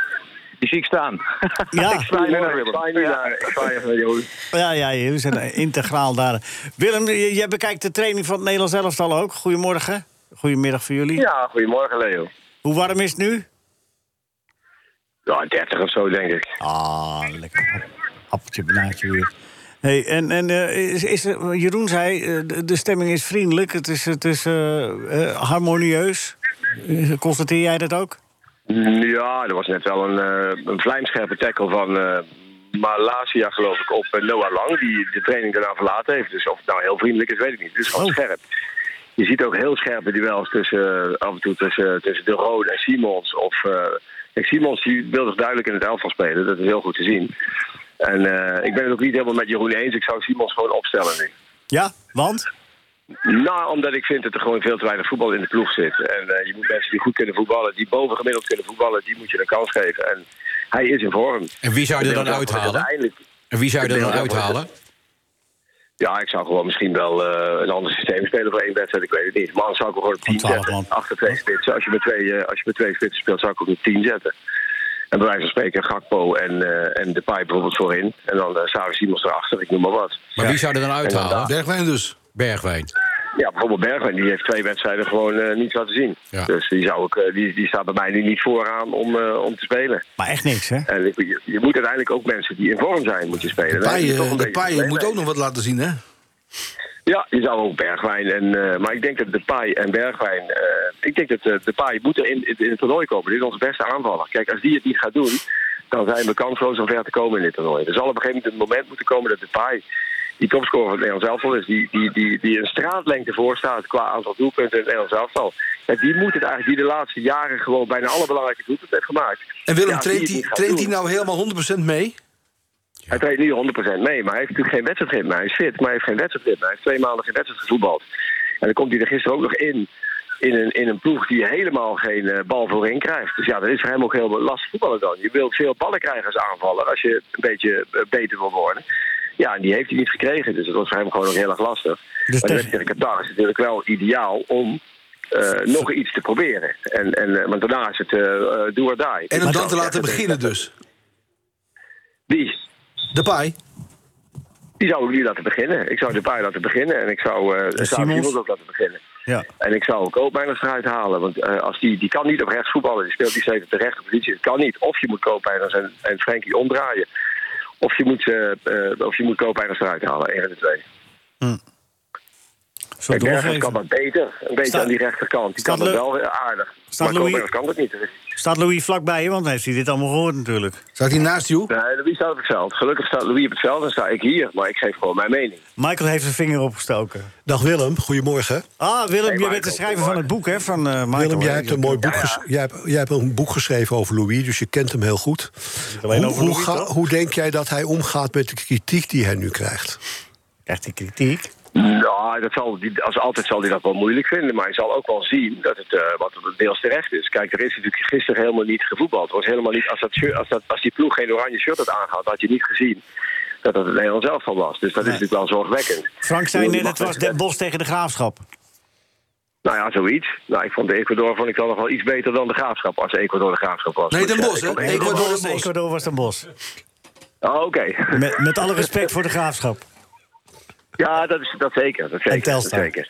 Speaker 10: Die zie ik staan.
Speaker 3: Ja.
Speaker 10: ik zwaai nu naar
Speaker 11: Ik
Speaker 10: Willem.
Speaker 11: zwaai nu naar- ik zwaai even naar Jeroen.
Speaker 3: Ja, ja, jullie zijn eh, integraal daar. Willem, j- jij bekijkt de training van het Nederlands elftal ook. Goedemorgen. Goedemiddag voor jullie.
Speaker 11: Ja, goedemorgen Leo.
Speaker 3: Hoe warm is het nu?
Speaker 11: Ja, 30 of zo denk ik.
Speaker 3: Ah, lekker. Appeltje, banaantje weer. Hey, en en eh, is, is er- Jeroen zei, eh, de- de stemming is vriendelijk. Het is, het is eh, eh, harmonieus. Eh, Constateer jij dat ook?
Speaker 11: Ja, er was net wel een, eh een vlijmscherpe tackle van eh Malasia, geloof ik, op eh, Noah Lang. Die de training daarna verlaten heeft. Dus of het nou heel vriendelijk is, weet ik niet. Het is gewoon scherp. Je ziet ook heel scherpe duels tussen, eh, af en toe tussen, tussen De Rode en Simons. Of, eh, kijk, Simons die wil zich duidelijk in het elftal spelen. Dat is heel goed te zien. En eh, ik ben het ook niet helemaal met Jeroen eens. Ik zou Simons gewoon opstellen nu.
Speaker 3: Ja, want?
Speaker 11: Nou, omdat ik vind dat er gewoon veel te weinig voetbal in de ploeg zit. En eh, je moet mensen die goed kunnen voetballen, die bovengemiddeld kunnen voetballen, die moet je een kans geven. En hij is in vorm.
Speaker 6: En wie zou je er
Speaker 11: Ik
Speaker 6: dan
Speaker 11: denk dat
Speaker 6: uithalen?
Speaker 11: uiteindelijk-
Speaker 6: En wie zou je er
Speaker 11: Ik
Speaker 6: dan
Speaker 11: denk dat-
Speaker 6: uithalen?
Speaker 11: Ja, ik zou gewoon misschien wel eh, een ander systeem spelen voor één wedstrijd, ik weet het niet. Maar dan zou ik hem gewoon op 10 zetten. Achter twee spitsen. Als je met twee, eh, als je met twee spitsen speelt, zou ik hem op 10 zetten. En bij wijze van spreken Gakpo en, eh, en Depay bijvoorbeeld voorin. En dan eh Sarah Simons erachter, ik noem maar wat.
Speaker 6: Maar wie zou er dan uithalen?
Speaker 11: Inderdaad.
Speaker 6: Bergwijn dus. Bergwijn.
Speaker 11: Ja, bijvoorbeeld Bergwijn, die heeft twee wedstrijden gewoon eh, niets laten zien.
Speaker 6: Ja.
Speaker 11: Dus die, zou ik, eh, die, die staat bij mij nu niet vooraan om, eh, om te spelen.
Speaker 3: Maar echt niks, hè?
Speaker 11: En ik- je, je moet uiteindelijk ook mensen die in vorm zijn, moet je spelen. Dan heb je toch een
Speaker 5: Paaien, eh, de
Speaker 11: beetje
Speaker 5: paaien
Speaker 11: problemen.
Speaker 5: moet ook nog wat laten zien, hè?
Speaker 11: Ja, je zou ook Bergwijn. En, eh, maar ik denk dat Depay en Bergwijn... eh, ik denk dat de Depay moet er in, in het toernooi komen. Dit is onze beste aanvaller. Kijk, als die het niet gaat doen... dan zijn we kansloos om ver te komen in dit toernooi. Er zal op een gegeven moment een moment moeten komen dat Depay... die topscorer van het Nederlands elftal is... die, die, die, die een straatlengte voor staat qua aantal doelpunten in het Nederlands elftal. Ja, die moet het eigenlijk... die de laatste jaren gewoon bijna alle belangrijke doelpunten heeft gemaakt.
Speaker 5: En Willem,
Speaker 11: Ja, als
Speaker 5: traint, hij,
Speaker 11: die het niet gaat
Speaker 5: traint
Speaker 11: doen-
Speaker 5: hij nou helemaal 100% mee?
Speaker 11: hij treedt nu 100% mee, maar hij heeft natuurlijk geen wedstrijdritme. Hij is fit, maar hij heeft geen wedstrijdritme. Hij heeft twee maanden geen wedstrijd gevoetbald. En dan komt hij er gisteren ook nog in, in een, in een ploeg die helemaal geen eh, bal voorin krijgt. Dus ja, dat is voor hem ook heel lastig voetballen dan. Je wilt veel ballen krijgen als aanvaller, als je een beetje eh, beter wil worden. Ja, en die heeft hij niet gekregen, dus dat was voor hem gewoon ook heel erg lastig.
Speaker 3: Dus
Speaker 11: maar de
Speaker 3: tegen-
Speaker 11: wedstrijd in Qatar is natuurlijk wel ideaal om... eh, nog iets te proberen. En, en, eh, want daarna is het eh eh, do or die.
Speaker 5: En hem
Speaker 11: Ik
Speaker 5: dan
Speaker 11: zou
Speaker 5: te
Speaker 11: zeggen
Speaker 5: laten
Speaker 11: dat-
Speaker 5: beginnen dus.
Speaker 11: Wie?
Speaker 5: De paai.
Speaker 11: Die zou ik niet laten beginnen. Ik zou de paar laten beginnen en ik zou eh de
Speaker 3: Simons?
Speaker 11: Simons ook laten beginnen.
Speaker 3: Ja.
Speaker 11: En ik zou ook Koopmeiners eruit halen. Want eh, als die, die kan niet op rechts voetballen. Die speelt die steeds op de rechte positie. Het kan niet. Of je moet Koopmeiners en, en Frenkie omdraaien. Of je moet, eh eh, of je moet Koopmeiners eruit halen. Eén van de twee.
Speaker 3: Zo
Speaker 11: Kijk, Berghuis
Speaker 3: doorgeven.
Speaker 11: kan dat beter. Een beetje
Speaker 3: Staat-
Speaker 11: aan die rechterkant. Die
Speaker 3: staat
Speaker 11: kan dat
Speaker 3: Lu-
Speaker 11: wel eh, aardig.
Speaker 3: staat
Speaker 11: maar
Speaker 3: Louis-
Speaker 11: Koopmeiners kan dat niet.
Speaker 3: Staat Louis vlakbij je? Want heeft hij dit allemaal gehoord natuurlijk.
Speaker 5: Staat hij naast jou?
Speaker 11: Nee, Louis staat op het veld. Gelukkig staat Louis op het veld en sta ik hier. Maar ik geef gewoon mijn mening.
Speaker 3: Michael heeft zijn vinger opgestoken.
Speaker 7: Dag Willem, goedemorgen.
Speaker 3: Ah, Willem,
Speaker 11: Hey,
Speaker 3: je bent de
Speaker 11: Michael,
Speaker 3: schrijver van het boek, hè? Van eh Michael.
Speaker 7: Willem, jij
Speaker 3: hè?
Speaker 7: hebt, een mooi boek ges- jij, hebt, jij hebt een boek geschreven over Louis, dus je kent hem heel goed.
Speaker 3: alleen
Speaker 7: Hoe,
Speaker 3: over
Speaker 7: hoe
Speaker 3: Louis,
Speaker 7: ga-
Speaker 3: toch?
Speaker 7: hoe denk jij dat hij omgaat met de kritiek die hij nu krijgt?
Speaker 3: Krijgt hij kritiek?
Speaker 11: Nou, dat zal die, als altijd zal hij dat wel moeilijk vinden. Maar hij zal ook wel zien dat het eh, wat deels terecht is. Kijk, er is natuurlijk gisteren helemaal niet gevoetbald. Er was helemaal niet, als, dat, shirt- als, dat, als die ploeg geen oranje shirt had aangehad, had je niet gezien dat dat het Nederlands zelf van was. Dus dat is natuurlijk wel zorgwekkend.
Speaker 3: Frank zei
Speaker 11: Ik bedoel,
Speaker 3: net,
Speaker 11: je mag
Speaker 3: het was
Speaker 11: met-
Speaker 3: Den Bos tegen de Graafschap.
Speaker 11: Nou ja, zoiets. Nou, ik vond de Ecuador vond ik dan nog wel iets beter dan de graafschap. Als Ecuador de graafschap was.
Speaker 5: Nee,
Speaker 11: Moet ik
Speaker 5: Den
Speaker 11: zeggen.
Speaker 5: Bos, hè?
Speaker 11: Ik vond
Speaker 5: Ecuador
Speaker 11: Ecuador-
Speaker 5: Den Bos.
Speaker 3: Ecuador was Den Bos.
Speaker 11: Oh, oké.
Speaker 3: Met, met alle respect voor de Graafschap.
Speaker 11: Ja, dat, is, dat zeker. Dat zeker,
Speaker 3: En Telstar.
Speaker 11: dat zeker.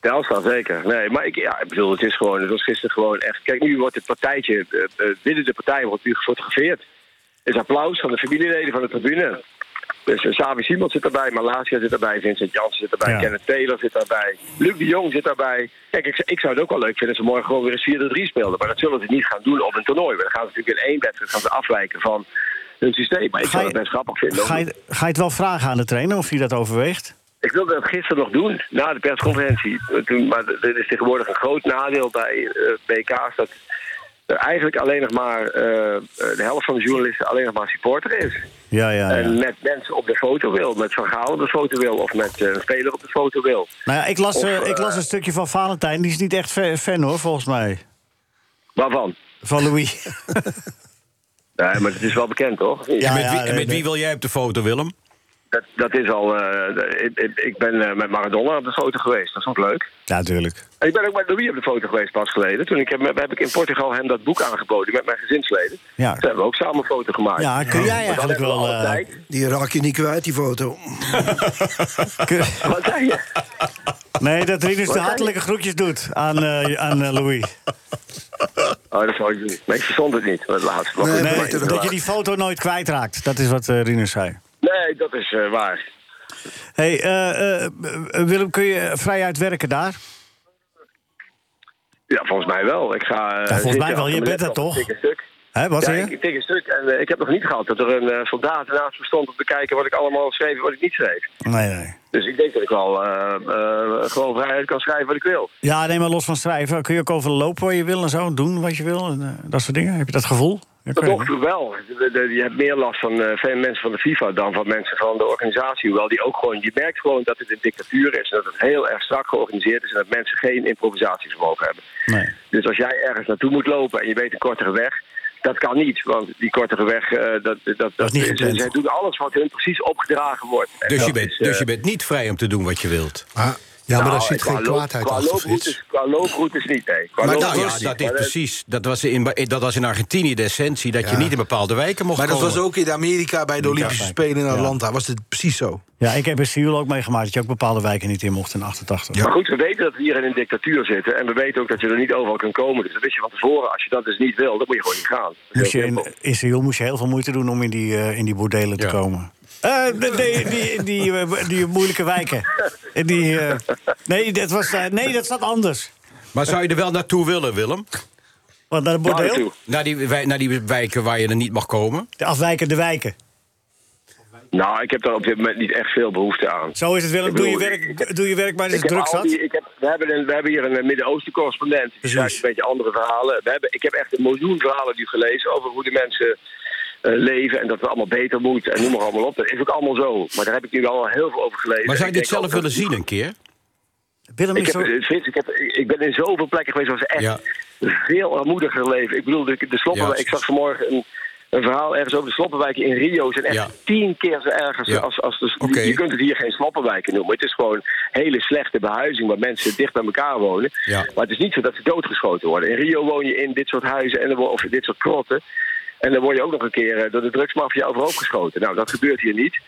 Speaker 11: Telstra, zeker. Nee, maar ik, ja, ik bedoel, het is gewoon, het was gisteren gewoon echt. Kijk, nu wordt het partijtje, eh, eh, binnen de partij wordt nu gefotografeerd. Er is applaus van de familieleden van de tribune. Dus eh, Savi Simons zit erbij, Malasia zit erbij, Vincent Jansen zit erbij,
Speaker 12: Ja.
Speaker 11: Kenneth Taylor zit daarbij, Luc de Jong zit daarbij. Kijk, ik, ik zou het ook wel leuk vinden als ze morgen gewoon weer eens 4-3 speelden. Maar dat zullen ze niet gaan doen op een toernooi. Maar dan gaan ze natuurlijk in één wedstrijd gaan ze afwijken van hun systeem. Maar ik zou het best grappig vinden.
Speaker 3: Ga je, ga je het wel vragen aan de trainer of hij dat overweegt?
Speaker 11: Ik wilde dat gisteren nog doen, na de persconferentie. Toen- Maar dit is tegenwoordig een groot nadeel bij eh, BK's... dat er eigenlijk alleen nog maar eh, eh, de helft van de journalisten alleen nog maar supporter is.
Speaker 3: Ja, ja, ja.
Speaker 11: En met mensen op de foto wil, met Van Gaal op de foto wil... of met eh, een speler op de foto wil.
Speaker 3: Nou ja, ik las,
Speaker 11: Of,
Speaker 3: eh, ik las
Speaker 11: eh,
Speaker 3: een stukje van Valentijn. Die is niet echt fa- fan hoor, volgens mij.
Speaker 11: Waarvan?
Speaker 3: Van Louis.
Speaker 11: Nee, maar het is wel bekend, toch?
Speaker 6: en met, wie, en met wie wil jij op de foto, Willem?
Speaker 11: Dat, dat is al... eh, ik- ik, ik ben eh, met Maradona op de foto geweest, dat is ook leuk.
Speaker 3: Ja, natuurlijk.
Speaker 11: En Ik ben ook met Louis op de foto geweest pas geleden. Toen ik hem, heb ik in Portugal hem dat boek aangeboden met mijn gezinsleden.
Speaker 3: Ja.
Speaker 11: Toen hebben we ook samen een foto gemaakt.
Speaker 4: Ja, kun jij
Speaker 11: Maar dan
Speaker 4: eigenlijk
Speaker 11: hebben we
Speaker 4: wel,
Speaker 11: alle
Speaker 4: eh,
Speaker 11: tijd.
Speaker 4: Die raak je niet kwijt, die foto.
Speaker 11: Wat zei je?
Speaker 3: Nee, dat
Speaker 11: Wat
Speaker 3: Rinus dus de
Speaker 11: zei je?
Speaker 3: hartelijke groetjes doet aan, eh, aan eh, Louis.
Speaker 11: Oh, dat zou ik doen. Maar ik verstond het niet, het laatste.
Speaker 3: Nee,
Speaker 11: Maar goed,
Speaker 3: dat,
Speaker 11: maar-
Speaker 3: je die foto nooit kwijtraakt. Dat is wat eh, Rinus zei.
Speaker 11: Nee, dat is eh, waar.
Speaker 3: hey, eh, eh, Willem, kun je vrij uitwerken daar?
Speaker 11: Ja, volgens mij wel. Ik ga, eh,
Speaker 3: volgens
Speaker 11: zitten
Speaker 3: mij wel. Je
Speaker 11: achter
Speaker 3: bent
Speaker 11: mijn
Speaker 3: dat
Speaker 11: laptop,
Speaker 3: toch?
Speaker 11: tik en stuk.
Speaker 3: Hè, wat
Speaker 11: ja,
Speaker 3: zei je?
Speaker 11: ik, ik tik een stuk en eh, ik heb nog niet gehad dat er een eh, soldaat naast me stond om te kijken wat ik allemaal schreef en wat ik niet schreef.
Speaker 3: Nee, nee.
Speaker 11: Dus ik denk dat ik wel eh, eh, gewoon vrijheid kan schrijven wat ik wil.
Speaker 3: Ja, neem maar los van schrijven. Kun je ook over lopen waar je wil en zo, doen wat je wil en eh, dat soort dingen? Heb je dat gevoel? Ja, kun je
Speaker 11: Toch wel. De- de- Je hebt meer last van eh, veel mensen van de FIFA dan van mensen van de organisatie. Hoewel die ook gewoon, je merkt gewoon dat het een dictatuur is. En dat het heel erg strak georganiseerd is. En dat mensen geen improvisatievermogen hebben. Dus als jij ergens naartoe moet lopen en je weet een kortere weg. Dat kan niet, want die kortere weg, eh, dat, dat, dat,
Speaker 6: niet
Speaker 11: is-
Speaker 6: gepland.
Speaker 11: zij doen alles wat hun precies opgedragen wordt. En
Speaker 6: Dus je,
Speaker 11: dat
Speaker 6: bent,
Speaker 11: is, eh,
Speaker 6: dus je bent niet vrij om te doen wat je wilt.
Speaker 7: ja, maar
Speaker 11: nou,
Speaker 7: daar zit
Speaker 11: qua
Speaker 7: geen
Speaker 11: loop-
Speaker 7: kwaadheid
Speaker 11: qua
Speaker 7: achter,
Speaker 11: looproutes-
Speaker 7: Frits.
Speaker 11: Qua looproutes niet, nee. Qua
Speaker 6: Maar
Speaker 11: looproutes
Speaker 6: dat, was,
Speaker 11: niet.
Speaker 6: dat is
Speaker 11: Maar, eh,
Speaker 6: precies. Dat was in, dat was in Argentinië de essentie dat je niet in bepaalde wijken mocht
Speaker 5: Maar dat
Speaker 6: komen.
Speaker 5: was ook in Amerika bij de Olympische
Speaker 3: Ja.
Speaker 5: Spelen in Atlanta. Was dit precies zo?
Speaker 3: Ja, ik heb in Seoul ook meegemaakt dat je ook bepaalde wijken niet in mocht in 88.
Speaker 11: Maar goed, we weten dat we hier in een dictatuur zitten. En we weten ook dat je er niet overal kan komen. Dus dat wist je van tevoren. Als je dat dus niet wil, dan moet je gewoon niet gaan.
Speaker 3: Moest je in, in Seoul moest je heel veel moeite doen om in die, eh, in die bordelen te komen. Eh, de- de- die, die, eh, die moeilijke wijken. In Die, eh, nee, dat was, eh, nee, dat zat anders.
Speaker 6: Maar zou je er wel naartoe willen, Willem?
Speaker 3: Want naar het bordeel?
Speaker 6: Naar die, wij- naar die wijken waar je er niet mag komen?
Speaker 3: De afwijkende wijken.
Speaker 11: Nou, ik heb daar op dit moment niet echt veel behoefte aan.
Speaker 3: Zo is het, Willem.
Speaker 11: Ik
Speaker 3: Doe je
Speaker 11: bedoel,
Speaker 3: werk, doe je werk maar eens
Speaker 11: Ik heb
Speaker 3: druk
Speaker 11: al
Speaker 3: zat.
Speaker 11: die- ik heb, we, hebben een, we hebben hier een eh, Midden-Oosten correspondent. Die schrijft een beetje andere verhalen. We hebben, ik heb echt een miljoen verhalen nu gelezen over hoe de mensen eh, leven. En dat het allemaal beter moet. En noem maar allemaal op. Dat is ook allemaal zo. Maar daar heb ik nu al heel veel over gelezen.
Speaker 6: Maar zou
Speaker 11: Ik
Speaker 6: je
Speaker 11: denk
Speaker 6: dit zelf
Speaker 11: ook
Speaker 6: willen
Speaker 11: dat-
Speaker 6: zien een keer?
Speaker 3: Willem
Speaker 11: ik,
Speaker 3: is
Speaker 11: heb,
Speaker 3: zo...
Speaker 11: eh, Frits, ik, heb, ik ik ben in zoveel plekken geweest waar ze echt veel armoediger leven. Ik bedoel, de, de Sloppenwijk-
Speaker 6: Ja.
Speaker 11: ik zag vanmorgen een, een verhaal ergens over de sloppenwijken in Rio. zijn echt
Speaker 6: Ja.
Speaker 11: tien keer zo erg als,
Speaker 6: Ja.
Speaker 11: als, als de,
Speaker 6: Oké.
Speaker 11: Je kunt het hier geen sloppenwijken noemen. Het is gewoon hele slechte behuizing waar mensen dicht bij elkaar wonen.
Speaker 6: Ja.
Speaker 11: Maar het is niet zo dat ze doodgeschoten worden. In Rio woon je in dit soort huizen en dan, wo- of dit soort krotten. En dan word je ook nog een keer eh, door de drugsmafia overhoop geschoten. Nou, dat gebeurt hier niet.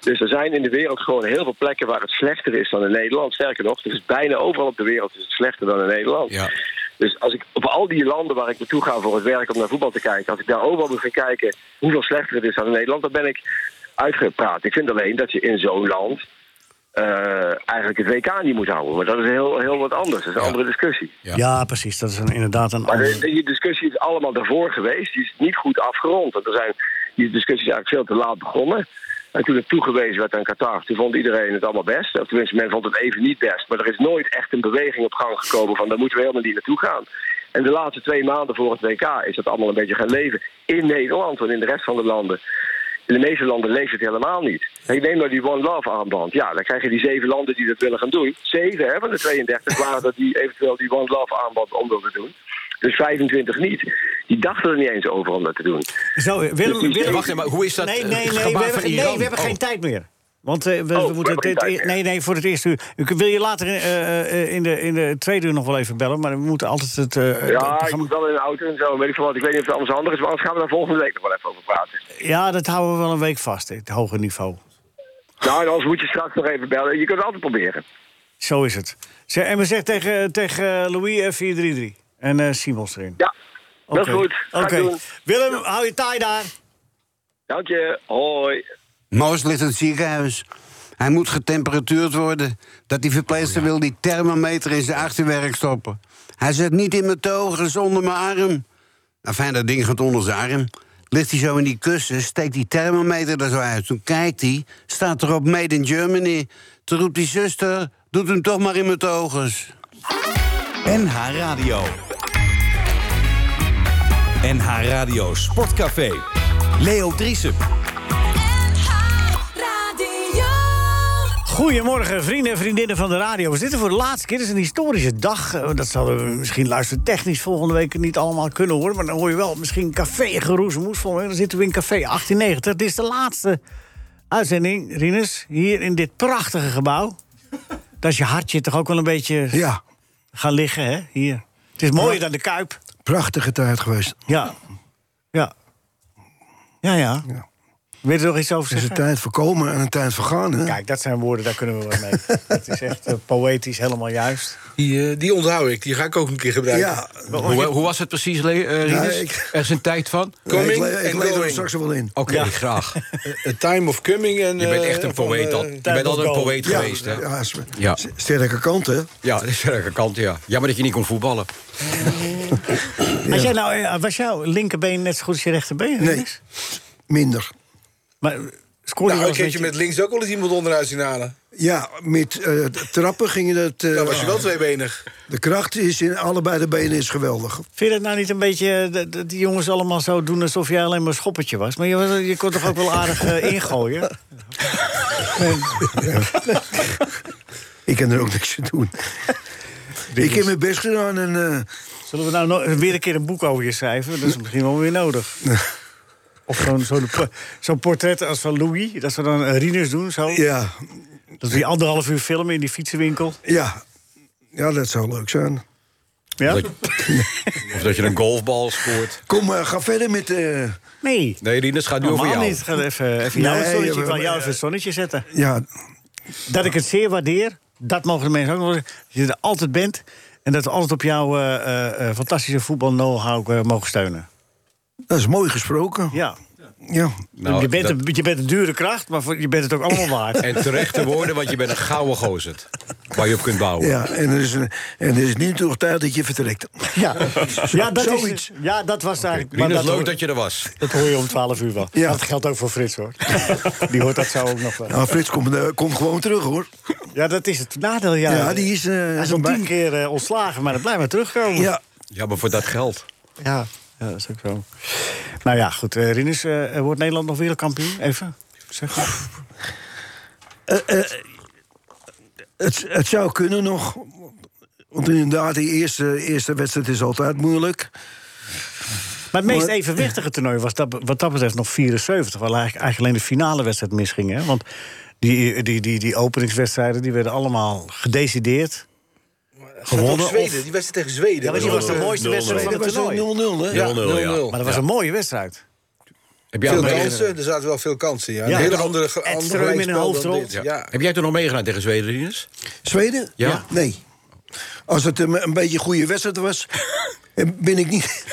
Speaker 11: Dus er zijn in de wereld gewoon heel veel plekken waar het slechter is dan in Nederland. Sterker nog, het is bijna overal op de wereld is het slechter dan in Nederland. Dus als ik op al die landen waar ik naartoe ga voor het werk om naar voetbal te kijken, als ik daar overal moet gaan kijken hoeveel slechter het is dan in Nederland, dan ben ik uitgepraat. Ik vind alleen dat je in zo'n land eh, eigenlijk het WK niet moet houden. Maar dat is heel, heel wat anders. Dat is een andere discussie.
Speaker 3: Ja. precies. Dat is een, inderdaad een
Speaker 11: Maar de-
Speaker 3: ander.
Speaker 11: die discussie is allemaal daarvoor geweest. Die is niet goed afgerond. Want er zijn die discussies eigenlijk veel te laat begonnen. En toen het toegewezen werd aan Qatar, toen vond iedereen het allemaal best. Of tenminste, men vond het even niet best. Maar er is nooit echt een beweging op gang gekomen van daar moeten we helemaal niet naartoe gaan. En de laatste twee maanden voor het WK is dat allemaal een beetje gaan leven. In Nederland, want in de rest van de landen. In de meeste landen leeft het helemaal niet. En ik neem nou die One Love armband. Ja, dan krijg je die zeven landen die dat willen gaan doen. Zeven hè, van de 32 waren dat die eventueel die One Love armband om wilden doen. Dus 25 niet. Die dachten er niet eens over om dat te doen.
Speaker 3: Zo, eh, Willem, Willem...
Speaker 6: Wacht even, maar hoe is dat,
Speaker 3: Nee,
Speaker 6: eh,
Speaker 3: nee, nee,
Speaker 6: het
Speaker 3: we
Speaker 6: gebaar
Speaker 3: hebben,
Speaker 6: van
Speaker 3: geen- nee
Speaker 6: Iran?
Speaker 3: we hebben
Speaker 6: Oh.
Speaker 3: geen tijd meer. Want eh, we,
Speaker 6: Oh,
Speaker 3: we
Speaker 6: we
Speaker 3: moeten
Speaker 6: hebben geen
Speaker 3: dit,
Speaker 6: tijd meer.
Speaker 3: nee, nee, voor het eerste uur. Ik wil je later eh, eh, in, de, in de tweede uur nog wel even bellen, maar we moeten altijd het. eh,
Speaker 11: ja, ik moet wel in de auto en zo. Weet ik, veel wat. ik weet niet of het anders handig is, maar anders gaan we daar volgende week nog wel even over praten.
Speaker 3: Ja, dat houden we wel een week vast, het hoger niveau.
Speaker 11: Nou, en anders moet je straks nog even bellen. Je kunt het altijd proberen.
Speaker 3: Zo is het. Zeg, en we zeggen tegen, tegen Louis eh, F433 en eh Simons erin.
Speaker 11: Ja, dat is
Speaker 3: Oké.
Speaker 11: goed. Ga ik
Speaker 3: Oké.
Speaker 11: doen.
Speaker 3: Willem, hou je taai daar.
Speaker 11: Dank je. Hoi.
Speaker 12: Moos ligt in het ziekenhuis. Hij moet getemperatuurd worden. Dat die
Speaker 13: Oh
Speaker 12: verpleegster wil die thermometer in zijn achterwerk stoppen. Hij zegt niet in mijn togen, zonder mijn arm. Nou, fijn, dat ding gaat onder zijn arm. Ligt hij zo in die kussen, steekt die thermometer er zo uit. Toen kijkt hij, staat erop Made in Germany. Toen roept die zuster, doet hem toch maar in mijn togens.
Speaker 13: NH Radio. NH Radio Sportcafé. Leo Driesen.
Speaker 3: Goedemorgen, vrienden en vriendinnen van de radio. We zitten voor de laatste keer. Het is een historische dag. Eh, Dat zouden we misschien luistertechnisch volgende week niet allemaal kunnen horen. Maar dan hoor je wel misschien café geroezemoes. Volgende week dan zitten we in café 1890. Dit is de laatste uitzending, Rinus. Hier in dit prachtige gebouw. Dat is je hartje toch ook wel een beetje
Speaker 4: ja.
Speaker 3: gaan liggen, hè? Hier. Het is mooier dan de Kuip.
Speaker 4: Prachtige tijd geweest.
Speaker 3: Ja. Ja. Ja, ja. Wil je er nog iets over
Speaker 4: Het is
Speaker 3: zeggen?
Speaker 4: een tijd voor komen en een tijd voor gaan. Hè?
Speaker 3: Kijk, dat zijn woorden, daar kunnen we wat mee. Het is echt eh, poëtisch, helemaal juist.
Speaker 5: Die, eh, die onthoud ik, die ga ik ook een keer gebruiken.
Speaker 6: Hoe, hoe was het precies, Le- eh, Rinus?
Speaker 5: Nee, ik-
Speaker 6: Er is een tijd van?
Speaker 5: Coming and going.
Speaker 6: Oké, graag.
Speaker 5: A time of coming en...
Speaker 6: Je bent echt
Speaker 5: eh,
Speaker 6: een
Speaker 5: van,
Speaker 6: poëet
Speaker 5: eh,
Speaker 6: al. Je bent altijd een poëet geweest, hè?
Speaker 4: Ja,
Speaker 5: Nou,
Speaker 4: is-
Speaker 6: Ja.
Speaker 4: sterke kant, hè?
Speaker 6: Ja, dat is sterke kant, ja. Jammer dat je niet kon voetballen.
Speaker 3: Had jij nou, eh, was jouw linkerbeen net zo goed als je rechterbeen?
Speaker 4: Nee, minder.
Speaker 3: Maar eh, scoorde
Speaker 5: Nou, een keertje met links ook al eens iemand onderuit zien halen.
Speaker 4: Ja, met eh, trappen ging het... eh,
Speaker 5: Dan was je wel tweebenig.
Speaker 4: De kracht is in allebei de benen is geweldig.
Speaker 3: Vind je dat nou niet een beetje eh, dat dat die jongens allemaal zo doen alsof jij alleen maar een schoppertje was? Maar je, was- je kon toch ook wel aardig eh, ingooien?
Speaker 4: Ik kan er ook niks aan doen. ik heb mijn best gedaan en... eh,
Speaker 3: Zullen we nou no- weer een keer een boek over je schrijven? Dat is misschien wel weer nodig. Of gewoon zo'n po- zo'n portret als van Louis, dat ze dan eh, Rinus doen zo.
Speaker 4: Ja.
Speaker 3: Dat we die anderhalf uur filmen in die fietsenwinkel.
Speaker 4: ja. ja, dat zou leuk zijn.
Speaker 3: Ja?
Speaker 6: Of dat je een golfbal scoort.
Speaker 4: Kom, maar ga verder met... eh,
Speaker 3: Nee.
Speaker 6: Nee, Rinus, gaat nu over
Speaker 3: Normaal
Speaker 6: jou.
Speaker 3: niet. Ga even, Eh, even
Speaker 4: Nee,
Speaker 3: jou Nou, het zonnetje, ik
Speaker 4: maar-
Speaker 3: wil jou even het zonnetje zetten.
Speaker 4: ja,
Speaker 3: Dat ik het zeer waardeer, dat mogen de mensen ook nog zeggen. Dat je er altijd bent en dat we altijd op jouw eh, eh, eh, fantastische voetbal know-how eh, mogen steunen.
Speaker 4: dat is mooi gesproken.
Speaker 3: Ja.
Speaker 4: Ja.
Speaker 6: Nou,
Speaker 3: je, bent
Speaker 6: dat-
Speaker 3: een, je bent een dure kracht, maar voor- je bent het ook allemaal waard.
Speaker 6: En terechte woorden, want je bent een gouden gozer. Waar je op kunt bouwen.
Speaker 4: Ja, en er is, een- en er is nu toch tijd dat je vertrekt.
Speaker 3: Ja, ja, dat, is,
Speaker 4: Zoiets.
Speaker 3: ja dat was eigenlijk...
Speaker 6: Rinus,
Speaker 3: dat,
Speaker 6: leuk
Speaker 3: hoor,
Speaker 6: dat je er was.
Speaker 3: dat hoor je om 12 uur wel.
Speaker 4: Ja.
Speaker 3: Dat geldt ook voor Frits, hoor. Die hoort dat zo ook nog wel.
Speaker 4: Nou, Frits komt eh, komt gewoon terug, hoor.
Speaker 3: Ja, dat is het nadeel. Ja,
Speaker 4: Ja, die is, eh,
Speaker 3: Hij is
Speaker 4: zo'n
Speaker 3: al
Speaker 4: bui-
Speaker 3: tien keer eh, ontslagen, maar dat blijft maar terugkomen.
Speaker 4: Ja,
Speaker 6: Ja, maar voor dat geld.
Speaker 3: Ja, ja, dat is ook zo. Nou ja, goed. eh, Rinus, eh, wordt Nederland nog wereldkampioen? Even. Zeg.
Speaker 4: eh, het, het zou kunnen nog. Want inderdaad, die eerste, eerste wedstrijd is altijd moeilijk.
Speaker 3: Maar het meest
Speaker 4: Maar-
Speaker 3: evenwichtige toernooi was dat, wat dat betreft nog 74. Waar eigenlijk, eigenlijk alleen de finale wedstrijd misging. Hè? Want die, die, die, die openingswedstrijden die werden allemaal gedecideerd.
Speaker 5: Gewonnen
Speaker 3: Gewonnen.
Speaker 5: op Zweden, die wedstrijd tegen Zweden.
Speaker 3: Ja, maar die was de
Speaker 5: 0-0.
Speaker 3: mooiste wedstrijd van
Speaker 4: Dat
Speaker 3: het
Speaker 4: was
Speaker 3: toernooi.
Speaker 4: een 0-0, hè?
Speaker 5: Ja,
Speaker 6: 0-0, ja.
Speaker 5: 0-0.
Speaker 3: Maar dat was een mooie wedstrijd.
Speaker 6: Heb jij,
Speaker 5: Veel
Speaker 6: nog meegedaan-
Speaker 5: kansen, er zaten wel veel kansen. Ja.
Speaker 3: eh, Ja,
Speaker 5: een hele
Speaker 3: dat-
Speaker 5: andere,
Speaker 3: Ed
Speaker 5: ge- andere
Speaker 3: Ström in een
Speaker 5: gelijkspel dan
Speaker 3: hoofdrol.
Speaker 5: dit,
Speaker 6: ja.
Speaker 5: Ja.
Speaker 6: Heb jij toen nog meegedaan tegen Zweden, Rinus?
Speaker 4: Zweden?
Speaker 6: Ja.
Speaker 4: Nee. Als het een, een beetje een goede wedstrijd was, eh, ben ik niet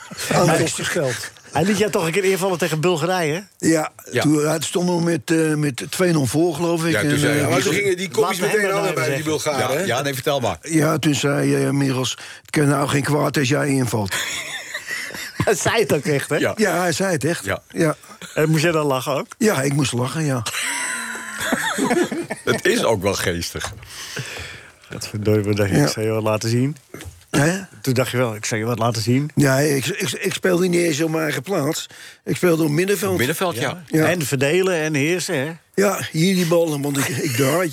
Speaker 4: aan het gesteld.
Speaker 3: Hij liet jou toch een keer invallen tegen Bulgarije. hè?
Speaker 4: Ja,
Speaker 6: Ja.
Speaker 4: Toen, ja, het stond nog met, eh, met 2-0 voor, geloof ik.
Speaker 6: Ja, toen
Speaker 4: En,
Speaker 6: zei
Speaker 4: eh,
Speaker 6: hij,
Speaker 5: Ja, maar toen gingen die kopjes
Speaker 3: Laat me
Speaker 5: meteen
Speaker 3: hem
Speaker 5: aan
Speaker 3: maar
Speaker 5: bij die
Speaker 3: even
Speaker 6: Ja,
Speaker 5: Bulgaren. hè?
Speaker 6: ja, nee, vertel maar.
Speaker 4: ja, toen zei eh Merels, het kan nou geen kwaad als jij invalt.
Speaker 3: Hij zei het ook echt, hè?
Speaker 6: Ja.
Speaker 4: Ja, hij zei het echt.
Speaker 6: Ja.
Speaker 4: ja.
Speaker 3: En moest jij dan lachen ook?
Speaker 4: Ja, ik moest lachen, ja.
Speaker 6: Het is ook wel geestig.
Speaker 3: Dat verdorie, dat
Speaker 4: Ja.
Speaker 3: ik zou je wat laten zien.
Speaker 4: Hè?
Speaker 3: Toen dacht je wel, ik zou je wat laten zien.
Speaker 4: Ja, ik, ik, ik speelde niet eens op mijn eigen plaats. Ik speelde op middenveld.
Speaker 6: Middenveld, ja.
Speaker 4: Ja.
Speaker 3: En verdelen en heersen, hè?
Speaker 4: Ja, hier die bal, want ik, ik draai.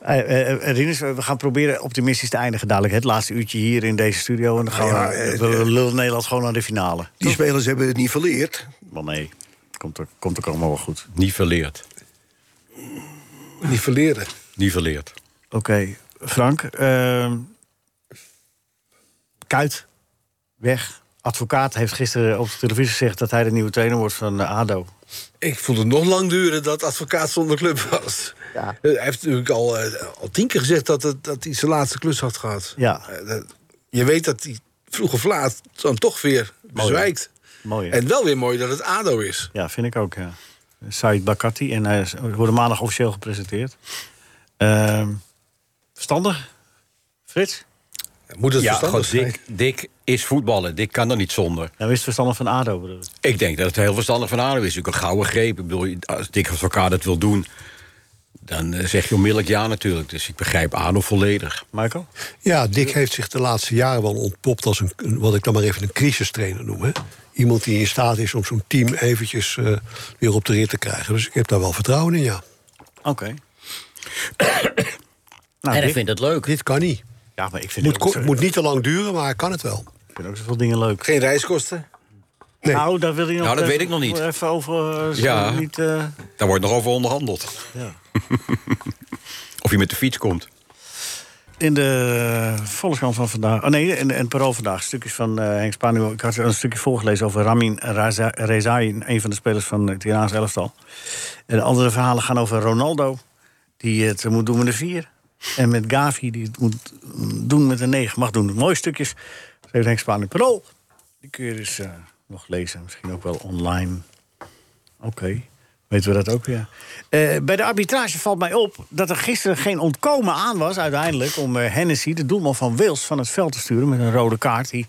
Speaker 3: Eh, eh, eh, Rinus, we gaan proberen optimistisch te eindigen dadelijk. hè. Het laatste uurtje hier in deze studio. En dan gaan
Speaker 4: Ja,
Speaker 3: we,
Speaker 4: eh,
Speaker 3: we lullen Nederland gewoon naar de finale.
Speaker 4: Die spelers hebben het niet verleerd.
Speaker 3: Maar nee, komt er, komt er allemaal wel goed.
Speaker 6: Niet verleerd.
Speaker 5: Die verleren.
Speaker 6: Niet verleerd.
Speaker 3: Oké, Frank. ehm, kuit. Weg. advocaat heeft gisteren op de televisie gezegd dat hij de nieuwe trainer wordt van eh, ADO.
Speaker 5: Ik vond het nog lang duren dat advocaat zonder club was. Eh, Hij heeft natuurlijk al, eh, al tien keer gezegd dat, het, dat hij zijn laatste klus had gehad.
Speaker 3: Ja.
Speaker 5: Eh, dat- je weet dat hij vroeg of laat dan toch weer bezwijkt.
Speaker 3: Mooi. hè?
Speaker 5: En wel weer mooi dat het ADO is.
Speaker 3: Ja, vind ik ook, ja. Said Bakati. En hij is- wordt maandag officieel gepresenteerd. Ehm, verstandig? Frits?
Speaker 5: Moet
Speaker 3: het
Speaker 6: ja,
Speaker 3: verstandig
Speaker 6: goed, Dick, Dick is voetballen. Dick kan er niet zonder.
Speaker 3: Nou, is het verstandig van ADO, bedoel ik.
Speaker 6: Ik denk dat het heel verstandig van Adem is. Ook een gouden greep. Ik bedoel, als Dick van elkaar dat wil doen... dan eh, zeg je onmiddellijk ja natuurlijk. Dus ik begrijp Adem volledig.
Speaker 3: Michael?
Speaker 7: Ja, Dick heeft zich de laatste jaren wel ontpopt als een, een- wat ik dan maar even een crisistrainer noem. Hè? Iemand die in staat is om zo'n team eventjes eh, weer op de rit te krijgen. Dus ik heb daar wel vertrouwen in, ja.
Speaker 3: Oké. Nou,
Speaker 6: en hij
Speaker 7: dit-
Speaker 6: vindt het leuk.
Speaker 7: Dit kan niet.
Speaker 3: Ja, maar ik vind
Speaker 7: Moet,
Speaker 3: het ook
Speaker 7: ko-
Speaker 3: zo-
Speaker 7: moet niet te lang duren, maar hij kan het wel.
Speaker 3: Ik vind ook zoveel dingen leuk.
Speaker 5: Geen reiskosten?
Speaker 3: Nou, daar wil je nog
Speaker 6: Nou, dat
Speaker 3: even-
Speaker 6: weet ik nog niet.
Speaker 3: Even over... eh,
Speaker 6: Ja.
Speaker 3: Niet, eh,
Speaker 6: Daar wordt nog over onderhandeld.
Speaker 3: Ja.
Speaker 6: of je met de fiets komt.
Speaker 3: In de eh, Volkskrant van vandaag. Oh nee, in, in het Parool vandaag. Stukjes van eh, Henk Spaan. Ik had een stukje voorgelezen over Ramin Raza- Rezaei, een van de spelers van het Iraanse elftal. En de andere verhalen gaan over Ronaldo, die het moet doen met de vier. En met Gavi, die het moet doen met de negen. Mag doen. Mooie stukjes. Dat heeft Henk Spaan in het Parool. Die kun je dus eh, nog lezen. Misschien ook wel online. Oké. Weten we dat ook, ja. Eh, bij de arbitrage valt mij op dat er gisteren geen ontkomen aan was uiteindelijk... om eh, Hennessy, de doelman van Wales, van het veld te sturen met een rode kaart. Die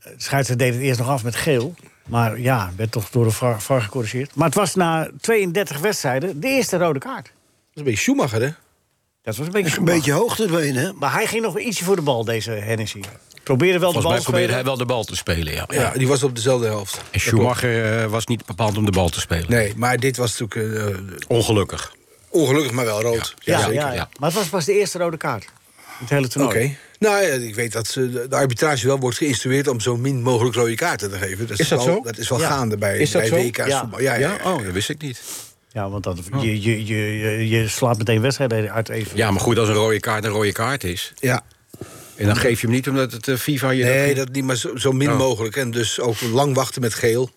Speaker 3: eh, scheidsrechter deed het eerst nog af met geel. Maar ja, werd toch door de VAR, VAR gecorrigeerd. Maar het was na 32 wedstrijden de eerste rode kaart.
Speaker 5: Dat is een beetje Schumacher, hè?
Speaker 3: Dat was een beetje
Speaker 4: Een beetje hoog te benen, hè?
Speaker 3: Maar hij ging nog wel ietsje voor de bal, deze Hennessy. Probeerde wel
Speaker 6: Volgens mij
Speaker 3: de bal te
Speaker 6: probeerde
Speaker 3: spelen.
Speaker 6: hij wel de bal te spelen, ja.
Speaker 5: Ja, die was op dezelfde helft.
Speaker 6: En Schumacher eh, was niet bepaald om de bal te spelen.
Speaker 5: Nee, maar dit was natuurlijk eh,
Speaker 6: Ongelukkig.
Speaker 5: ongelukkig, maar wel rood.
Speaker 3: Ja, ja,
Speaker 5: zeker.
Speaker 3: ja. maar het was pas de eerste rode kaart. Het hele
Speaker 5: Oké.
Speaker 3: toernooi.
Speaker 5: Nou ja, ik weet dat ze de- de arbitrage wel wordt geïnstrueerd om zo min mogelijk rode kaarten te geven.
Speaker 6: Is dat
Speaker 5: wel,
Speaker 6: zo?
Speaker 5: Dat is wel
Speaker 6: Ja.
Speaker 5: gaande bij,
Speaker 6: Is dat
Speaker 5: bij
Speaker 6: zo?
Speaker 5: WK's
Speaker 3: Ja.
Speaker 5: voetbal. Ja, ja, ja. Oh.
Speaker 6: Oh, dat wist ik niet.
Speaker 3: Ja, want dat, je, je, je, je, je slaat meteen wedstrijden uit even.
Speaker 6: Ja, maar goed, als een rode kaart een rode kaart is...
Speaker 5: Ja.
Speaker 6: en dan geef je hem niet omdat het eh, FIFA je...
Speaker 5: Nee, dat niet, maar zo, zo min
Speaker 6: Oh.
Speaker 5: mogelijk. En dus ook lang wachten met geel.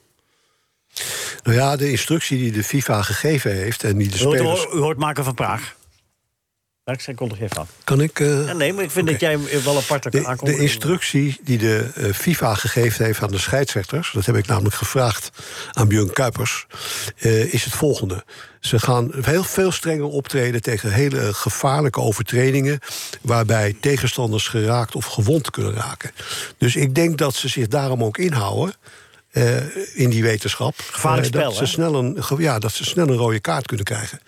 Speaker 7: Nou ja, de instructie die de FIFA gegeven heeft en die de
Speaker 3: U hoort,
Speaker 7: spelers...
Speaker 3: u hoort maken van Praag. Ja, ik zeg, kondig je even aan.
Speaker 7: Kan ik... eh,
Speaker 3: Ja, nee, maar ik vind dat jij wel apart
Speaker 7: De,
Speaker 3: aankomt.
Speaker 7: de instructie die de eh, FIFA gegeven heeft aan de scheidsrechters, dat heb ik namelijk gevraagd aan Björn Kuipers, eh, is het volgende. Ze gaan heel veel strenger optreden tegen hele gevaarlijke overtredingen, waarbij tegenstanders geraakt of gewond kunnen raken. Dus ik denk dat ze zich daarom ook inhouden. eh, in die wetenschap.
Speaker 3: Gevaarlijk
Speaker 7: Eh, dat
Speaker 3: spel,
Speaker 7: ze
Speaker 3: hè?
Speaker 7: snel een, ge- Ja, dat ze snel een rode kaart kunnen krijgen.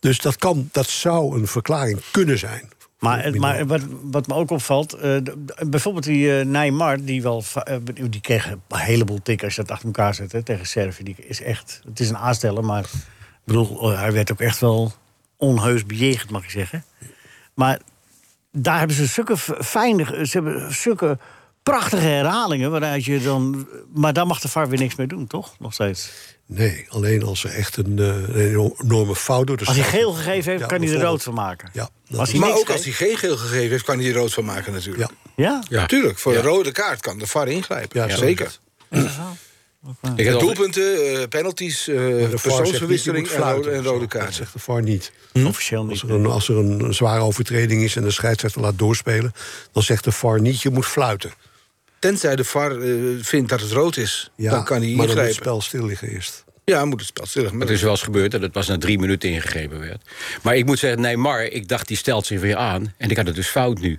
Speaker 7: Dus dat, kan, dat zou een verklaring kunnen zijn.
Speaker 3: Maar, maar wat, wat me ook opvalt, eh, d- d- bijvoorbeeld die eh, Neymar, die, wel, va- eh, die kreeg een heleboel tikken als je dat achter elkaar zet hè, tegen Servië. Die is echt, het is een aansteller, maar ik bedoel, eh, hij werd ook echt wel onheus bejegend, mag ik zeggen. Maar daar hebben ze zulke f- fijne, eh, ze hebben zulke prachtige herhalingen, waaruit je dan, maar daar mag de VAR weer niks mee doen, toch? Nog steeds.
Speaker 7: Nee, alleen als er echt een, eh, een enorme fout door de
Speaker 3: Als hij
Speaker 7: scheidsrechter-
Speaker 3: geel gegeven heeft,
Speaker 7: Ja,
Speaker 3: kan hij er rood
Speaker 7: bijvoorbeeld.
Speaker 3: van maken.
Speaker 7: Ja, dat
Speaker 3: Als
Speaker 7: is-
Speaker 3: hij
Speaker 5: maar
Speaker 3: niks
Speaker 5: ook als hij geen geel gegeven heeft, kan hij er rood van maken natuurlijk.
Speaker 7: ja.
Speaker 3: Ja?
Speaker 6: Ja.
Speaker 5: Tuurlijk, voor
Speaker 6: Ja.
Speaker 5: een rode kaart kan de VAR ingrijpen.
Speaker 7: Ja, zo is
Speaker 5: zeker.
Speaker 6: Ik heb altijd-
Speaker 5: Doelpunten, eh, penalties, eh,
Speaker 7: Maar de VAR zegt niet, je
Speaker 5: persoonsverwisseling
Speaker 7: moet
Speaker 5: en rode,
Speaker 7: fluiten
Speaker 5: en
Speaker 7: of zo.
Speaker 5: rode
Speaker 7: Dat
Speaker 5: kaarten.
Speaker 7: zegt de VAR niet.
Speaker 3: Hm. officieel niet.
Speaker 7: Als er, een, als er een een zware overtreding is en de scheidsrechter laat doorspelen... dan zegt de VAR niet, je moet fluiten.
Speaker 5: Tenzij de VAR eh, vindt dat het rood is,
Speaker 7: Ja,
Speaker 5: dan kan hij
Speaker 7: maar dan moet het
Speaker 5: ingrijpen.
Speaker 7: spel stil liggen eerst.
Speaker 5: Ja, hij moet het spel stilleggen.
Speaker 6: Het is wel eens gebeurd dat het pas na drie minuten ingegeven werd. Maar ik moet zeggen, Neymar, ik dacht die stelt zich weer aan. En ik had het dus fout nu.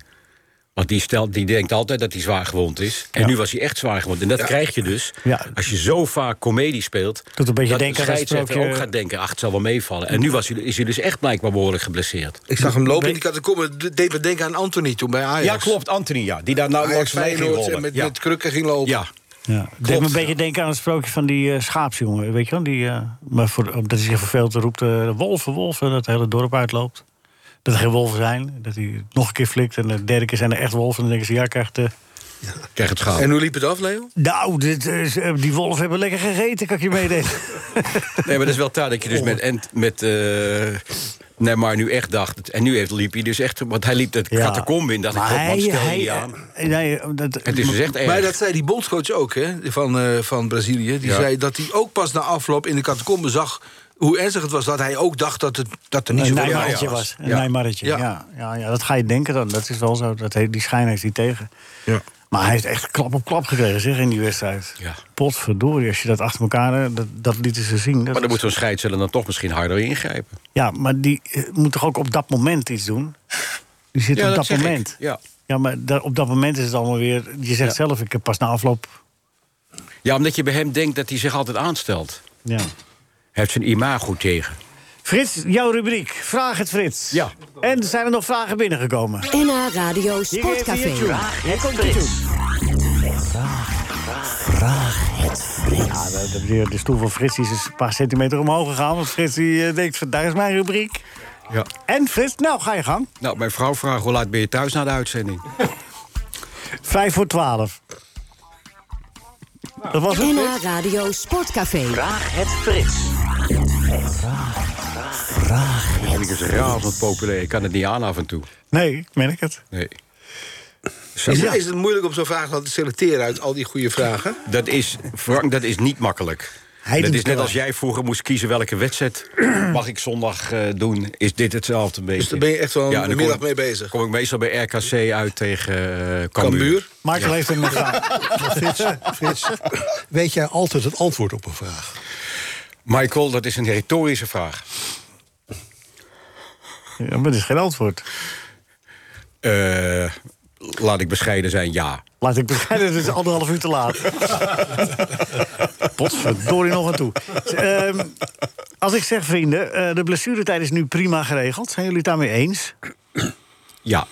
Speaker 6: Want die, stelt, die denkt altijd dat hij zwaar gewond is. En nu was hij echt zwaar gewond. En dat krijg je dus
Speaker 3: Ja.
Speaker 6: als je zo vaak comedie speelt.
Speaker 3: Doet een beetje
Speaker 6: dat
Speaker 3: denken aan
Speaker 6: de
Speaker 3: dat
Speaker 6: scheidsrechter
Speaker 3: sprookje-
Speaker 6: ook
Speaker 5: eh,
Speaker 6: gaat denken, ach, het zal wel meevallen. En nu was hij, is hij dus echt blijkbaar behoorlijk geblesseerd.
Speaker 5: Ik zag hem lopen en ik had komen, deed me denken aan Anthony toen bij Ajax.
Speaker 6: Ja, klopt, Anthony, ja. Die daar nou
Speaker 5: Ajax
Speaker 6: langs mij ging
Speaker 5: Feyenoord en
Speaker 6: rollen.
Speaker 5: met,
Speaker 6: Ja.
Speaker 5: met krukken ging lopen.
Speaker 6: ja.
Speaker 3: Ja, het deed me een beetje denken aan het sprookje van die eh, schaapsjongen, weet je wel? Die, eh, maar voor, omdat hij zich verveelt, roept eh, wolven, wolven, dat het hele dorp uitloopt. Dat er geen wolven zijn, dat hij het nog een keer flikt en de derde keer zijn er echt wolven. En dan denken ze, ja, krijgt de...
Speaker 6: Krijg het schaal.
Speaker 5: En hoe liep het af, Leo?
Speaker 3: Nou, dit is, eh, die wolven hebben lekker gegeten, kan ik je meedelen.
Speaker 6: Nee, maar dat is wel taal dat je dus met, en, met eh, Neymar nu echt dacht. En nu heeft, liep hij dus echt. Want hij liep het
Speaker 3: Ja.
Speaker 6: catacombe in. Dacht ik,
Speaker 3: Maar
Speaker 6: God,
Speaker 3: hij-
Speaker 6: man, stel je
Speaker 3: hij-
Speaker 6: niet aan.
Speaker 3: eh, nee, dat,
Speaker 6: Het is dus echt erg.
Speaker 3: Maar
Speaker 5: Maar dat zei die bondscoach ook, hè, van, eh, van Brazilië. Die
Speaker 6: Ja.
Speaker 5: zei dat hij ook pas na afloop in de catacombe zag... hoe ernstig het was, dat hij ook dacht dat, het, dat er niet
Speaker 3: een
Speaker 5: zoveel aan de hand
Speaker 3: Nijmarretje was. Een
Speaker 5: Ja.
Speaker 3: Nijmarretje, ja. Ja, ja, dat ga je denken dan. Dat is wel zo. Dat heeft, die schijn heeft hij tegen.
Speaker 5: Ja.
Speaker 3: Maar hij heeft echt klap op klap gekregen zeg, in die wedstrijd.
Speaker 6: Ja.
Speaker 3: Potverdorie, als je dat achter elkaar... eh, Dat, dat lieten ze zien. Dat
Speaker 6: Maar dan
Speaker 3: was-
Speaker 6: moet zo'n scheidsrechter dan toch misschien harder ingrijpen.
Speaker 3: Ja, maar die eh, moet toch ook op dat moment iets doen? Die zit
Speaker 6: Ja,
Speaker 3: op
Speaker 6: dat
Speaker 3: dat,
Speaker 6: zeg ik.
Speaker 3: moment.
Speaker 6: Ja.
Speaker 3: Ja, maar da- op dat moment is het allemaal weer... Je zegt zelf, ik heb pas na afloop...
Speaker 6: Ja, omdat je bij hem denkt dat hij zich altijd aanstelt.
Speaker 3: Ja.
Speaker 6: Hij heeft zijn imago tegen.
Speaker 3: Frits, jouw rubriek. Vraag het Frits. Ja. En zijn er nog vragen binnengekomen?
Speaker 14: NH Radio
Speaker 3: Hier geeft hij
Speaker 14: Sportcafé.
Speaker 3: je tune. Hier komt de tune.
Speaker 14: Vraag het
Speaker 3: Ja, de, de, de stoel van Frits die is een paar centimeter omhoog gegaan. Want Frits die, eh, denkt, van, daar is mijn rubriek.
Speaker 6: Ja.
Speaker 3: En Frits, nou ga je gang.
Speaker 6: Nou, mijn vrouw vraagt hoe laat ben je thuis na de uitzending?
Speaker 3: Vijf voor twaalf. Dat was het,
Speaker 14: NH
Speaker 3: Frits?
Speaker 14: Radio Sportcafé. Vraag het
Speaker 12: Frits.
Speaker 6: Vraag. Dat vind ik dus razend populair. Ik kan het niet aan af en toe.
Speaker 3: Nee, ik merk het.
Speaker 6: Nee.
Speaker 5: Is, is het moeilijk om zo'n vraag dan te selecteren uit al die goede vragen?
Speaker 6: Dat is, Frank, dat is niet makkelijk.
Speaker 5: Hij
Speaker 6: dat
Speaker 5: doet
Speaker 6: is
Speaker 5: het
Speaker 6: net
Speaker 5: wel.
Speaker 6: als jij vroeger moest kiezen welke wedstrijd mag ik zondag eh, doen. Is dit hetzelfde een beetje?
Speaker 5: Dus daar ben je echt wel een
Speaker 6: dan kom
Speaker 5: middag
Speaker 6: ik-
Speaker 5: mee bezig.
Speaker 6: kom ik meestal bij RKC uit tegen eh Cambuur.
Speaker 5: Cambuur?
Speaker 3: Michael heeft hem nog aan.
Speaker 7: Frits, Frits, weet jij altijd het antwoord op een vraag?
Speaker 6: Michael, dat is een retorische vraag.
Speaker 3: Ja, maar dat is geen antwoord.
Speaker 6: Eh, laat ik bescheiden zijn, ja.
Speaker 3: Laat ik beginnen, het is anderhalf uur te laat. Potverdorie nog aan toe. Ehm, als ik zeg, vrienden, eh, de blessuretijd is nu prima geregeld. Zijn jullie het daarmee eens?
Speaker 6: Ja.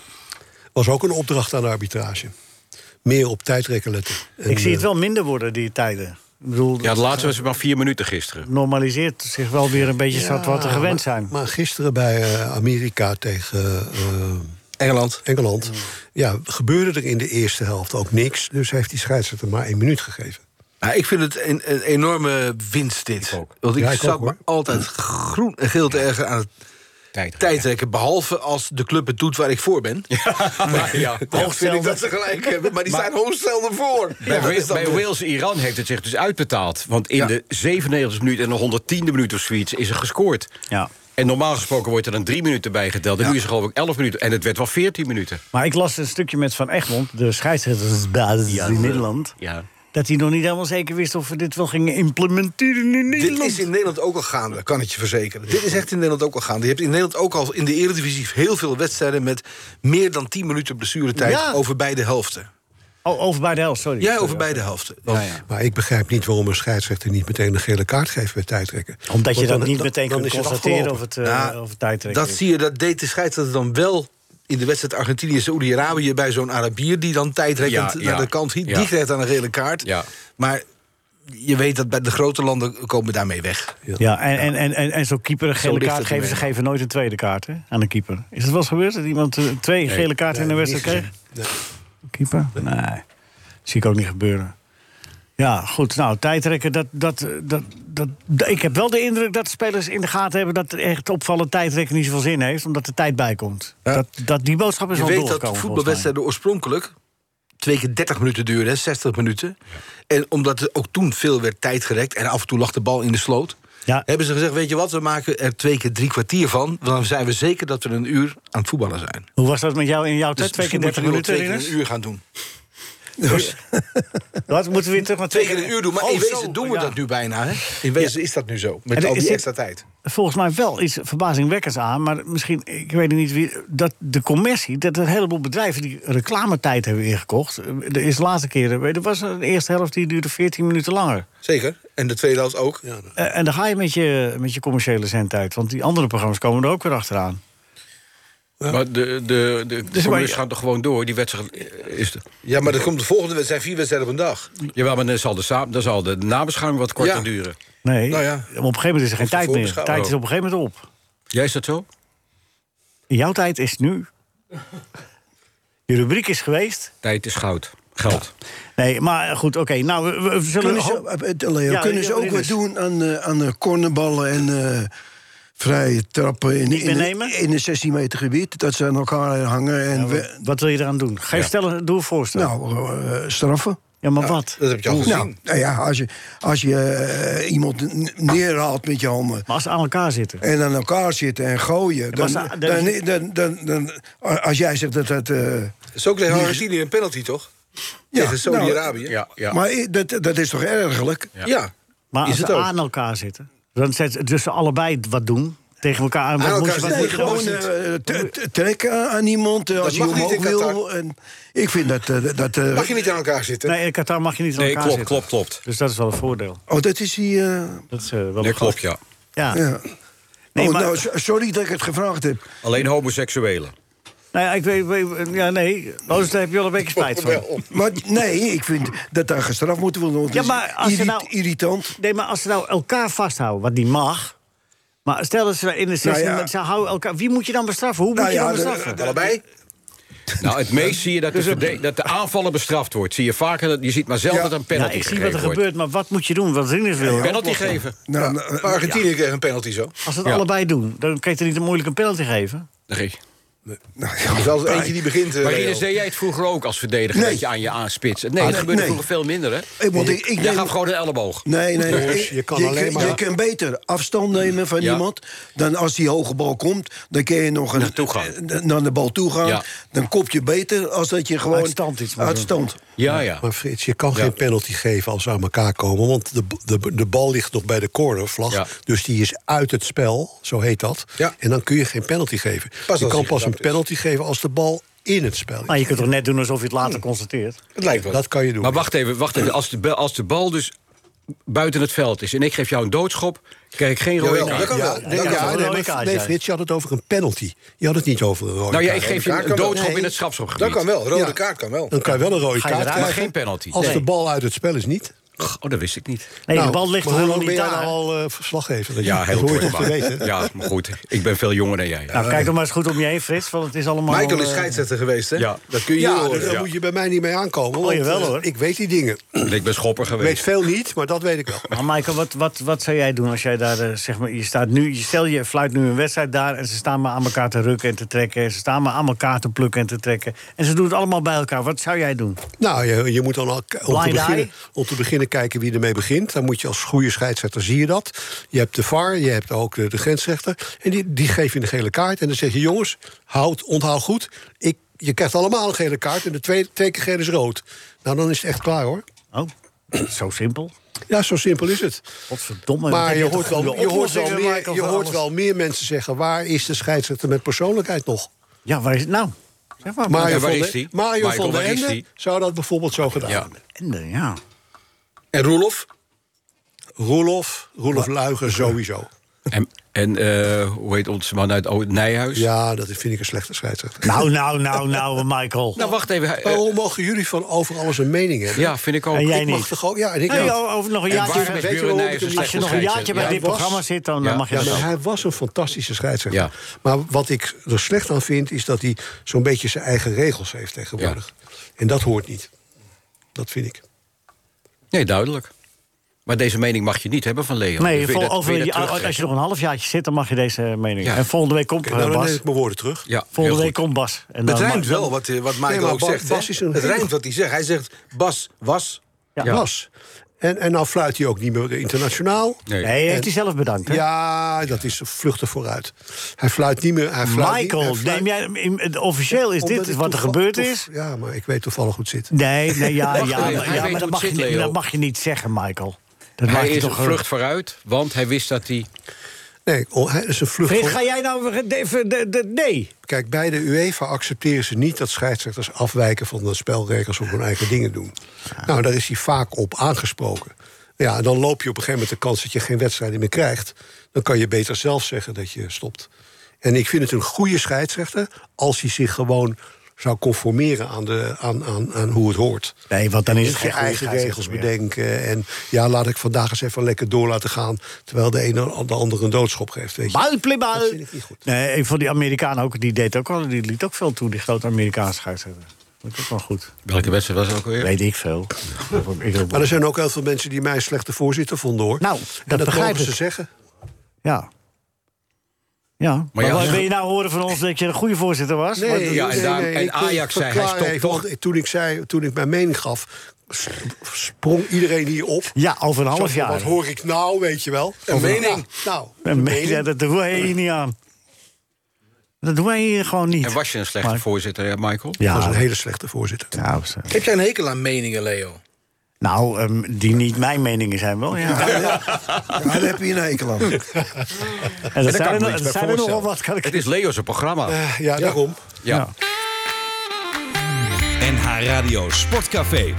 Speaker 7: Was ook een opdracht aan de arbitrage. Meer op tijdrekken letten. En,
Speaker 3: ik zie het
Speaker 7: eh,
Speaker 3: wel minder worden, die tijden. Ik bedoel,
Speaker 6: Ja, de laatste was maar vier minuten gisteren.
Speaker 3: normaliseert zich wel weer een beetje
Speaker 7: Ja,
Speaker 3: zat wat we gewend zijn.
Speaker 7: Maar gisteren bij eh, Amerika tegen eh,
Speaker 5: Engeland.
Speaker 3: Mm.
Speaker 7: Engeland. Ja, gebeurde er in de eerste helft ook niks. Dus heeft die scheidsrechter maar één minuut gegeven.
Speaker 5: Nou, ik vind het een, een enorme winst dit. Want ik
Speaker 7: Ja, ik
Speaker 5: zat
Speaker 7: ook,
Speaker 5: me
Speaker 7: hoor.
Speaker 5: altijd groen en geel te erger aan het
Speaker 6: tijdrekken.
Speaker 5: Behalve als de club het doet waar ik voor ben. Maar
Speaker 6: ja.
Speaker 5: dan vind ik dat ze gelijk hebben. Maar die
Speaker 6: Maar-
Speaker 5: staan hoofdstelden voor.
Speaker 6: Bij,
Speaker 5: Ja, dat
Speaker 6: Wa-
Speaker 5: is dan
Speaker 6: bij
Speaker 5: weer-
Speaker 6: Wales-Iran heeft het zich dus uitbetaald. Want in de 97e minuut en de 110e minuut of zoiets is er gescoord.
Speaker 3: Ja.
Speaker 6: En normaal gesproken wordt er dan drie minuten bijgeteld. En nu is er geloof ik elf minuten. En het werd wel veertien minuten.
Speaker 3: Maar ik las een stukje met Van Egmond, de scheidsrechtersbasis
Speaker 6: Ja,
Speaker 3: in
Speaker 6: de-
Speaker 3: Nederland...
Speaker 6: Ja.
Speaker 3: dat hij nog niet helemaal zeker wist of we dit wel gingen implementeren in
Speaker 5: Dit
Speaker 3: Nederland.
Speaker 5: is in Nederland ook al gaande, kan ik je verzekeren. Dit is echt in Nederland ook al gaande. Je hebt in Nederland ook al in de Eredivisie heel veel wedstrijden... met meer dan 10 minuten blessuretijd
Speaker 3: Ja.
Speaker 5: over beide helften.
Speaker 3: Oh, over bij de helft, sorry.
Speaker 5: Ja,
Speaker 3: Sorry,
Speaker 5: over beide helften.
Speaker 3: Ja, ja.
Speaker 7: Maar ik begrijp niet waarom een scheidsrechter niet meteen een gele kaart geeft bij tijdrekken.
Speaker 3: Omdat je
Speaker 7: Want
Speaker 3: dat
Speaker 7: dan-
Speaker 3: niet
Speaker 7: dan-
Speaker 3: meteen
Speaker 7: dan
Speaker 3: kunt
Speaker 7: is het
Speaker 3: constateren
Speaker 7: afgelopen.
Speaker 3: of het, eh
Speaker 5: Ja,
Speaker 3: of het tijdrekken
Speaker 5: Nou, Dat
Speaker 3: is.
Speaker 5: zie je, dat deed de scheidsrechter dan wel in de wedstrijd Argentinië-Saoedi-Arabië... bij zo'n Arabier die dan tijdrekkend
Speaker 6: Ja, ja,
Speaker 5: naar de kant hiet.
Speaker 6: ja.
Speaker 5: Die kreeg dan een gele kaart.
Speaker 6: Ja.
Speaker 5: Maar je weet dat bij de grote landen komen daarmee weg.
Speaker 3: Ja, en, en, en, en, en zo'n keeper een
Speaker 5: Zo
Speaker 3: gele
Speaker 5: ligt
Speaker 3: kaart
Speaker 5: het
Speaker 3: geven, ze
Speaker 5: ermee.
Speaker 3: geven nooit een tweede kaart hè, aan een keeper. Is het wel eens gebeurd dat iemand eh, twee gele kaarten in de wedstrijd kreeg? Keeper? Nee. Zie ik ook niet gebeuren. Ja, goed. Nou, tijdrekken, dat, dat, eh, dat, dat, dat- ik heb wel de indruk dat de spelers in de gaten hebben... dat er echt opvallend tijdrekken niet zoveel zin heeft, omdat de tijd bijkomt. Dat, dat, die boodschap is
Speaker 5: Je
Speaker 3: al
Speaker 5: weet
Speaker 3: doorgekomen,
Speaker 5: dat
Speaker 3: volgens mij.
Speaker 5: voetbalwedstrijden oorspronkelijk twee keer 30 minuten duurden, hè, 60 minuten. En omdat er ook toen veel werd tijd gerekt en af en toe lag de bal in de sloot.
Speaker 3: Ja.
Speaker 5: Hebben ze gezegd, weet je wat, we maken er twee keer drie kwartier van. want Dan zijn we zeker dat we een uur aan het voetballen zijn.
Speaker 3: Hoe was dat met jou in jouw tijd?
Speaker 5: Dus
Speaker 3: twee keer
Speaker 5: misschien moeten
Speaker 3: 30
Speaker 5: we nog
Speaker 3: minuten,
Speaker 5: twee keer
Speaker 3: Rinus?
Speaker 5: een uur gaan doen.
Speaker 3: Wat, moeten we weer terug naar
Speaker 5: Dus- Twee keer een uur doen, maar
Speaker 3: Oh,
Speaker 5: in
Speaker 3: zo,
Speaker 5: wezen doen we
Speaker 3: ja.
Speaker 5: dat nu bijna. Hè? In wezen is dat nu zo, met
Speaker 3: En
Speaker 5: al
Speaker 3: is
Speaker 5: die
Speaker 3: dit-
Speaker 5: extra tijd.
Speaker 3: volgens mij wel iets verbazingwekkends aan. Maar misschien, ik weet niet wie. Dat de commercie, dat er een heleboel bedrijven die reclametijd hebben ingekocht. eh, Er is de laatste keer, weet je, er was een eerste helft die duurde 14 minuten langer.
Speaker 5: Zeker, en de tweede helft ook.
Speaker 3: Eh, En dan ga je met je, met je commerciële zendtijd. Want die andere programma's komen er ook weer achteraan.
Speaker 6: Maar de, de, de, de
Speaker 3: Dus maar-
Speaker 6: gaan toch gewoon door. Die wedstrijd eh, is er.
Speaker 5: Ja, maar dat komt de volgende, het zijn vier wedstrijden op een dag.
Speaker 6: Jawel, maar dan zal de, sa- dan zal de nabeschouwing wat korter
Speaker 5: Ja.
Speaker 6: duren.
Speaker 3: Nee,
Speaker 5: Nou ja.
Speaker 3: op een gegeven moment is er geen
Speaker 5: Of de
Speaker 3: tijd meer.
Speaker 5: voorbeschouwing
Speaker 3: Tijd is op een gegeven moment op.
Speaker 6: Jij is dat zo?
Speaker 3: Jouw tijd is nu. Je rubriek is geweest.
Speaker 6: Tijd is goud. Geld.
Speaker 3: Nee, maar goed, oké. Nou, we, we- we zullen...
Speaker 4: Kunnen ze, eh, Leo,
Speaker 3: Ja,
Speaker 4: kunnen ze ook
Speaker 3: Rinus.
Speaker 4: wat doen aan, eh, aan eh, cornerballen en eh, vrije trappen in,
Speaker 3: Niet
Speaker 4: in,
Speaker 3: meenemen?
Speaker 4: een- in een 16 meter gebied. Dat ze aan elkaar hangen. En we-
Speaker 3: Nou, Wat wil je eraan doen? Ga je
Speaker 4: Ja.
Speaker 3: stellen, doe een voorstel.
Speaker 4: Nou, eh, straffen.
Speaker 3: Ja, maar wat?
Speaker 5: Dat heb je al
Speaker 4: Nou,
Speaker 5: gezien.
Speaker 4: nou ja, als je, als je eh, iemand n- neerhaalt met je handen.
Speaker 3: Maar als ze aan elkaar zitten.
Speaker 4: En aan elkaar zitten en gooien.
Speaker 3: maar
Speaker 4: Dan,
Speaker 3: ze-
Speaker 4: dan,
Speaker 3: dan-
Speaker 4: dan, dan, dan- als jij zegt dat dat. eh,
Speaker 5: is ook oh, tegen
Speaker 4: niet-
Speaker 5: Argentinië een penalty, toch?
Speaker 4: Ja,
Speaker 5: tegen Saudi-Arabië.
Speaker 4: nou, Maar i- dat, dat is toch ergerlijk?
Speaker 5: Ja.
Speaker 7: Nou,
Speaker 3: Maar als
Speaker 5: is het
Speaker 3: ze
Speaker 5: ook.
Speaker 3: aan elkaar zitten, dan zijn ze dus ze allebei wat doen. Tegen elkaar aan. Wat
Speaker 4: Aan
Speaker 3: moet
Speaker 4: elkaar
Speaker 3: je- wat
Speaker 4: zitten,
Speaker 3: moet je
Speaker 4: gewoon
Speaker 3: dan doen?
Speaker 4: eh, te- te- trekken aan- aan iemand eh, als je
Speaker 5: mag niet
Speaker 4: omhoog
Speaker 5: in
Speaker 4: wil. En ik vind dat. eh, dat eh,
Speaker 5: Mag je niet aan elkaar zitten?
Speaker 3: Nee, in Qatar mag je niet aan
Speaker 6: Nee,
Speaker 3: elkaar
Speaker 6: klopt,
Speaker 3: zitten.
Speaker 6: klopt, klopt.
Speaker 3: Dus dat is wel een voordeel.
Speaker 4: Oh, dat is die. eh,
Speaker 3: Dat is, eh, wel
Speaker 6: Nee,
Speaker 3: een
Speaker 6: klopt, ja.
Speaker 3: Ja.
Speaker 4: ja.
Speaker 3: Nee,
Speaker 4: oh,
Speaker 3: maar-
Speaker 4: nou, so- sorry dat ik het gevraagd heb.
Speaker 6: Alleen homoseksuelen.
Speaker 3: Nou ja, ik weet, weet- ja, nee. Oh, dus daar heb je wel een beetje spijt van.
Speaker 4: Maar nee, ik vind dat daar gestraft moet worden. want
Speaker 3: Ja,
Speaker 4: het is
Speaker 3: maar als ze
Speaker 4: irri-
Speaker 3: nou-
Speaker 4: irritant.
Speaker 3: Nee, maar als ze nou elkaar vasthouden, wat niet mag. Maar stel dat ze in de sessie,
Speaker 4: Nou ja.
Speaker 3: ze houden elkaar. Wie moet je dan bestraffen? Hoe moet
Speaker 4: Nou
Speaker 3: je
Speaker 4: ja,
Speaker 3: dan
Speaker 4: de-
Speaker 3: bestraffen?
Speaker 6: Eh,
Speaker 5: Allebei? Dus
Speaker 6: Nou, het meest zie je dat de, verde- dat de aanvaller bestraft wordt. Zie je vaker, dat- je ziet maar zelden dat een penalty
Speaker 3: ja, ik zie
Speaker 6: gegeven
Speaker 3: wat er
Speaker 6: wordt.
Speaker 3: gebeurt, maar wat moet je doen? Wat Rinus wil. hè?
Speaker 6: Penalty geven.
Speaker 4: Nou,
Speaker 5: Maar
Speaker 4: nou,
Speaker 5: eh, Argentinië kreeg een penalty zo.
Speaker 3: Als ze het
Speaker 6: Ja.
Speaker 3: allebei doen, dan kan je er niet een moeilijke penalty geven.
Speaker 6: Nee.
Speaker 5: Er is altijd eentje die begint. eh,
Speaker 6: Maar
Speaker 5: Leo.
Speaker 6: Rinus, deed jij het vroeger ook als verdediger?
Speaker 4: Nee.
Speaker 6: Dat je aan je aanspitst? Nee, dat
Speaker 4: nee,
Speaker 6: gebeurde
Speaker 4: nee.
Speaker 6: vroeger veel minder, hè?
Speaker 4: Ik, want ik, ik
Speaker 6: Jij
Speaker 4: neem-
Speaker 6: gaf gewoon een elleboog.
Speaker 4: Nee, nee.
Speaker 5: Dus
Speaker 7: Jongens,
Speaker 4: ik-
Speaker 7: je kan alleen
Speaker 4: kunt-
Speaker 7: maar-
Speaker 4: je kunt beter afstand nemen van
Speaker 6: Ja.
Speaker 4: iemand... dan als die hoge bal komt, dan kun je nog een,
Speaker 6: Naartoe gaan.
Speaker 4: eh, naar de bal toe gaan.
Speaker 6: Ja.
Speaker 4: Dan kop je beter als dat je gewoon...
Speaker 3: Uit stand iets moet
Speaker 4: Uit
Speaker 3: doen.
Speaker 4: stand.
Speaker 6: Ja, ja.
Speaker 7: Eh, Maar Frits, je kan geen penalty geven als ze aan elkaar komen. Want de, de, de bal ligt nog bij de cornervlag.
Speaker 6: Ja.
Speaker 7: Dus die is uit het spel, zo heet dat.
Speaker 5: Ja.
Speaker 7: En dan kun je geen penalty geven.
Speaker 5: als
Speaker 7: je
Speaker 5: hij
Speaker 7: kan pas een
Speaker 5: getrapt is.
Speaker 7: penalty geven als de bal in het spel
Speaker 3: Maar
Speaker 7: is.
Speaker 3: je kunt toch net doen alsof je het later constateert?
Speaker 5: Het lijkt wel.
Speaker 7: Dat kan je doen.
Speaker 6: Maar wacht even, wacht even. Als de, bal- als de bal dus buiten het veld is en ik geef jou een doodschop, krijg ik geen rode
Speaker 5: Jawel,
Speaker 6: kaart.
Speaker 5: dat kan
Speaker 7: ja,
Speaker 5: wel.
Speaker 7: nee,
Speaker 3: Dat
Speaker 7: ja,
Speaker 3: kan wel.
Speaker 7: nee,
Speaker 3: Rode
Speaker 7: maar-
Speaker 3: kaart
Speaker 7: nee,
Speaker 3: zijn.
Speaker 7: Frits, je had het over een penalty. Je had het niet over een rode
Speaker 6: Nou ja, ik
Speaker 7: kaart.
Speaker 6: geef je
Speaker 5: kaart
Speaker 6: een
Speaker 5: kan wel.
Speaker 6: doodschop
Speaker 7: Nee.
Speaker 6: in het strafschopgebied.
Speaker 5: Dat kan wel. Rode
Speaker 7: Ja.
Speaker 5: kaart kan wel.
Speaker 7: Dan kan je wel een rode
Speaker 3: Ga
Speaker 7: kaart
Speaker 3: je eruit?
Speaker 7: krijgen.
Speaker 6: Maar geen penalty.
Speaker 7: Als
Speaker 6: Nee.
Speaker 7: de bal uit het spel is niet.
Speaker 6: Oh, dat wist ik niet.
Speaker 3: Nee, de
Speaker 7: Nou,
Speaker 3: bal ligt
Speaker 7: maar
Speaker 3: toch helemaal
Speaker 7: hoe lang
Speaker 3: niet
Speaker 7: ben
Speaker 3: daar.
Speaker 7: jij nou al eh, verslaggever? Dat-
Speaker 6: Ja,
Speaker 7: dat
Speaker 6: heel
Speaker 7: hoor je toch te
Speaker 6: maar-
Speaker 7: weten.
Speaker 6: Ja, maar goed. Ik ben veel jonger dan jij.
Speaker 3: Nou, kijk er maar eens goed om je heen, Frits, want het is allemaal...
Speaker 5: Michael is
Speaker 3: eh,
Speaker 5: scheidsrechter geweest, hè?
Speaker 6: Ja.
Speaker 5: Dat kun je hier
Speaker 7: Ja,
Speaker 5: horen.
Speaker 7: dus daar
Speaker 6: Ja.
Speaker 7: moet je bij mij niet mee aankomen.
Speaker 3: Oh,
Speaker 7: want,
Speaker 3: jawel,
Speaker 7: eh,
Speaker 3: hoor.
Speaker 7: Ik weet die dingen.
Speaker 6: Ik ben schopper
Speaker 7: Ik weet
Speaker 6: geweest.
Speaker 7: veel niet, maar dat weet ik wel.
Speaker 3: Maar Michael, wat, wat, wat zou jij doen als jij daar, eh, zeg maar, je staat nu, je stel je fluit nu een wedstrijd daar en ze staan maar aan elkaar te rukken en te trekken, en ze staan maar aan elkaar te plukken en te trekken en ze doen het allemaal bij elkaar. Wat zou jij doen?
Speaker 7: Nou, je, je moet dan al, om, te
Speaker 3: Blind
Speaker 7: beginnen,
Speaker 3: eye?
Speaker 7: om te beginnen kijken wie ermee begint. Dan moet je als goede scheidsrechter zie je dat. Je hebt de VAR, je hebt ook de, de grensrechter. En die, die geef je een gele kaart. En dan zeg je, jongens, houd, onthoud goed. Ik, je krijgt allemaal een gele kaart. En de tweede, twee keer gele is rood. Nou, dan is het echt klaar, hoor.
Speaker 3: Oh, zo simpel.
Speaker 7: Ja, zo simpel is het.
Speaker 3: Godverdomme. wat
Speaker 7: Maar
Speaker 3: heb
Speaker 7: je
Speaker 3: toch
Speaker 7: hoort, wel,
Speaker 3: goede
Speaker 7: je, hoort wel
Speaker 3: oplossingen,
Speaker 7: meer,
Speaker 3: Michael,
Speaker 7: je
Speaker 3: voor
Speaker 7: hoort
Speaker 3: alles?
Speaker 7: wel meer mensen zeggen... waar is de scheidsrechter met persoonlijkheid nog?
Speaker 3: Ja, waar is het nou? Zeg maar.
Speaker 7: Mario
Speaker 6: waar
Speaker 7: van
Speaker 6: is
Speaker 7: de-
Speaker 6: die?
Speaker 7: Mario
Speaker 6: Michael,
Speaker 7: van der
Speaker 6: waar is
Speaker 7: Ende
Speaker 6: die?
Speaker 7: zou dat bijvoorbeeld zo gedaan
Speaker 6: Ja.
Speaker 7: hebben.
Speaker 3: Ende, ja.
Speaker 5: En Roelof?
Speaker 7: Roelof, Roelof Luigen sowieso.
Speaker 6: En, en eh, hoe heet onze man uit O- Nijhuis?
Speaker 7: Ja, dat vind ik een slechte scheidsrechter.
Speaker 3: Nou, nou, nou, nou, Michael.
Speaker 6: Nou, wacht even. hij- eh,
Speaker 7: Waarom mogen jullie van over alles een mening hebben?
Speaker 6: ja, vind ik ook.
Speaker 3: En jij
Speaker 7: ik
Speaker 3: niet?
Speaker 7: mag toch ook... Ja, en ik
Speaker 3: Hey,
Speaker 7: ook.
Speaker 3: joh, over nog een
Speaker 6: En
Speaker 3: jaartje,
Speaker 6: waarom is
Speaker 7: weet je
Speaker 6: Buren
Speaker 7: waarom
Speaker 6: Nijhuis een
Speaker 7: ik hem-
Speaker 3: als
Speaker 6: slechte
Speaker 3: je nog een
Speaker 6: scheidsrechter?
Speaker 3: jaartje bij
Speaker 7: Ja,
Speaker 3: dit
Speaker 7: was-
Speaker 3: programma zit, dan,
Speaker 6: Ja,
Speaker 3: dan mag je
Speaker 7: Ja,
Speaker 3: dat
Speaker 7: maar
Speaker 3: ook.
Speaker 7: hij was een fantastische scheidsrechter.
Speaker 6: Ja.
Speaker 7: Maar wat ik er slecht aan vind, is dat hij zo'n beetje zijn eigen regels heeft tegenwoordig. En dat hoort niet. Dat vind ik.
Speaker 6: Nee, duidelijk. Maar deze mening mag je niet hebben van Leo.
Speaker 3: Nee,
Speaker 6: Wil je
Speaker 3: vol-
Speaker 6: dat-
Speaker 3: over
Speaker 6: wil je
Speaker 3: een
Speaker 6: dat
Speaker 3: jaar- als je
Speaker 6: terugtrekken?
Speaker 3: nog een halfjaartje zit, dan mag je deze eh, mening.
Speaker 6: Ja.
Speaker 3: En volgende week komt
Speaker 7: Oké,
Speaker 3: eh,
Speaker 7: nou, dan neem
Speaker 3: Bas.
Speaker 7: ik mijn woorden terug.
Speaker 6: Ja, heel
Speaker 3: Volgende
Speaker 6: goed.
Speaker 3: week komt Bas. En
Speaker 5: Het
Speaker 3: dan
Speaker 5: rijmt
Speaker 3: mag-
Speaker 5: wel wat, eh, wat Michael
Speaker 7: maar
Speaker 5: ook
Speaker 7: Bas-
Speaker 5: zegt. hè?
Speaker 7: Bas is een
Speaker 5: het
Speaker 7: hele-
Speaker 5: rijmt wat hij zegt. Hij zegt Bas, was.
Speaker 3: Ja.
Speaker 7: Bas. En, en nou fluit hij ook niet meer internationaal.
Speaker 6: Nee.
Speaker 3: Nee, heeft hij zelf bedankt. Hè?
Speaker 7: Ja, dat is vluchten vooruit. Hij fluit niet meer. Hij fluit niet- hij
Speaker 3: Michael,
Speaker 7: fluit-
Speaker 3: neem jij, in- officieel is
Speaker 7: Omdat
Speaker 3: dit
Speaker 7: ik
Speaker 3: wat er
Speaker 7: toeval-
Speaker 3: gebeurd
Speaker 7: toef-
Speaker 3: is?
Speaker 7: Ja, maar ik weet toevallig hoe het zit.
Speaker 3: Nee, nee ja,
Speaker 6: Wacht
Speaker 3: ja,
Speaker 6: even,
Speaker 3: maar,
Speaker 6: hij
Speaker 3: ja,
Speaker 6: weet
Speaker 3: maar
Speaker 6: hoe
Speaker 3: dat,
Speaker 6: het
Speaker 3: mag je,
Speaker 6: zit,
Speaker 3: niet-
Speaker 6: Leo.
Speaker 3: dat mag je niet zeggen, Michael. Dat mag
Speaker 6: Hij
Speaker 3: je
Speaker 6: is een
Speaker 3: toch
Speaker 6: vlucht vooruit, want hij wist dat hij...
Speaker 7: Nee, oh, hij is een vlucht.
Speaker 3: Frit,
Speaker 7: voor-
Speaker 3: ga jij nou weer- de- de- de- de- nee.
Speaker 7: Kijk, bij de UEFA accepteren ze niet dat scheidsrechters afwijken van de spelregels of hun eigen dingen doen. Nou, daar is hij vaak op aangesproken. Ja, en dan loop je op een gegeven moment de kans dat je geen wedstrijden meer krijgt. Dan kan je beter zelf zeggen dat je stopt. En ik vind het een goede scheidsrechter als hij zich gewoon zou conformeren aan, de, aan, aan, aan hoe het hoort.
Speaker 3: Nee, want dan is
Speaker 7: Dus
Speaker 3: het
Speaker 7: je
Speaker 3: geen goede
Speaker 7: eigen regels
Speaker 3: scheidsrechter meer.
Speaker 7: bedenken. En ja, laat ik vandaag eens even lekker door laten gaan. Terwijl de ene de ander een doodschop geeft. Weet je.
Speaker 3: Bal, plibal.
Speaker 7: Dat vind ik niet goed.
Speaker 3: Nee, ik vond die Amerikaan ook, die deed ook al, die liet ook veel toe, die grote Amerikaanse scheidsrechter. Dat is ook wel goed.
Speaker 6: Welke wedstrijd was het ook alweer?
Speaker 3: Weet ik veel. Ik ook-
Speaker 7: Maar er zijn ook heel veel mensen die mij een slechte voorzitter vonden hoor.
Speaker 3: Nou,
Speaker 7: En
Speaker 3: dat begrijp
Speaker 7: mogen
Speaker 3: ik.
Speaker 7: ze zeggen.
Speaker 3: Ja. Ja. Maar,
Speaker 6: ja,
Speaker 3: wat
Speaker 6: ja.
Speaker 3: wil je nou horen van ons dat je een goede voorzitter was? Want-
Speaker 7: ik wil het verklaren even, want Toen ik, zei, toen ik mijn mening gaf, sp- sprong iedereen hier op.
Speaker 3: Ja, over een
Speaker 7: Zo
Speaker 3: half
Speaker 7: van,
Speaker 3: jaar.
Speaker 7: Wat hoor ik nou, weet je wel?
Speaker 3: Een mening.
Speaker 7: Ja, nou,
Speaker 3: Een mening, ja, dat doen wij hier niet aan. Dat doen wij hier gewoon niet.
Speaker 6: En was je een slechte voorzitter, hè, Michael?
Speaker 3: Ja. Dat was een hele
Speaker 7: slechte voorzitter.
Speaker 3: Nou,
Speaker 5: Heb jij een hekel aan meningen, Leo?
Speaker 3: nou ehm, die niet mijn meningen zijn wel, ja.
Speaker 4: daar heb je een hekel aan.
Speaker 3: En dat
Speaker 6: daar
Speaker 3: zijn
Speaker 6: kan ik
Speaker 3: er,
Speaker 6: me
Speaker 3: nog-
Speaker 6: niks
Speaker 3: dat
Speaker 6: bij
Speaker 3: zijn er nogal
Speaker 6: voorstellen.
Speaker 3: wat, kan ik
Speaker 6: Het is Leo's programma.
Speaker 7: Eh, ja, daarom.
Speaker 6: Ja.
Speaker 13: NH Radio Sportcafé.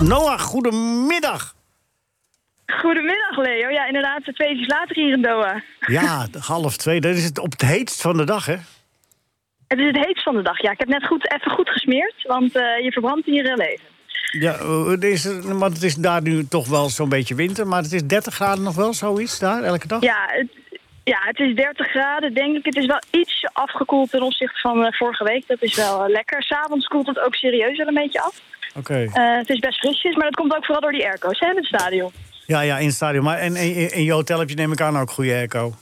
Speaker 3: Noah, goedemiddag.
Speaker 15: Goedemiddag, Leo. Ja, inderdaad, twee uurtjes later hier in Doha.
Speaker 3: Ja, half twee, dat is het op het heetst van de dag, hè?
Speaker 15: Het is het heetst van de dag. Ja, ik heb net goed, even goed gesmeerd, want eh, je verbrandt hier je leven.
Speaker 3: Ja, eh, het is, want het is daar nu toch wel zo'n beetje winter, maar het is 30 graden nog wel, zoiets daar, elke dag?
Speaker 15: Ja, het, ja, het is 30 graden, denk ik. Het is wel iets afgekoeld ten opzichte van eh, vorige week. Dat is wel eh, lekker. S'avonds koelt het ook serieus wel een beetje af.
Speaker 3: Oké.
Speaker 15: Eh, het is best frisjes, maar dat komt ook vooral door die airco's hè, in het stadion.
Speaker 3: Ja, ja, in het stadion. Maar en, en, in je hotel heb je neem ik aan ook goede airco.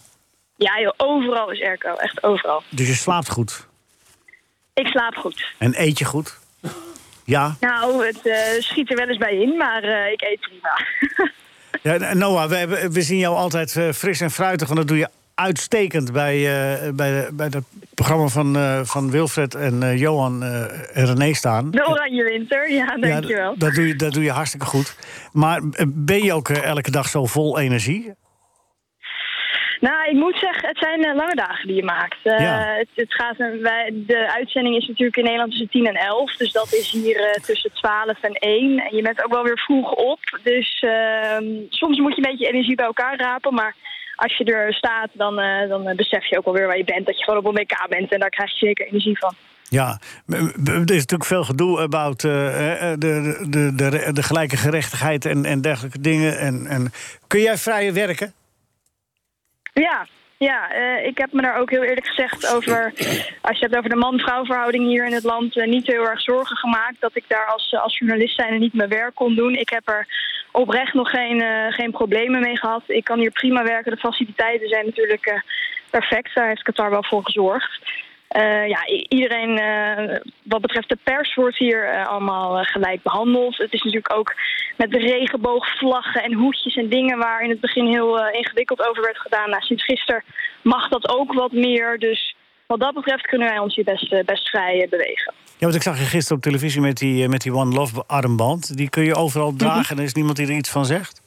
Speaker 15: Ja joh, overal is airco. Echt overal.
Speaker 3: Dus je slaapt goed.
Speaker 15: Ik slaap goed.
Speaker 3: En eet je goed. Ja.
Speaker 15: Nou, het eh, schiet er wel eens bij in, maar eh, ik eet prima.
Speaker 3: ja Noah, we, hebben, we zien jou altijd eh, fris en fruitig. Want dat doe je uitstekend bij, eh, bij, bij dat programma van, eh, van Wilfred en eh, Johan eh, en René staan.
Speaker 15: De oranje winter, ja, dankjewel.
Speaker 3: d- dat, doe je, dat doe je hartstikke goed. Maar eh, ben je ook eh, elke dag zo vol energie?
Speaker 15: Nou, ik moet zeggen, het zijn eh, lange dagen die je maakt. Eh,
Speaker 3: Ja.
Speaker 15: het, het gaat, eh, wij, de uitzending is natuurlijk in Nederland tussen 10 en 11. Dus dat is hier eh, tussen 12 en 1. En je bent ook wel weer vroeg op. Dus ehm, soms moet je een beetje energie bij elkaar rapen. Maar als je er staat, dan, eh, dan eh, besef je ook alweer waar je bent. Dat je gewoon op een WK bent. En daar krijg je zeker energie van.
Speaker 3: Ja, m- m- er is natuurlijk veel gedoe about eh, eh, de, de, de, de, de gelijke gerechtigheid en, en dergelijke dingen. En, en, kun jij vrije werken?
Speaker 15: Ja, ja eh, ik heb me daar ook heel eerlijk gezegd over. Als je het hebt over de man-vrouw verhouding hier in het land. eh, niet heel erg zorgen gemaakt dat ik daar als, eh, als journalist zijnde niet mijn werk kon doen. Ik heb er oprecht nog geen, eh, geen problemen mee gehad. Ik kan hier prima werken. De faciliteiten zijn natuurlijk eh, perfect. Daar heeft Qatar wel voor gezorgd. Eh, ja, i- iedereen eh, wat betreft de pers wordt hier eh, allemaal eh, gelijk behandeld. Het is natuurlijk ook met de regenboogvlaggen en hoedjes en dingen waar in het begin heel eh, ingewikkeld over werd gedaan. Nou, sinds gisteren mag dat ook wat meer. Dus wat dat betreft kunnen wij ons hier best, eh, best vrij eh, bewegen.
Speaker 3: Ja, want ik zag je gisteren op televisie met die, eh, met die One Love armband. Die kun je overal dragen en er is niemand die er iets van zegt.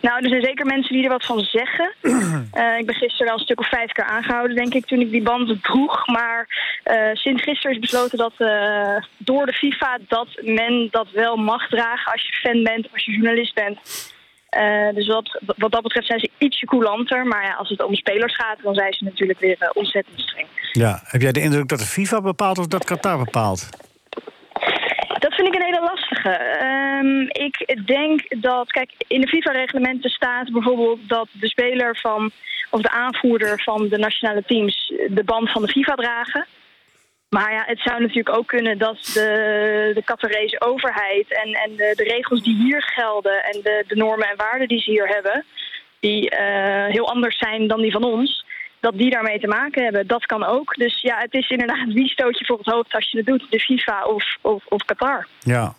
Speaker 15: Nou, er zijn zeker mensen die er wat van zeggen. Eh, ik ben gisteren wel een stuk of vijf keer aangehouden, denk ik, toen ik die banden droeg. Maar eh, sinds gisteren is besloten dat eh, door de FIFA dat men dat wel mag dragen als je fan bent, als je journalist bent. Eh, dus wat, wat dat betreft zijn ze ietsje coulanter. Maar ja, als het om spelers gaat, dan zijn ze natuurlijk weer eh, ontzettend streng.
Speaker 3: Ja. Heb jij de indruk dat de FIFA bepaalt of dat Qatar bepaalt?
Speaker 15: Dat vind ik een hele lastige. Ehm, ik denk dat, kijk, in de FIFA-reglementen staat bijvoorbeeld dat de speler van, of de aanvoerder van de nationale teams de band van de FIFA dragen. Maar ja, het zou natuurlijk ook kunnen dat de, de Qatarese overheid en, en de, de regels die hier gelden en de, de normen en waarden die ze hier hebben, die eh, heel anders zijn dan die van ons, dat die daarmee te maken hebben. Dat kan ook. Dus ja, het is inderdaad wie stoot je voor het hoofd als je het doet, de FIFA of, of, of Qatar.
Speaker 3: Ja.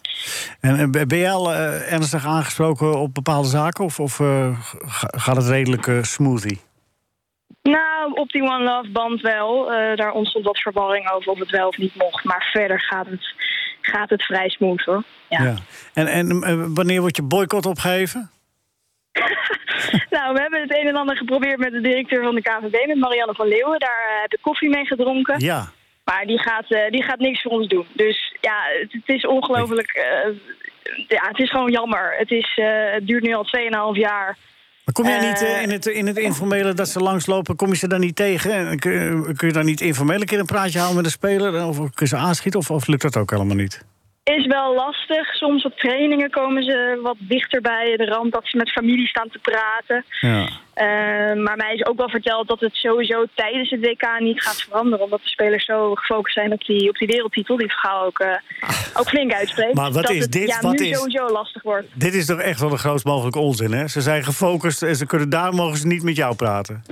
Speaker 3: En eh, ben jij al eh, ernstig aangesproken op bepaalde zaken? Of, of eh, ga- gaat het redelijk eh, smoothie?
Speaker 15: Nou, op die One Love band wel. Eh, daar ontstond wat verwarring over of het wel of niet mocht. Maar verder gaat het, gaat het vrij smooth hoor.
Speaker 3: Ja. En, en eh, wanneer wordt je boycott opgeheven?
Speaker 15: nou, we hebben het een en ander geprobeerd met de directeur van de KVB, met Marianne van Leeuwen. Daar eh, heb ik koffie mee gedronken.
Speaker 3: Ja.
Speaker 15: Maar die gaat, eh, die gaat niks voor ons doen. Dus ja, het, het is ongelooflijk. eh, ja, het is gewoon jammer. Het, is, eh, het duurt nu al 2,5 jaar.
Speaker 3: Maar kom jij
Speaker 15: Eh,
Speaker 3: niet eh, in, het, in het informele dat ze langslopen, kom je ze dan niet tegen? En kun, je- kun je dan niet informeel een keer een praatje houden met de speler? Of kun je ze aanschieten? Of, of lukt dat ook helemaal niet?
Speaker 15: is wel lastig. Soms op trainingen komen ze wat dichter bij de rand dat ze met familie staan te praten.
Speaker 3: Ja.
Speaker 15: Eh, maar mij is ook wel verteld dat het sowieso tijdens het WK niet gaat veranderen. Omdat de spelers zo gefocust zijn op die, op die wereldtitel, die Vergaal ook, eh, ook flink uitspreekt.
Speaker 3: Maar wat
Speaker 15: dat
Speaker 3: is
Speaker 15: het,
Speaker 3: dit?
Speaker 15: Ja,
Speaker 3: Wat
Speaker 15: nu
Speaker 3: is-
Speaker 15: sowieso lastig wordt.
Speaker 3: Dit is toch echt wel de grootst mogelijke onzin, hè? Ze zijn gefocust en ze kunnen daar mogen ze niet met jou praten.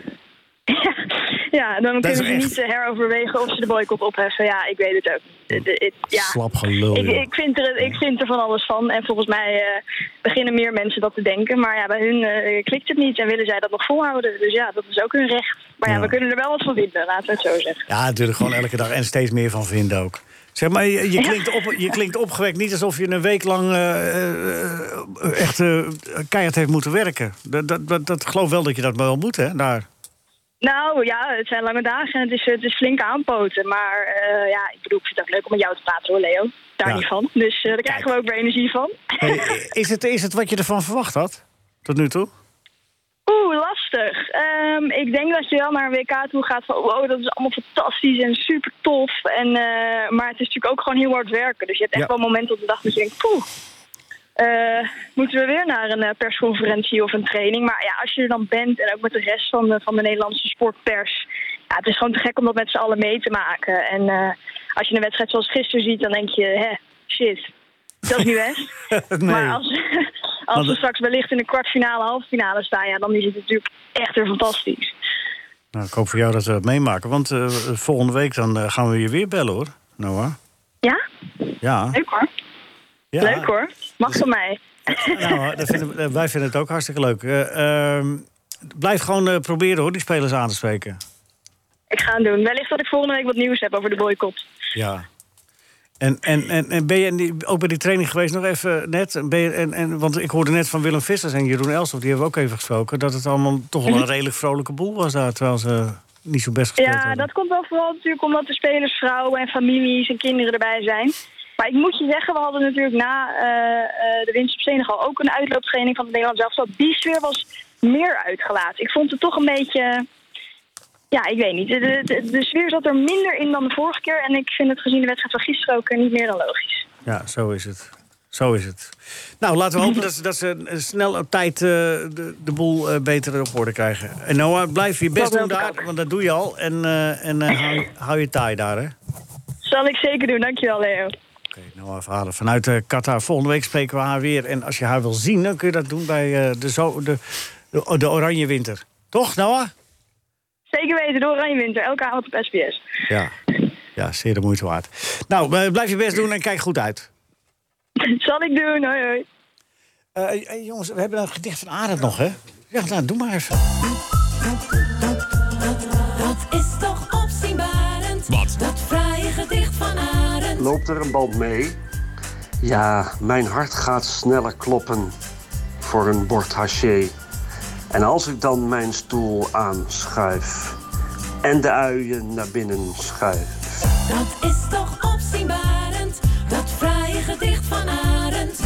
Speaker 15: Ja, dan
Speaker 3: Dat is
Speaker 15: kunnen ze
Speaker 3: echt-
Speaker 15: niet eh, heroverwegen of ze de boycott opheffen. Ja, ik weet het ook. Het- het- het- ja.
Speaker 3: Slap gelul,
Speaker 15: Ik,
Speaker 3: joh.
Speaker 15: ik, vind er, ik vind er van alles van. En volgens mij eh, beginnen meer mensen dat te denken. Maar ja, bij hun eh, klikt het niet en willen zij dat nog volhouden. Dus ja, dat is ook hun recht. Maar ja,
Speaker 3: Ja.
Speaker 15: we kunnen er wel wat van vinden, laten we het zo zeggen.
Speaker 3: Ja, natuurlijk gewoon elke dag en steeds meer van vinden ook. Zeg maar, je, je klinkt, op, je klinkt opgewekt niet alsof je een week lang eh, eh, echt eh, keihard heeft moeten werken. Dat, dat, dat, dat geloof wel dat je dat wel moet, hè? Daar.
Speaker 15: Nou ja, het zijn lange dagen en het is, het is flink aanpoten. Maar eh, ja, ik bedoel, ik vind het ook leuk om met jou te praten hoor, Leo. Daar
Speaker 3: Ja.
Speaker 15: niet van. Dus eh, daar krijgen we ook weer energie van.
Speaker 3: Hey, is, het, is het wat je ervan verwacht had? Tot nu toe?
Speaker 15: Oeh, lastig. Ehm, ik denk dat je wel naar een WK toe gaat van... wow, dat is allemaal fantastisch en super tof. En, eh, maar het is natuurlijk ook gewoon heel hard werken. Dus je hebt echt
Speaker 16: Ja.
Speaker 15: wel momenten op de dag dat je denkt... poeh, eh, moeten we weer naar een eh, persconferentie of een training? Maar ja, als je er dan bent en ook met de rest van de, van de Nederlandse sportpers... Ja, het is gewoon te gek om dat met z'n allen mee te maken. En eh, als je een wedstrijd zoals gisteren ziet, dan denk je... hè, shit, dat is nu best. Maar als, als we
Speaker 3: Want-
Speaker 15: straks wellicht in de kwartfinale, halve finale staan, ja, dan is het natuurlijk echt weer fantastisch.
Speaker 3: Nou, ik hoop voor jou dat we dat meemaken. Want eh, volgende week dan eh, gaan we je weer bellen, hoor, Noah.
Speaker 15: Ja?
Speaker 3: Ja.
Speaker 15: Leuk hoor.
Speaker 3: ja.
Speaker 15: Leuk hoor. Mag van mij.
Speaker 3: Nou, dat vinden we- eh, wij vinden het ook hartstikke leuk. Eh, ehm, blijf gewoon eh, proberen hoor, die spelers aan te spreken.
Speaker 15: Ik ga het doen. Wellicht dat ik volgende week wat nieuws heb over de boycott.
Speaker 3: Ja. En, en, en, en ben je in die- ook bij die training geweest nog even net? Ben je, en, en, want ik hoorde net van Willem Vissers en Jeroen Elstof, die hebben we ook even gesproken... dat het allemaal toch
Speaker 15: Mhm.
Speaker 3: wel een redelijk vrolijke boel was daar... terwijl ze niet zo best gespeeld
Speaker 15: Ja,
Speaker 3: hadden.
Speaker 15: dat komt wel vooral natuurlijk omdat de spelers vrouwen en families en kinderen erbij zijn. Maar ik moet je zeggen, we hadden natuurlijk na eh, eh, de winst op Senegal ook een uitlooptraining van het Nederlands elftal. Die sfeer was meer uitgelaten. Ik vond het toch een beetje... Ja, ik weet niet. De, de, de- de sfeer zat er minder in dan de vorige keer. En ik vind het gezien de wedstrijd van gisteren ook eh, niet meer dan logisch.
Speaker 3: Ja, zo is het. Zo is het. Nou, laten we hopen dat ze, dat ze eh, snel op tijd eh, de, de boel eh, beter op orde krijgen. En Noah, blijf je
Speaker 15: Dat
Speaker 3: best doen
Speaker 15: hoop ik
Speaker 3: daar, want dat doe je al. En, eh, en eh, hou, hou je taai daar, hè?
Speaker 15: Zal ik zeker doen. Dankjewel, Leo.
Speaker 3: Noah Verhalen vanuit eh, Qatar. Volgende week spreken we haar weer. En als je haar wil zien, dan kun je dat doen bij eh, de, zo, de, de, de Oranje Winter. Toch, Noah?
Speaker 15: Zeker weten, door Oranje Winter. Elke avond op SBS.
Speaker 3: Ja. Ja, zeer de moeite waard. Nou, eh, blijf je best doen en kijk goed uit.
Speaker 15: Zal ik doen. Hoi, hoi.
Speaker 3: jongens, we hebben een gedicht van Arend nog, hè? Ja, nou, doe maar even.
Speaker 14: Dat is toch opzienbarend. Wat? Dat fraaie gedicht van Arend.
Speaker 17: Loopt er een band mee? Ja, mijn hart gaat sneller kloppen voor een bord haché. En als ik dan mijn stoel aanschuif en de uien naar binnen schuif.
Speaker 14: Dat is toch opzienbarend. Dat fraaie gedicht van Arend.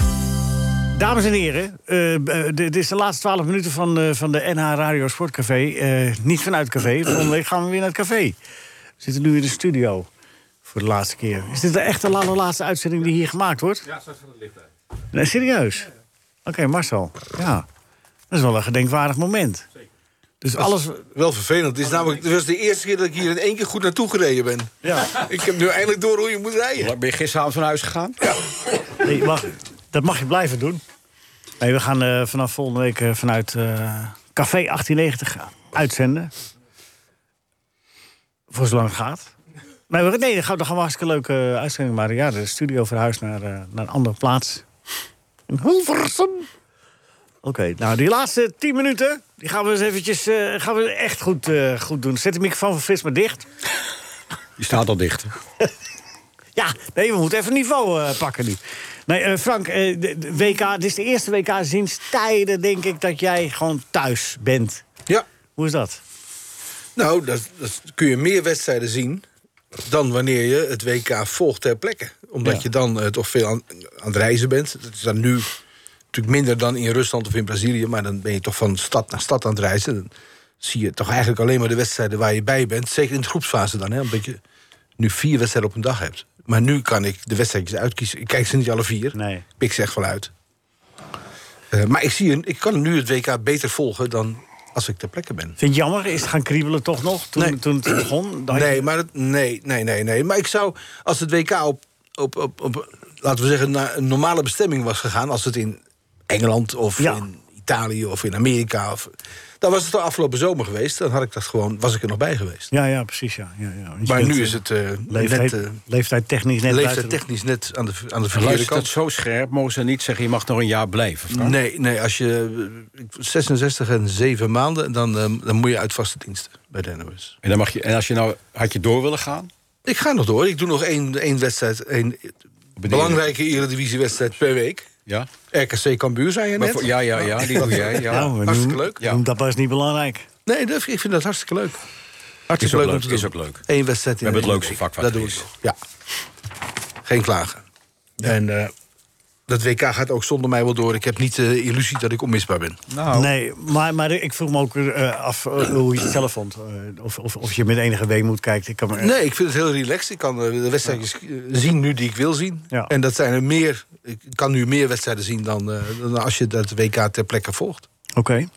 Speaker 3: Dames en heren, eh, eh, dit is de laatste 12 minuten van, eh, van de NH Radio Sportcafé. Eh, niet vanuit café, volgende week gaan we weer naar het café. We zitten nu in de studio voor de laatste keer. Is dit de echte la- laatste uitzending die hier gemaakt wordt? Ja,
Speaker 6: straks van het licht uit.
Speaker 3: Nee, serieus? Oké, Marcel. Ja, dat is wel een gedenkwaardig moment. Dus alles...
Speaker 5: Wel vervelend. Het is namelijk, het was de eerste keer dat ik hier in één keer goed naartoe gereden ben.
Speaker 3: Ja.
Speaker 5: Ik heb nu eindelijk door hoe je moet rijden.
Speaker 6: Ben je gisteravond van huis gegaan?
Speaker 3: Nee, mag, dat mag je blijven doen. Nee, we gaan eh, vanaf volgende week eh, vanuit eh, Café 1890 uitzenden. Voor zolang het gaat. Nee, we, nee dan gaan we dan gaan we een hartstikke leuke eh, uitzending maken. Ja, de studio verhuist naar, eh, naar een andere plaats. In Hilversum. Oké, nou die laatste 10 minuten... die gaan we eens eventjes eh, gaan we echt goed, eh, goed doen. Zet de microfoon van Frits maar dicht.
Speaker 6: Je staat al dicht.
Speaker 3: Ja, nee, we moeten even niveau eh, pakken nu. Nee, eh, Frank, eh, de, de WK, dit is de eerste WK sinds tijden, denk ik, dat jij gewoon thuis bent.
Speaker 5: Ja.
Speaker 3: Hoe is dat?
Speaker 5: Nou, dat, dat kun je meer wedstrijden zien dan wanneer je het WK volgt ter plekke. Omdat
Speaker 6: Ja.
Speaker 5: je dan eh, toch veel aan, aan het reizen bent. Dat is dan nu natuurlijk minder dan in Rusland of in Brazilië... maar dan ben je toch van stad naar stad aan het reizen. Dan zie je toch eigenlijk alleen maar de wedstrijden waar je bij bent. Zeker in de groepsfase dan, hè, omdat je nu vier wedstrijden op een dag hebt. Maar nu kan ik de wedstrijdjes uitkiezen. Ik kijk ze niet alle vier.
Speaker 3: Nee.
Speaker 5: Pik ze echt wel uit. Eh, maar ik, zie, een- ik kan nu het WK beter volgen dan als ik ter plekke ben.
Speaker 3: Vind je het jammer? Is het gaan kriebelen toch nog? Toen, toen het begon? Dan-
Speaker 5: Nee, maar het- nee, nee, nee, nee. Maar ik zou, als het WK op, op, op, op laten we zeggen, naar een normale bestemming was gegaan, als het in Engeland of in Italië of in Amerika, of, dan was het al afgelopen zomer geweest. Dan had ik dat gewoon, was ik er nog bij geweest.
Speaker 3: Ja, ja, precies. Ja, ja, ja. Je
Speaker 5: Maar
Speaker 3: bent,
Speaker 5: nu
Speaker 3: eh,
Speaker 5: is het, eh,
Speaker 3: leeftijd,
Speaker 5: net, eh,
Speaker 3: leeftijd technisch net
Speaker 5: Leeftijd
Speaker 3: buiten-
Speaker 5: technisch net aan de, aan de verkeerde
Speaker 6: Luistert
Speaker 5: kant.
Speaker 6: dat zo scherp? Mogen ze niet zeggen, je mag nog een jaar blijven? Frank?
Speaker 5: Nee, nee, als je eh, 66 en 7 maanden, dan, eh, dan moet je uit vaste diensten bij de NOS.
Speaker 6: En, dan mag je, en als je nou, had je door willen gaan?
Speaker 5: Ik ga nog door. Ik doe nog één, één wedstrijd, één belangrijke Eredivisie-wedstrijd per week.
Speaker 6: Ja.
Speaker 5: RKC Cambuur, zei je
Speaker 6: Maar
Speaker 5: net.
Speaker 6: voor- ja, ja, ja, die doe jij, ja.
Speaker 3: Nou, we
Speaker 5: hartstikke
Speaker 3: noemen-
Speaker 5: leuk.
Speaker 3: noemen Dat was niet belangrijk.
Speaker 5: Nee, dat- ik vind dat hartstikke leuk.
Speaker 6: Is
Speaker 5: Hartstikke
Speaker 6: ook
Speaker 5: leuk om
Speaker 6: leuk,
Speaker 5: te
Speaker 6: is
Speaker 5: doen.
Speaker 6: ook leuk.
Speaker 5: Eén wedstrijd
Speaker 6: We
Speaker 5: in één
Speaker 6: hebben het leukste
Speaker 5: week.
Speaker 6: vak wat
Speaker 5: Dat
Speaker 6: er
Speaker 5: doe ik.
Speaker 6: is.
Speaker 5: Ja. Geen klagen. En eh, dat WK gaat ook zonder mij wel door. Ik heb niet de illusie dat ik onmisbaar ben.
Speaker 6: Nou.
Speaker 3: Nee, maar, maar ik vroeg me ook eh, af eh, hoe je het zelf vond. Eh, of, of, of je met enige weemoed kijkt. Ik kan me,
Speaker 5: Nee, ik vind het heel relaxed. Ik kan eh, de wedstrijdjes eh, zien nu die ik wil zien.
Speaker 3: Ja.
Speaker 5: En dat zijn er meer. Ik kan nu meer wedstrijden zien dan, eh, dan als je dat WK ter plekke volgt.
Speaker 3: Oké.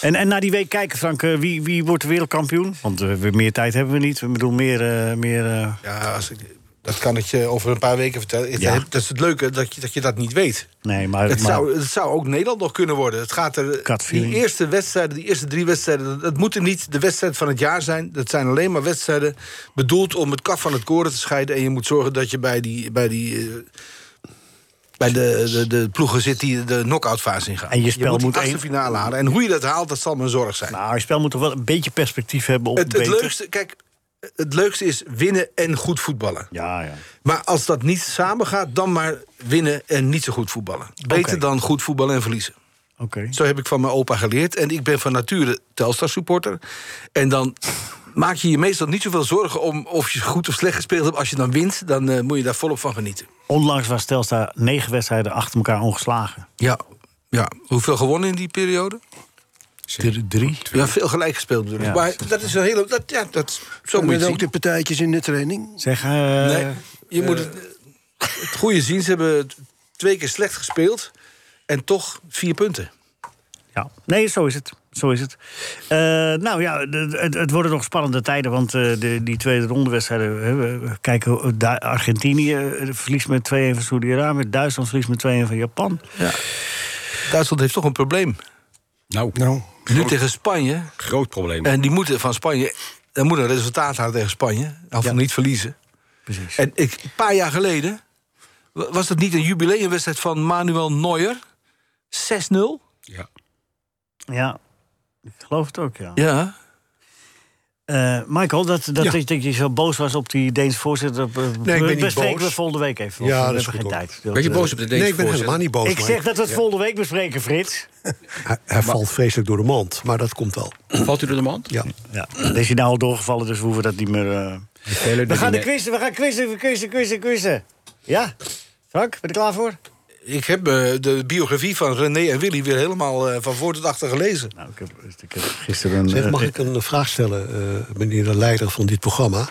Speaker 3: En, en na die week kijken, Frank, eh, wie, wie wordt de wereldkampioen? Want eh, we- meer tijd hebben we niet. Ik bedoel, meer... eh, meer eh,
Speaker 5: Ja, als ik, dat kan ik je over een paar weken vertellen. Het-
Speaker 3: Ja.
Speaker 5: het- Dat is het leuke dat je dat, je dat niet weet.
Speaker 3: Nee, maar...
Speaker 5: het,
Speaker 3: maar-
Speaker 5: zou, het zou ook Nederland nog kunnen worden. Het gaat er,
Speaker 3: Cut
Speaker 5: die
Speaker 3: feeling.
Speaker 5: eerste wedstrijden, die eerste drie wedstrijden... dat- dat moeten niet de wedstrijd van het jaar zijn. Dat zijn alleen maar wedstrijden bedoeld om het kaf van het koren te scheiden. En je moet zorgen dat je bij die... Bij die eh, bij de, de, de ploegen zit die de knock-out fase ingaan.
Speaker 3: En je spel
Speaker 5: moet,
Speaker 3: moet
Speaker 5: de
Speaker 3: één-
Speaker 5: achtste finale halen. En hoe je dat haalt, dat zal mijn zorg zijn.
Speaker 3: Nou, je spel moet toch wel een beetje perspectief hebben op
Speaker 5: het, het
Speaker 3: beter-
Speaker 5: leukste, kijk, het leukste is winnen en goed voetballen.
Speaker 3: Ja, ja.
Speaker 5: Maar als dat niet samen gaat, dan maar winnen en niet zo goed voetballen. Beter
Speaker 3: Oké.
Speaker 5: dan goed voetballen en verliezen.
Speaker 3: Oké.
Speaker 5: Zo heb ik van mijn opa geleerd. En ik ben van nature Telstar supporter. En dan maak je je meestal niet zoveel zorgen om of je goed of slecht gespeeld hebt. Als je dan wint, dan eh, moet je daar volop van genieten.
Speaker 3: Onlangs was Telstar negen wedstrijden achter elkaar ongeslagen.
Speaker 5: Ja, ja. hoeveel gewonnen in die periode? Drie. Ja, veel gelijk gespeeld bedoel ik.
Speaker 3: Ja.
Speaker 5: Maar dat is een hele... Dat, ja, dat, is- zo moet je
Speaker 4: Met
Speaker 5: het
Speaker 4: ook
Speaker 5: zien.
Speaker 4: de partijtjes in de training.
Speaker 3: Zeg, eh,
Speaker 5: Nee, je moet het, het goede zien. Ze hebben t- twee keer slecht gespeeld. En toch vier punten.
Speaker 3: Ja, nee, zo is het. Zo is het. Eh, nou ja, de- de- het, het worden nog spannende tijden, want eh, de, die tweede ronde wedstrijden... hè, we- we kijken, hoe- Da- Argentinië eh, verliest met 2-1 van Saudi-Arabië... Duitsland verliest met 2-1 van Japan.
Speaker 5: Duitsland heeft toch een probleem.
Speaker 6: Nou,
Speaker 5: Nu tegen Spanje.
Speaker 6: groot probleem.
Speaker 5: En die moeten van Spanje. Dan moet een resultaat halen tegen Spanje. Of niet verliezen.
Speaker 3: Precies.
Speaker 5: En ik, een paar jaar geleden. wa- was dat niet een jubileumwedstrijd van Manuel Neuer? 6-0?
Speaker 3: Ja, ik geloof het ook, ja.
Speaker 5: Ja.
Speaker 3: Eh, Michael, dat, dat,
Speaker 7: Ja.
Speaker 3: dat, je zo boos was op die Deense voorzitter... eh,
Speaker 7: ben niet
Speaker 3: bespreken
Speaker 7: boos.
Speaker 3: we volgende week even. want
Speaker 7: Ja,
Speaker 3: we
Speaker 7: dat is
Speaker 3: hebben
Speaker 7: goed
Speaker 3: geen
Speaker 7: ook.
Speaker 3: tijd. eh,
Speaker 6: Ben je boos op de Deense
Speaker 7: Nee, ik ben
Speaker 6: voorzitter?
Speaker 7: helemaal niet boos.
Speaker 3: Ik
Speaker 7: maar
Speaker 3: zeg dat we het volgende week bespreken, Frits.
Speaker 7: Hij, hij valt vreselijk door de mand, maar dat komt wel.
Speaker 6: Valt u door de mand?
Speaker 7: Ja.
Speaker 3: Ja, deze is hij nou al doorgevallen, dus we hoeven dat niet meer... eh. We gaan de quizzen, we gaan quizzen, we quizzen, quizzen, quizzen. Ja? Frank, ben je er klaar voor?
Speaker 5: Ik heb eh, de biografie van René en Willy weer helemaal eh, van voor tot achter gelezen.
Speaker 3: Nou, ik heb, ik heb gisteren een...
Speaker 7: Zeg, mag
Speaker 3: eh,
Speaker 7: ik een vraag stellen, eh, meneer de leider van dit programma?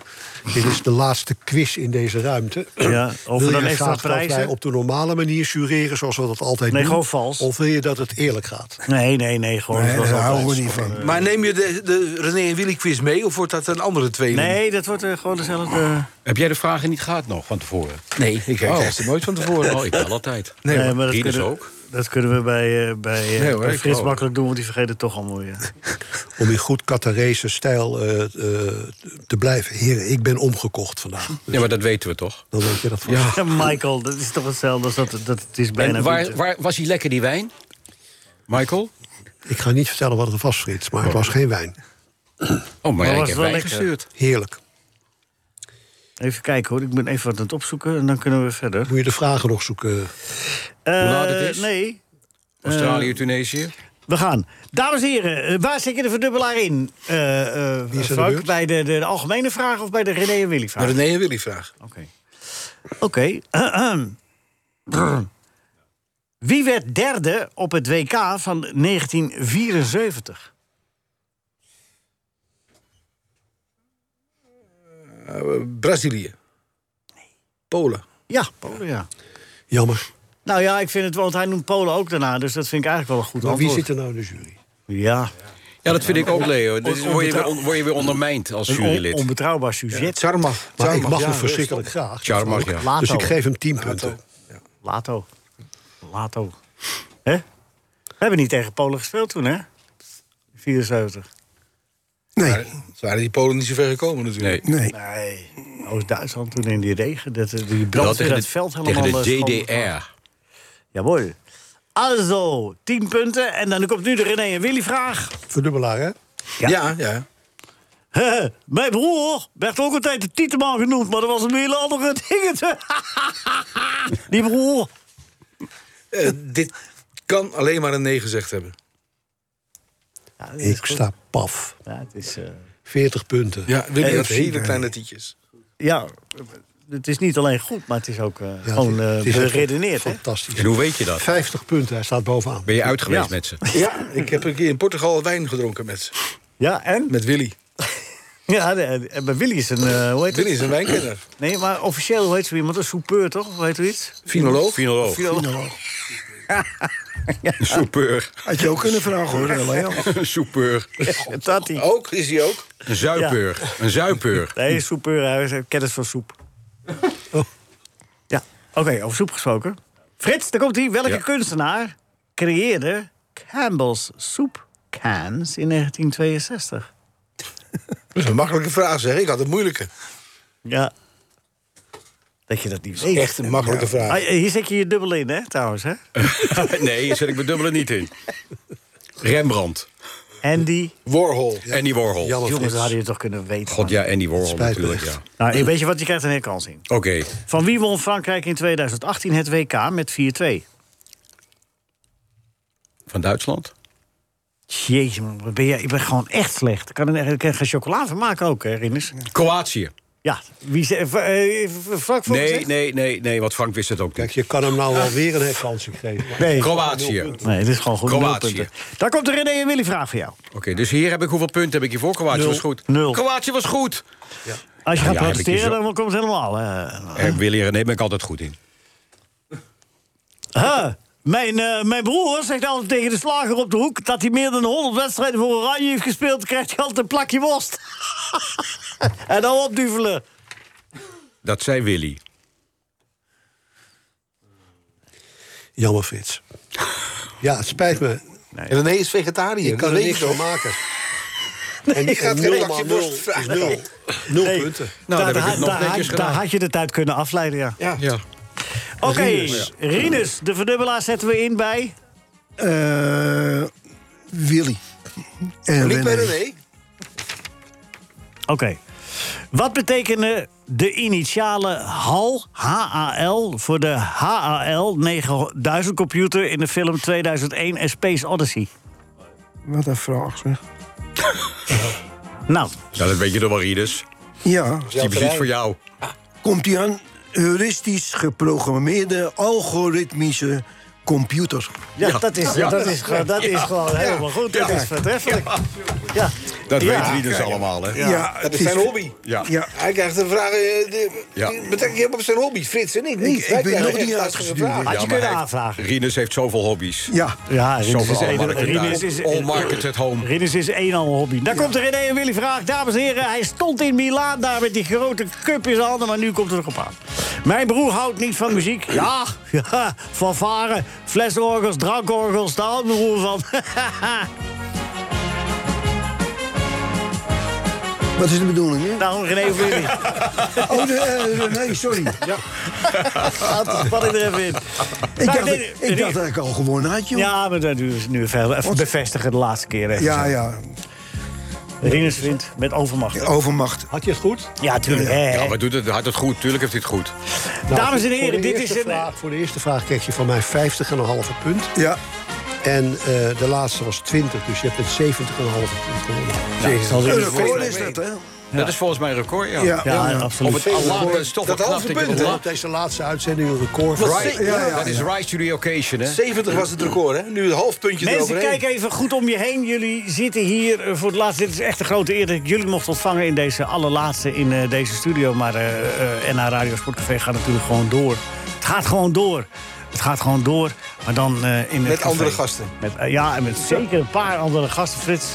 Speaker 7: Dit is de laatste quiz in deze ruimte.
Speaker 3: Ja, over
Speaker 7: wil
Speaker 3: dan
Speaker 7: je
Speaker 3: extra
Speaker 7: graag dat wij
Speaker 3: prijzen?
Speaker 7: op de normale manier jureren zoals we dat altijd
Speaker 3: Nee,
Speaker 7: doen?
Speaker 3: gewoon vals.
Speaker 7: Of wil je dat het eerlijk gaat?
Speaker 3: Nee, nee, nee, gewoon...
Speaker 4: Nee,
Speaker 3: zoals
Speaker 4: daar
Speaker 3: altijd.
Speaker 4: houden we niet van.
Speaker 5: Maar neem je de, de René en Willy quiz mee of wordt dat een andere tweeling?
Speaker 3: Nee, dat wordt eh, gewoon
Speaker 7: Oh.
Speaker 3: dezelfde...
Speaker 6: Heb jij de vragen niet gehad nog van tevoren?
Speaker 5: nee ik heb
Speaker 6: Oh.
Speaker 5: het nooit van tevoren.
Speaker 6: Oh, ik wel altijd.
Speaker 5: Nee,
Speaker 3: Nee,
Speaker 5: hoor.
Speaker 3: maar dat
Speaker 6: Rinus
Speaker 3: kunnen,
Speaker 6: ook.
Speaker 3: dat kunnen we bij, eh bij, eh,
Speaker 5: Nee, hoor,
Speaker 3: bij
Speaker 5: ik
Speaker 3: Frits
Speaker 5: ook.
Speaker 3: makkelijk doen, want die vergeet het toch allemaal weer.
Speaker 7: Om in goed Catarese stijl eh, eh, te blijven. Heren, ik ben omgekocht vandaag.
Speaker 6: Ja, maar dat weten we toch?
Speaker 7: Dan weet je dat van.
Speaker 3: Ja, Michael, dat is toch hetzelfde als dat, dat het is bijna...
Speaker 6: En waar,
Speaker 3: winter.
Speaker 6: waar was hij lekker, die wijn? Michael?
Speaker 7: Ik ga niet vertellen wat het was, Frits, maar het was geen wijn.
Speaker 6: Oh, maar,
Speaker 3: was
Speaker 6: ja, ik heb
Speaker 3: het wel
Speaker 6: wijn
Speaker 3: lekker?
Speaker 6: gestuurd.
Speaker 7: Heerlijk.
Speaker 3: Even kijken hoor, ik ben even wat aan het opzoeken en dan kunnen we verder.
Speaker 7: Moet je de vragen nog zoeken?
Speaker 3: Eh,
Speaker 6: laat het is?
Speaker 3: Nee, eh,
Speaker 6: Australië, Tunesië.
Speaker 3: We gaan. Dames en heren, eh, waar zit je de verdubbelaar in? Eh, eh,
Speaker 7: Wie is er
Speaker 3: Frank,
Speaker 7: de beurt?
Speaker 3: bij de, de, de algemene vraag of bij de René en Willy vraag? Oké.
Speaker 5: René en Willy vraag.
Speaker 3: Oké. Brr. Wie werd derde op het WK van 1974?
Speaker 5: Eh, Brazilië. Polen.
Speaker 3: Ja,
Speaker 7: Oh,
Speaker 3: Polen, ja.
Speaker 7: Jammer.
Speaker 3: Nou ja, ik vind het, want hij noemt Polen ook daarna, dus dat vind ik eigenlijk wel een goed
Speaker 7: Maar wie
Speaker 3: antwoord.
Speaker 7: zit er nou in de jury?
Speaker 3: Ja.
Speaker 6: Ja, dat vind ik ook, Leo. Dus
Speaker 3: On-
Speaker 6: word, je
Speaker 3: onbetrouw-
Speaker 6: weer, on- word je weer ondermijnd als
Speaker 3: Een on-
Speaker 6: jurylid.
Speaker 3: onbetrouwbaar sujet.
Speaker 6: Ja, Tsarmach.
Speaker 7: Maar ik
Speaker 6: Tsarmach,
Speaker 7: mag
Speaker 6: ja,
Speaker 7: hem
Speaker 6: rustig.
Speaker 7: verschrikkelijk graag.
Speaker 6: Tsarmach, ja.
Speaker 3: Lato.
Speaker 7: Dus ik geef hem 10 punten.
Speaker 3: Lato. Lato. Hè? We hebben niet tegen Polen gespeeld toen, hè? 74.
Speaker 4: Nee.
Speaker 5: Ze waren die Polen niet zo ver gekomen natuurlijk.
Speaker 4: Nee.
Speaker 3: Nee. Nou, Oost-Duitsland toen in die regen. Dat, eh, die
Speaker 6: Wel
Speaker 3: brand
Speaker 6: tegen
Speaker 3: dat
Speaker 6: de-
Speaker 3: veld
Speaker 6: tegen
Speaker 3: helemaal...
Speaker 6: de
Speaker 3: eh, schoon-
Speaker 6: DDR.
Speaker 3: Jawohl. Also, 10 punten. En dan komt nu de René en Willy vraag.
Speaker 7: Verdubbelaar, hè?
Speaker 5: Ja, ja. ja.
Speaker 3: Hè, mijn broer werd ook altijd de Tieteman genoemd, maar dat was een hele andere dingetje. Die broer.
Speaker 5: Eh, dit kan alleen maar een nee gezegd hebben.
Speaker 7: Ik sta paf.
Speaker 3: Ja, het is, eh,
Speaker 7: 40 punten.
Speaker 5: Ja, Willy
Speaker 3: Eh,
Speaker 5: had
Speaker 3: ik zie
Speaker 5: hele
Speaker 3: het.
Speaker 5: kleine tietjes.
Speaker 3: ja, het is niet alleen goed, maar het is ook eh,
Speaker 7: Ja,
Speaker 3: gewoon eh
Speaker 7: het is echt
Speaker 3: beredeneerd. hè?
Speaker 7: Fantastisch.
Speaker 6: En hoe weet je dat?
Speaker 7: 50 punten, hij staat bovenaan.
Speaker 6: Ben je uit geweest
Speaker 3: Ja.
Speaker 6: met ze?
Speaker 5: Ja, ik heb een keer in Portugal wijn gedronken met ze.
Speaker 3: Ja, en?
Speaker 5: Met Willy.
Speaker 3: Ja, de- en bij Willy is een... eh, hoe heet
Speaker 5: Willy
Speaker 3: het?
Speaker 5: is een wijnkenner.
Speaker 3: Nee, maar officieel hoe heet zo iemand? Een soupeur, toch? Hoe heet u iets?
Speaker 5: Finoloog.
Speaker 6: Finoloog. Een soepeur.
Speaker 4: Had je ook kunnen vragen hoor, Leo.
Speaker 6: Een soepeur.
Speaker 3: Tati.
Speaker 5: Ook, is hij ook.
Speaker 6: Een zuipeur. Een zuipeur.
Speaker 3: Nee, soupeur, hij is- hij heeft kennis van soep.
Speaker 4: Oh.
Speaker 3: Ja, oké, over soep gesproken. Frits, daar komt hij. Welke
Speaker 6: Ja.
Speaker 3: kunstenaar creëerde Campbell's soepcans in 1962?
Speaker 5: Dat is een makkelijke vraag zeg. Ik had het moeilijke.
Speaker 3: Ja. Dat je dat niet weet.
Speaker 5: Echt een makkelijke
Speaker 3: Ah,
Speaker 5: vraag.
Speaker 3: hier zet je je dubbel in, hè, trouwens. Hè?
Speaker 6: Nee, hier zet ik mijn dubbele niet in. Rembrandt.
Speaker 3: Andy.
Speaker 5: Warhol.
Speaker 6: Andy Warhol.
Speaker 7: Jammer,
Speaker 3: Jongens,
Speaker 7: Frits.
Speaker 3: dat hadden je toch kunnen weten.
Speaker 6: God,
Speaker 3: man.
Speaker 6: ja, Andy Warhol
Speaker 7: Spijt me
Speaker 6: natuurlijk,
Speaker 7: echt.
Speaker 6: ja.
Speaker 3: Nou, en weet je wat? Je krijgt een herkansing.
Speaker 6: Oké.
Speaker 3: Van wie won Frankrijk in 2018 het WK met 4-2?
Speaker 6: Van Duitsland?
Speaker 3: Jezus, man, wat ben jij, ik ben gewoon echt slecht. Ik kan, er- ik kan geen chocola van maken ook, hè, Rinus?
Speaker 6: Kroatië.
Speaker 3: Ja, wie ze, eh, eh, vlak voor
Speaker 6: Nee,
Speaker 3: gezegd?
Speaker 6: nee, nee, nee, want Frank wist het ook
Speaker 7: Kijk,
Speaker 6: niet.
Speaker 7: je kan hem nou wel weer een herkansing geven. maar-
Speaker 3: Nee.
Speaker 6: Kroatië. Oké,
Speaker 3: Nee, dit is gewoon goed.
Speaker 6: Kroatië.
Speaker 3: Nul punten. Daar komt de René en Willy vraag voor jou.
Speaker 6: dus hier heb ik hoeveel punten heb ik hiervoor? Kroatië was goed.
Speaker 3: Nul.
Speaker 6: Kroatië was goed.
Speaker 3: Als je
Speaker 6: ja, heb
Speaker 3: gaat
Speaker 6: ik hier
Speaker 3: protesteren,
Speaker 6: zo-
Speaker 3: dan komt het helemaal. eh.
Speaker 6: En Willy René ben ik altijd goed in.
Speaker 3: Huh, Mijn, eh, mijn broer zegt altijd tegen de slager op de hoek... dat hij meer dan 100 wedstrijden voor Oranje heeft gespeeld... krijgt hij altijd een plakje worst. en dan opduvelen.
Speaker 6: Dat zei Willy.
Speaker 7: Jammer, Frits. Ja, het spijt me.
Speaker 5: René is vegetariër.
Speaker 7: Ik
Speaker 5: dat
Speaker 7: kan er
Speaker 5: weet
Speaker 7: niks
Speaker 5: je
Speaker 7: van
Speaker 5: toch?
Speaker 7: maken. En
Speaker 5: Ik ga
Speaker 7: en
Speaker 5: het geen
Speaker 7: nul
Speaker 5: lakje
Speaker 7: maal
Speaker 5: worst
Speaker 7: nul
Speaker 5: vragen.
Speaker 7: is nul. Nul
Speaker 3: Nee.
Speaker 7: punten.
Speaker 6: Nou, dan
Speaker 3: daar,
Speaker 6: heb ik
Speaker 3: daar-
Speaker 6: het nog
Speaker 3: daar-
Speaker 6: netjes
Speaker 3: daar
Speaker 6: gedaan.
Speaker 3: had je de tijd kunnen afleiden, ja.
Speaker 5: Ja.
Speaker 6: Ja.
Speaker 3: Oké, Rinus. de verdubbelaar zetten we in bij...
Speaker 4: Eh, Willy. En
Speaker 5: Niet bij
Speaker 4: René.
Speaker 5: René.
Speaker 3: Oké. Wat betekenen de initialen HAL, HAL voor de HAL 9000 computer in de film 2001 A Space Odyssey?
Speaker 4: Wat een vraag zeg.
Speaker 3: Nou,
Speaker 6: Nou, dat weet je toch wel, Rieders.
Speaker 4: Ja.
Speaker 6: Die is voor jou.
Speaker 4: Komt hij aan? Heuristisch geprogrammeerde algoritmische computer.
Speaker 3: ja, dat is, Dat is, gewoon- dat is gewoon helemaal goed. Dat is vertreffelijk. Ja.
Speaker 6: Dat
Speaker 3: Ja.
Speaker 6: weet Rieders allemaal, hè?
Speaker 4: dus Ja,
Speaker 5: Dat
Speaker 4: het
Speaker 5: is zijn hobby.
Speaker 6: Ja.
Speaker 4: Ja,
Speaker 5: Hij krijgt een vraag. eh, de-
Speaker 6: Ja.
Speaker 5: die Betrekt je op zijn hobby, Frits en ik niet.
Speaker 4: ik
Speaker 5: Wij
Speaker 4: ben
Speaker 5: krijgen
Speaker 4: nog
Speaker 5: echt
Speaker 4: niet
Speaker 5: lastige
Speaker 4: uitgestuurd.
Speaker 5: vragen.
Speaker 3: Had je
Speaker 6: maar
Speaker 3: kunnen
Speaker 6: hij-
Speaker 3: aanvragen.
Speaker 6: Rieders heeft zoveel hobby's.
Speaker 4: ja.
Speaker 3: Ja, Rinus
Speaker 6: Zoveel
Speaker 3: is, een,
Speaker 6: all-market
Speaker 3: Rinus
Speaker 6: daar.
Speaker 3: is-
Speaker 6: All markets at home.
Speaker 3: Rinus is een al hobby. Daar komt de René en Willy vraag. Dames en heren, hij stond in Milaan daar met die grote cup in zijn handen, maar nu komt het erop aan. Mijn broer houdt niet van muziek. Ja, ja van varen, flesorgels, drankorgels, daar houdt mijn broer van.
Speaker 4: Wat is de bedoeling? Hè?
Speaker 3: Daarom René en Willy.
Speaker 4: Oh, de, eh, nee, sorry.
Speaker 3: Laat- Spat ik er even in.
Speaker 4: Ik
Speaker 3: Nou,
Speaker 4: dacht,
Speaker 3: nee,
Speaker 4: ik dacht dat ik al gewonnen had, joh.
Speaker 3: Ja, maar dat is nu even even bevestigen de laatste keer. Even.
Speaker 4: Ja, ja.
Speaker 3: Rinus wint met overmacht.
Speaker 4: Overmacht.
Speaker 7: Had je het goed?
Speaker 3: Ja, tuurlijk. hè.
Speaker 6: Ja, maar doet het, had het goed. Tuurlijk heeft hij het goed.
Speaker 7: Nou,
Speaker 3: Dames en
Speaker 7: voor de
Speaker 3: heren, dit
Speaker 7: eerste
Speaker 3: is een...
Speaker 7: vraag- voor de eerste vraag kreeg je van mij 50,5 punt.
Speaker 4: Ja.
Speaker 7: En eh, de laatste was 20, dus je hebt met 70,5 punt gewonnen.
Speaker 3: Nou, zal
Speaker 4: Een
Speaker 3: Rinus
Speaker 4: record is dat, hè?
Speaker 6: Dat is volgens mij een record, ja.
Speaker 7: Ja, ja,
Speaker 6: Op het alarm is toch wel
Speaker 7: dat
Speaker 6: knap
Speaker 7: halve
Speaker 6: dat je
Speaker 7: punt,
Speaker 6: op
Speaker 7: hè?
Speaker 6: la-
Speaker 7: Op deze laatste uitzending een record.
Speaker 6: Wat zeg- Dat is Rise to the Occasion, hè?
Speaker 5: 70 was het record, hè? Nu een half puntje
Speaker 3: Mensen,
Speaker 5: eroverheen.
Speaker 3: kijk even goed om je heen. Jullie zitten hier eh, voor het laatst. Dit is echt een grote eer dat ik jullie mocht ontvangen in deze allerlaatste in eh, deze studio. Maar eh, eh, NH Radio Sportcafé gaat natuurlijk gewoon door. Het gaat gewoon door. Het gaat gewoon door. Maar dan eh, in het
Speaker 5: Met
Speaker 3: café.
Speaker 5: andere gasten.
Speaker 3: Met, eh, ja, en met zeker een paar andere gasten, Frits.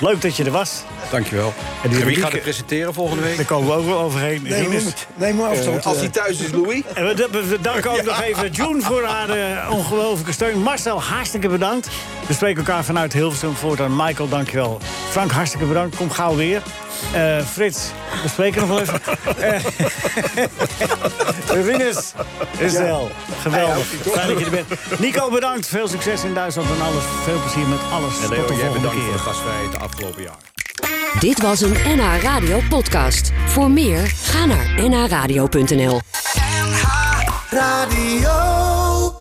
Speaker 3: Leuk dat je er was.
Speaker 6: Dankjewel.
Speaker 3: En
Speaker 6: En
Speaker 3: die
Speaker 6: wie
Speaker 3: rubrieken-
Speaker 6: gaat het presenteren volgende week?
Speaker 3: Daar komen we ook wel overheen.
Speaker 6: Neem
Speaker 3: Rinus.
Speaker 6: hem- neem hem afstand, Eh, als eh. hij thuis is, Louis.
Speaker 3: En we, we- we danken ook nog even June voor haar eh, ongelofelijke steun. Marcel, hartstikke bedankt. We spreken elkaar vanuit Hilversum voortaan. Michael, dankjewel. Frank, hartstikke bedankt. Kom gauw weer. Eh, Frits, we spreken nog wel even. Eh, Rinus, is
Speaker 14: Ja.
Speaker 3: wel. Geweldig.
Speaker 14: Hij houdt die
Speaker 3: Fijn dat je er bent. Nico, bedankt. Veel succes in Duitsland en alles. Veel plezier met alles.
Speaker 6: En
Speaker 3: Tot de
Speaker 6: Leo, Oh, jij
Speaker 3: volgende
Speaker 6: bedankt
Speaker 3: keer.
Speaker 6: voor de gastvrijheid de afgelopen jaar.
Speaker 1: Dit was een NH Radio podcast. Voor meer, ga naar nhradio.nl.
Speaker 14: Radio.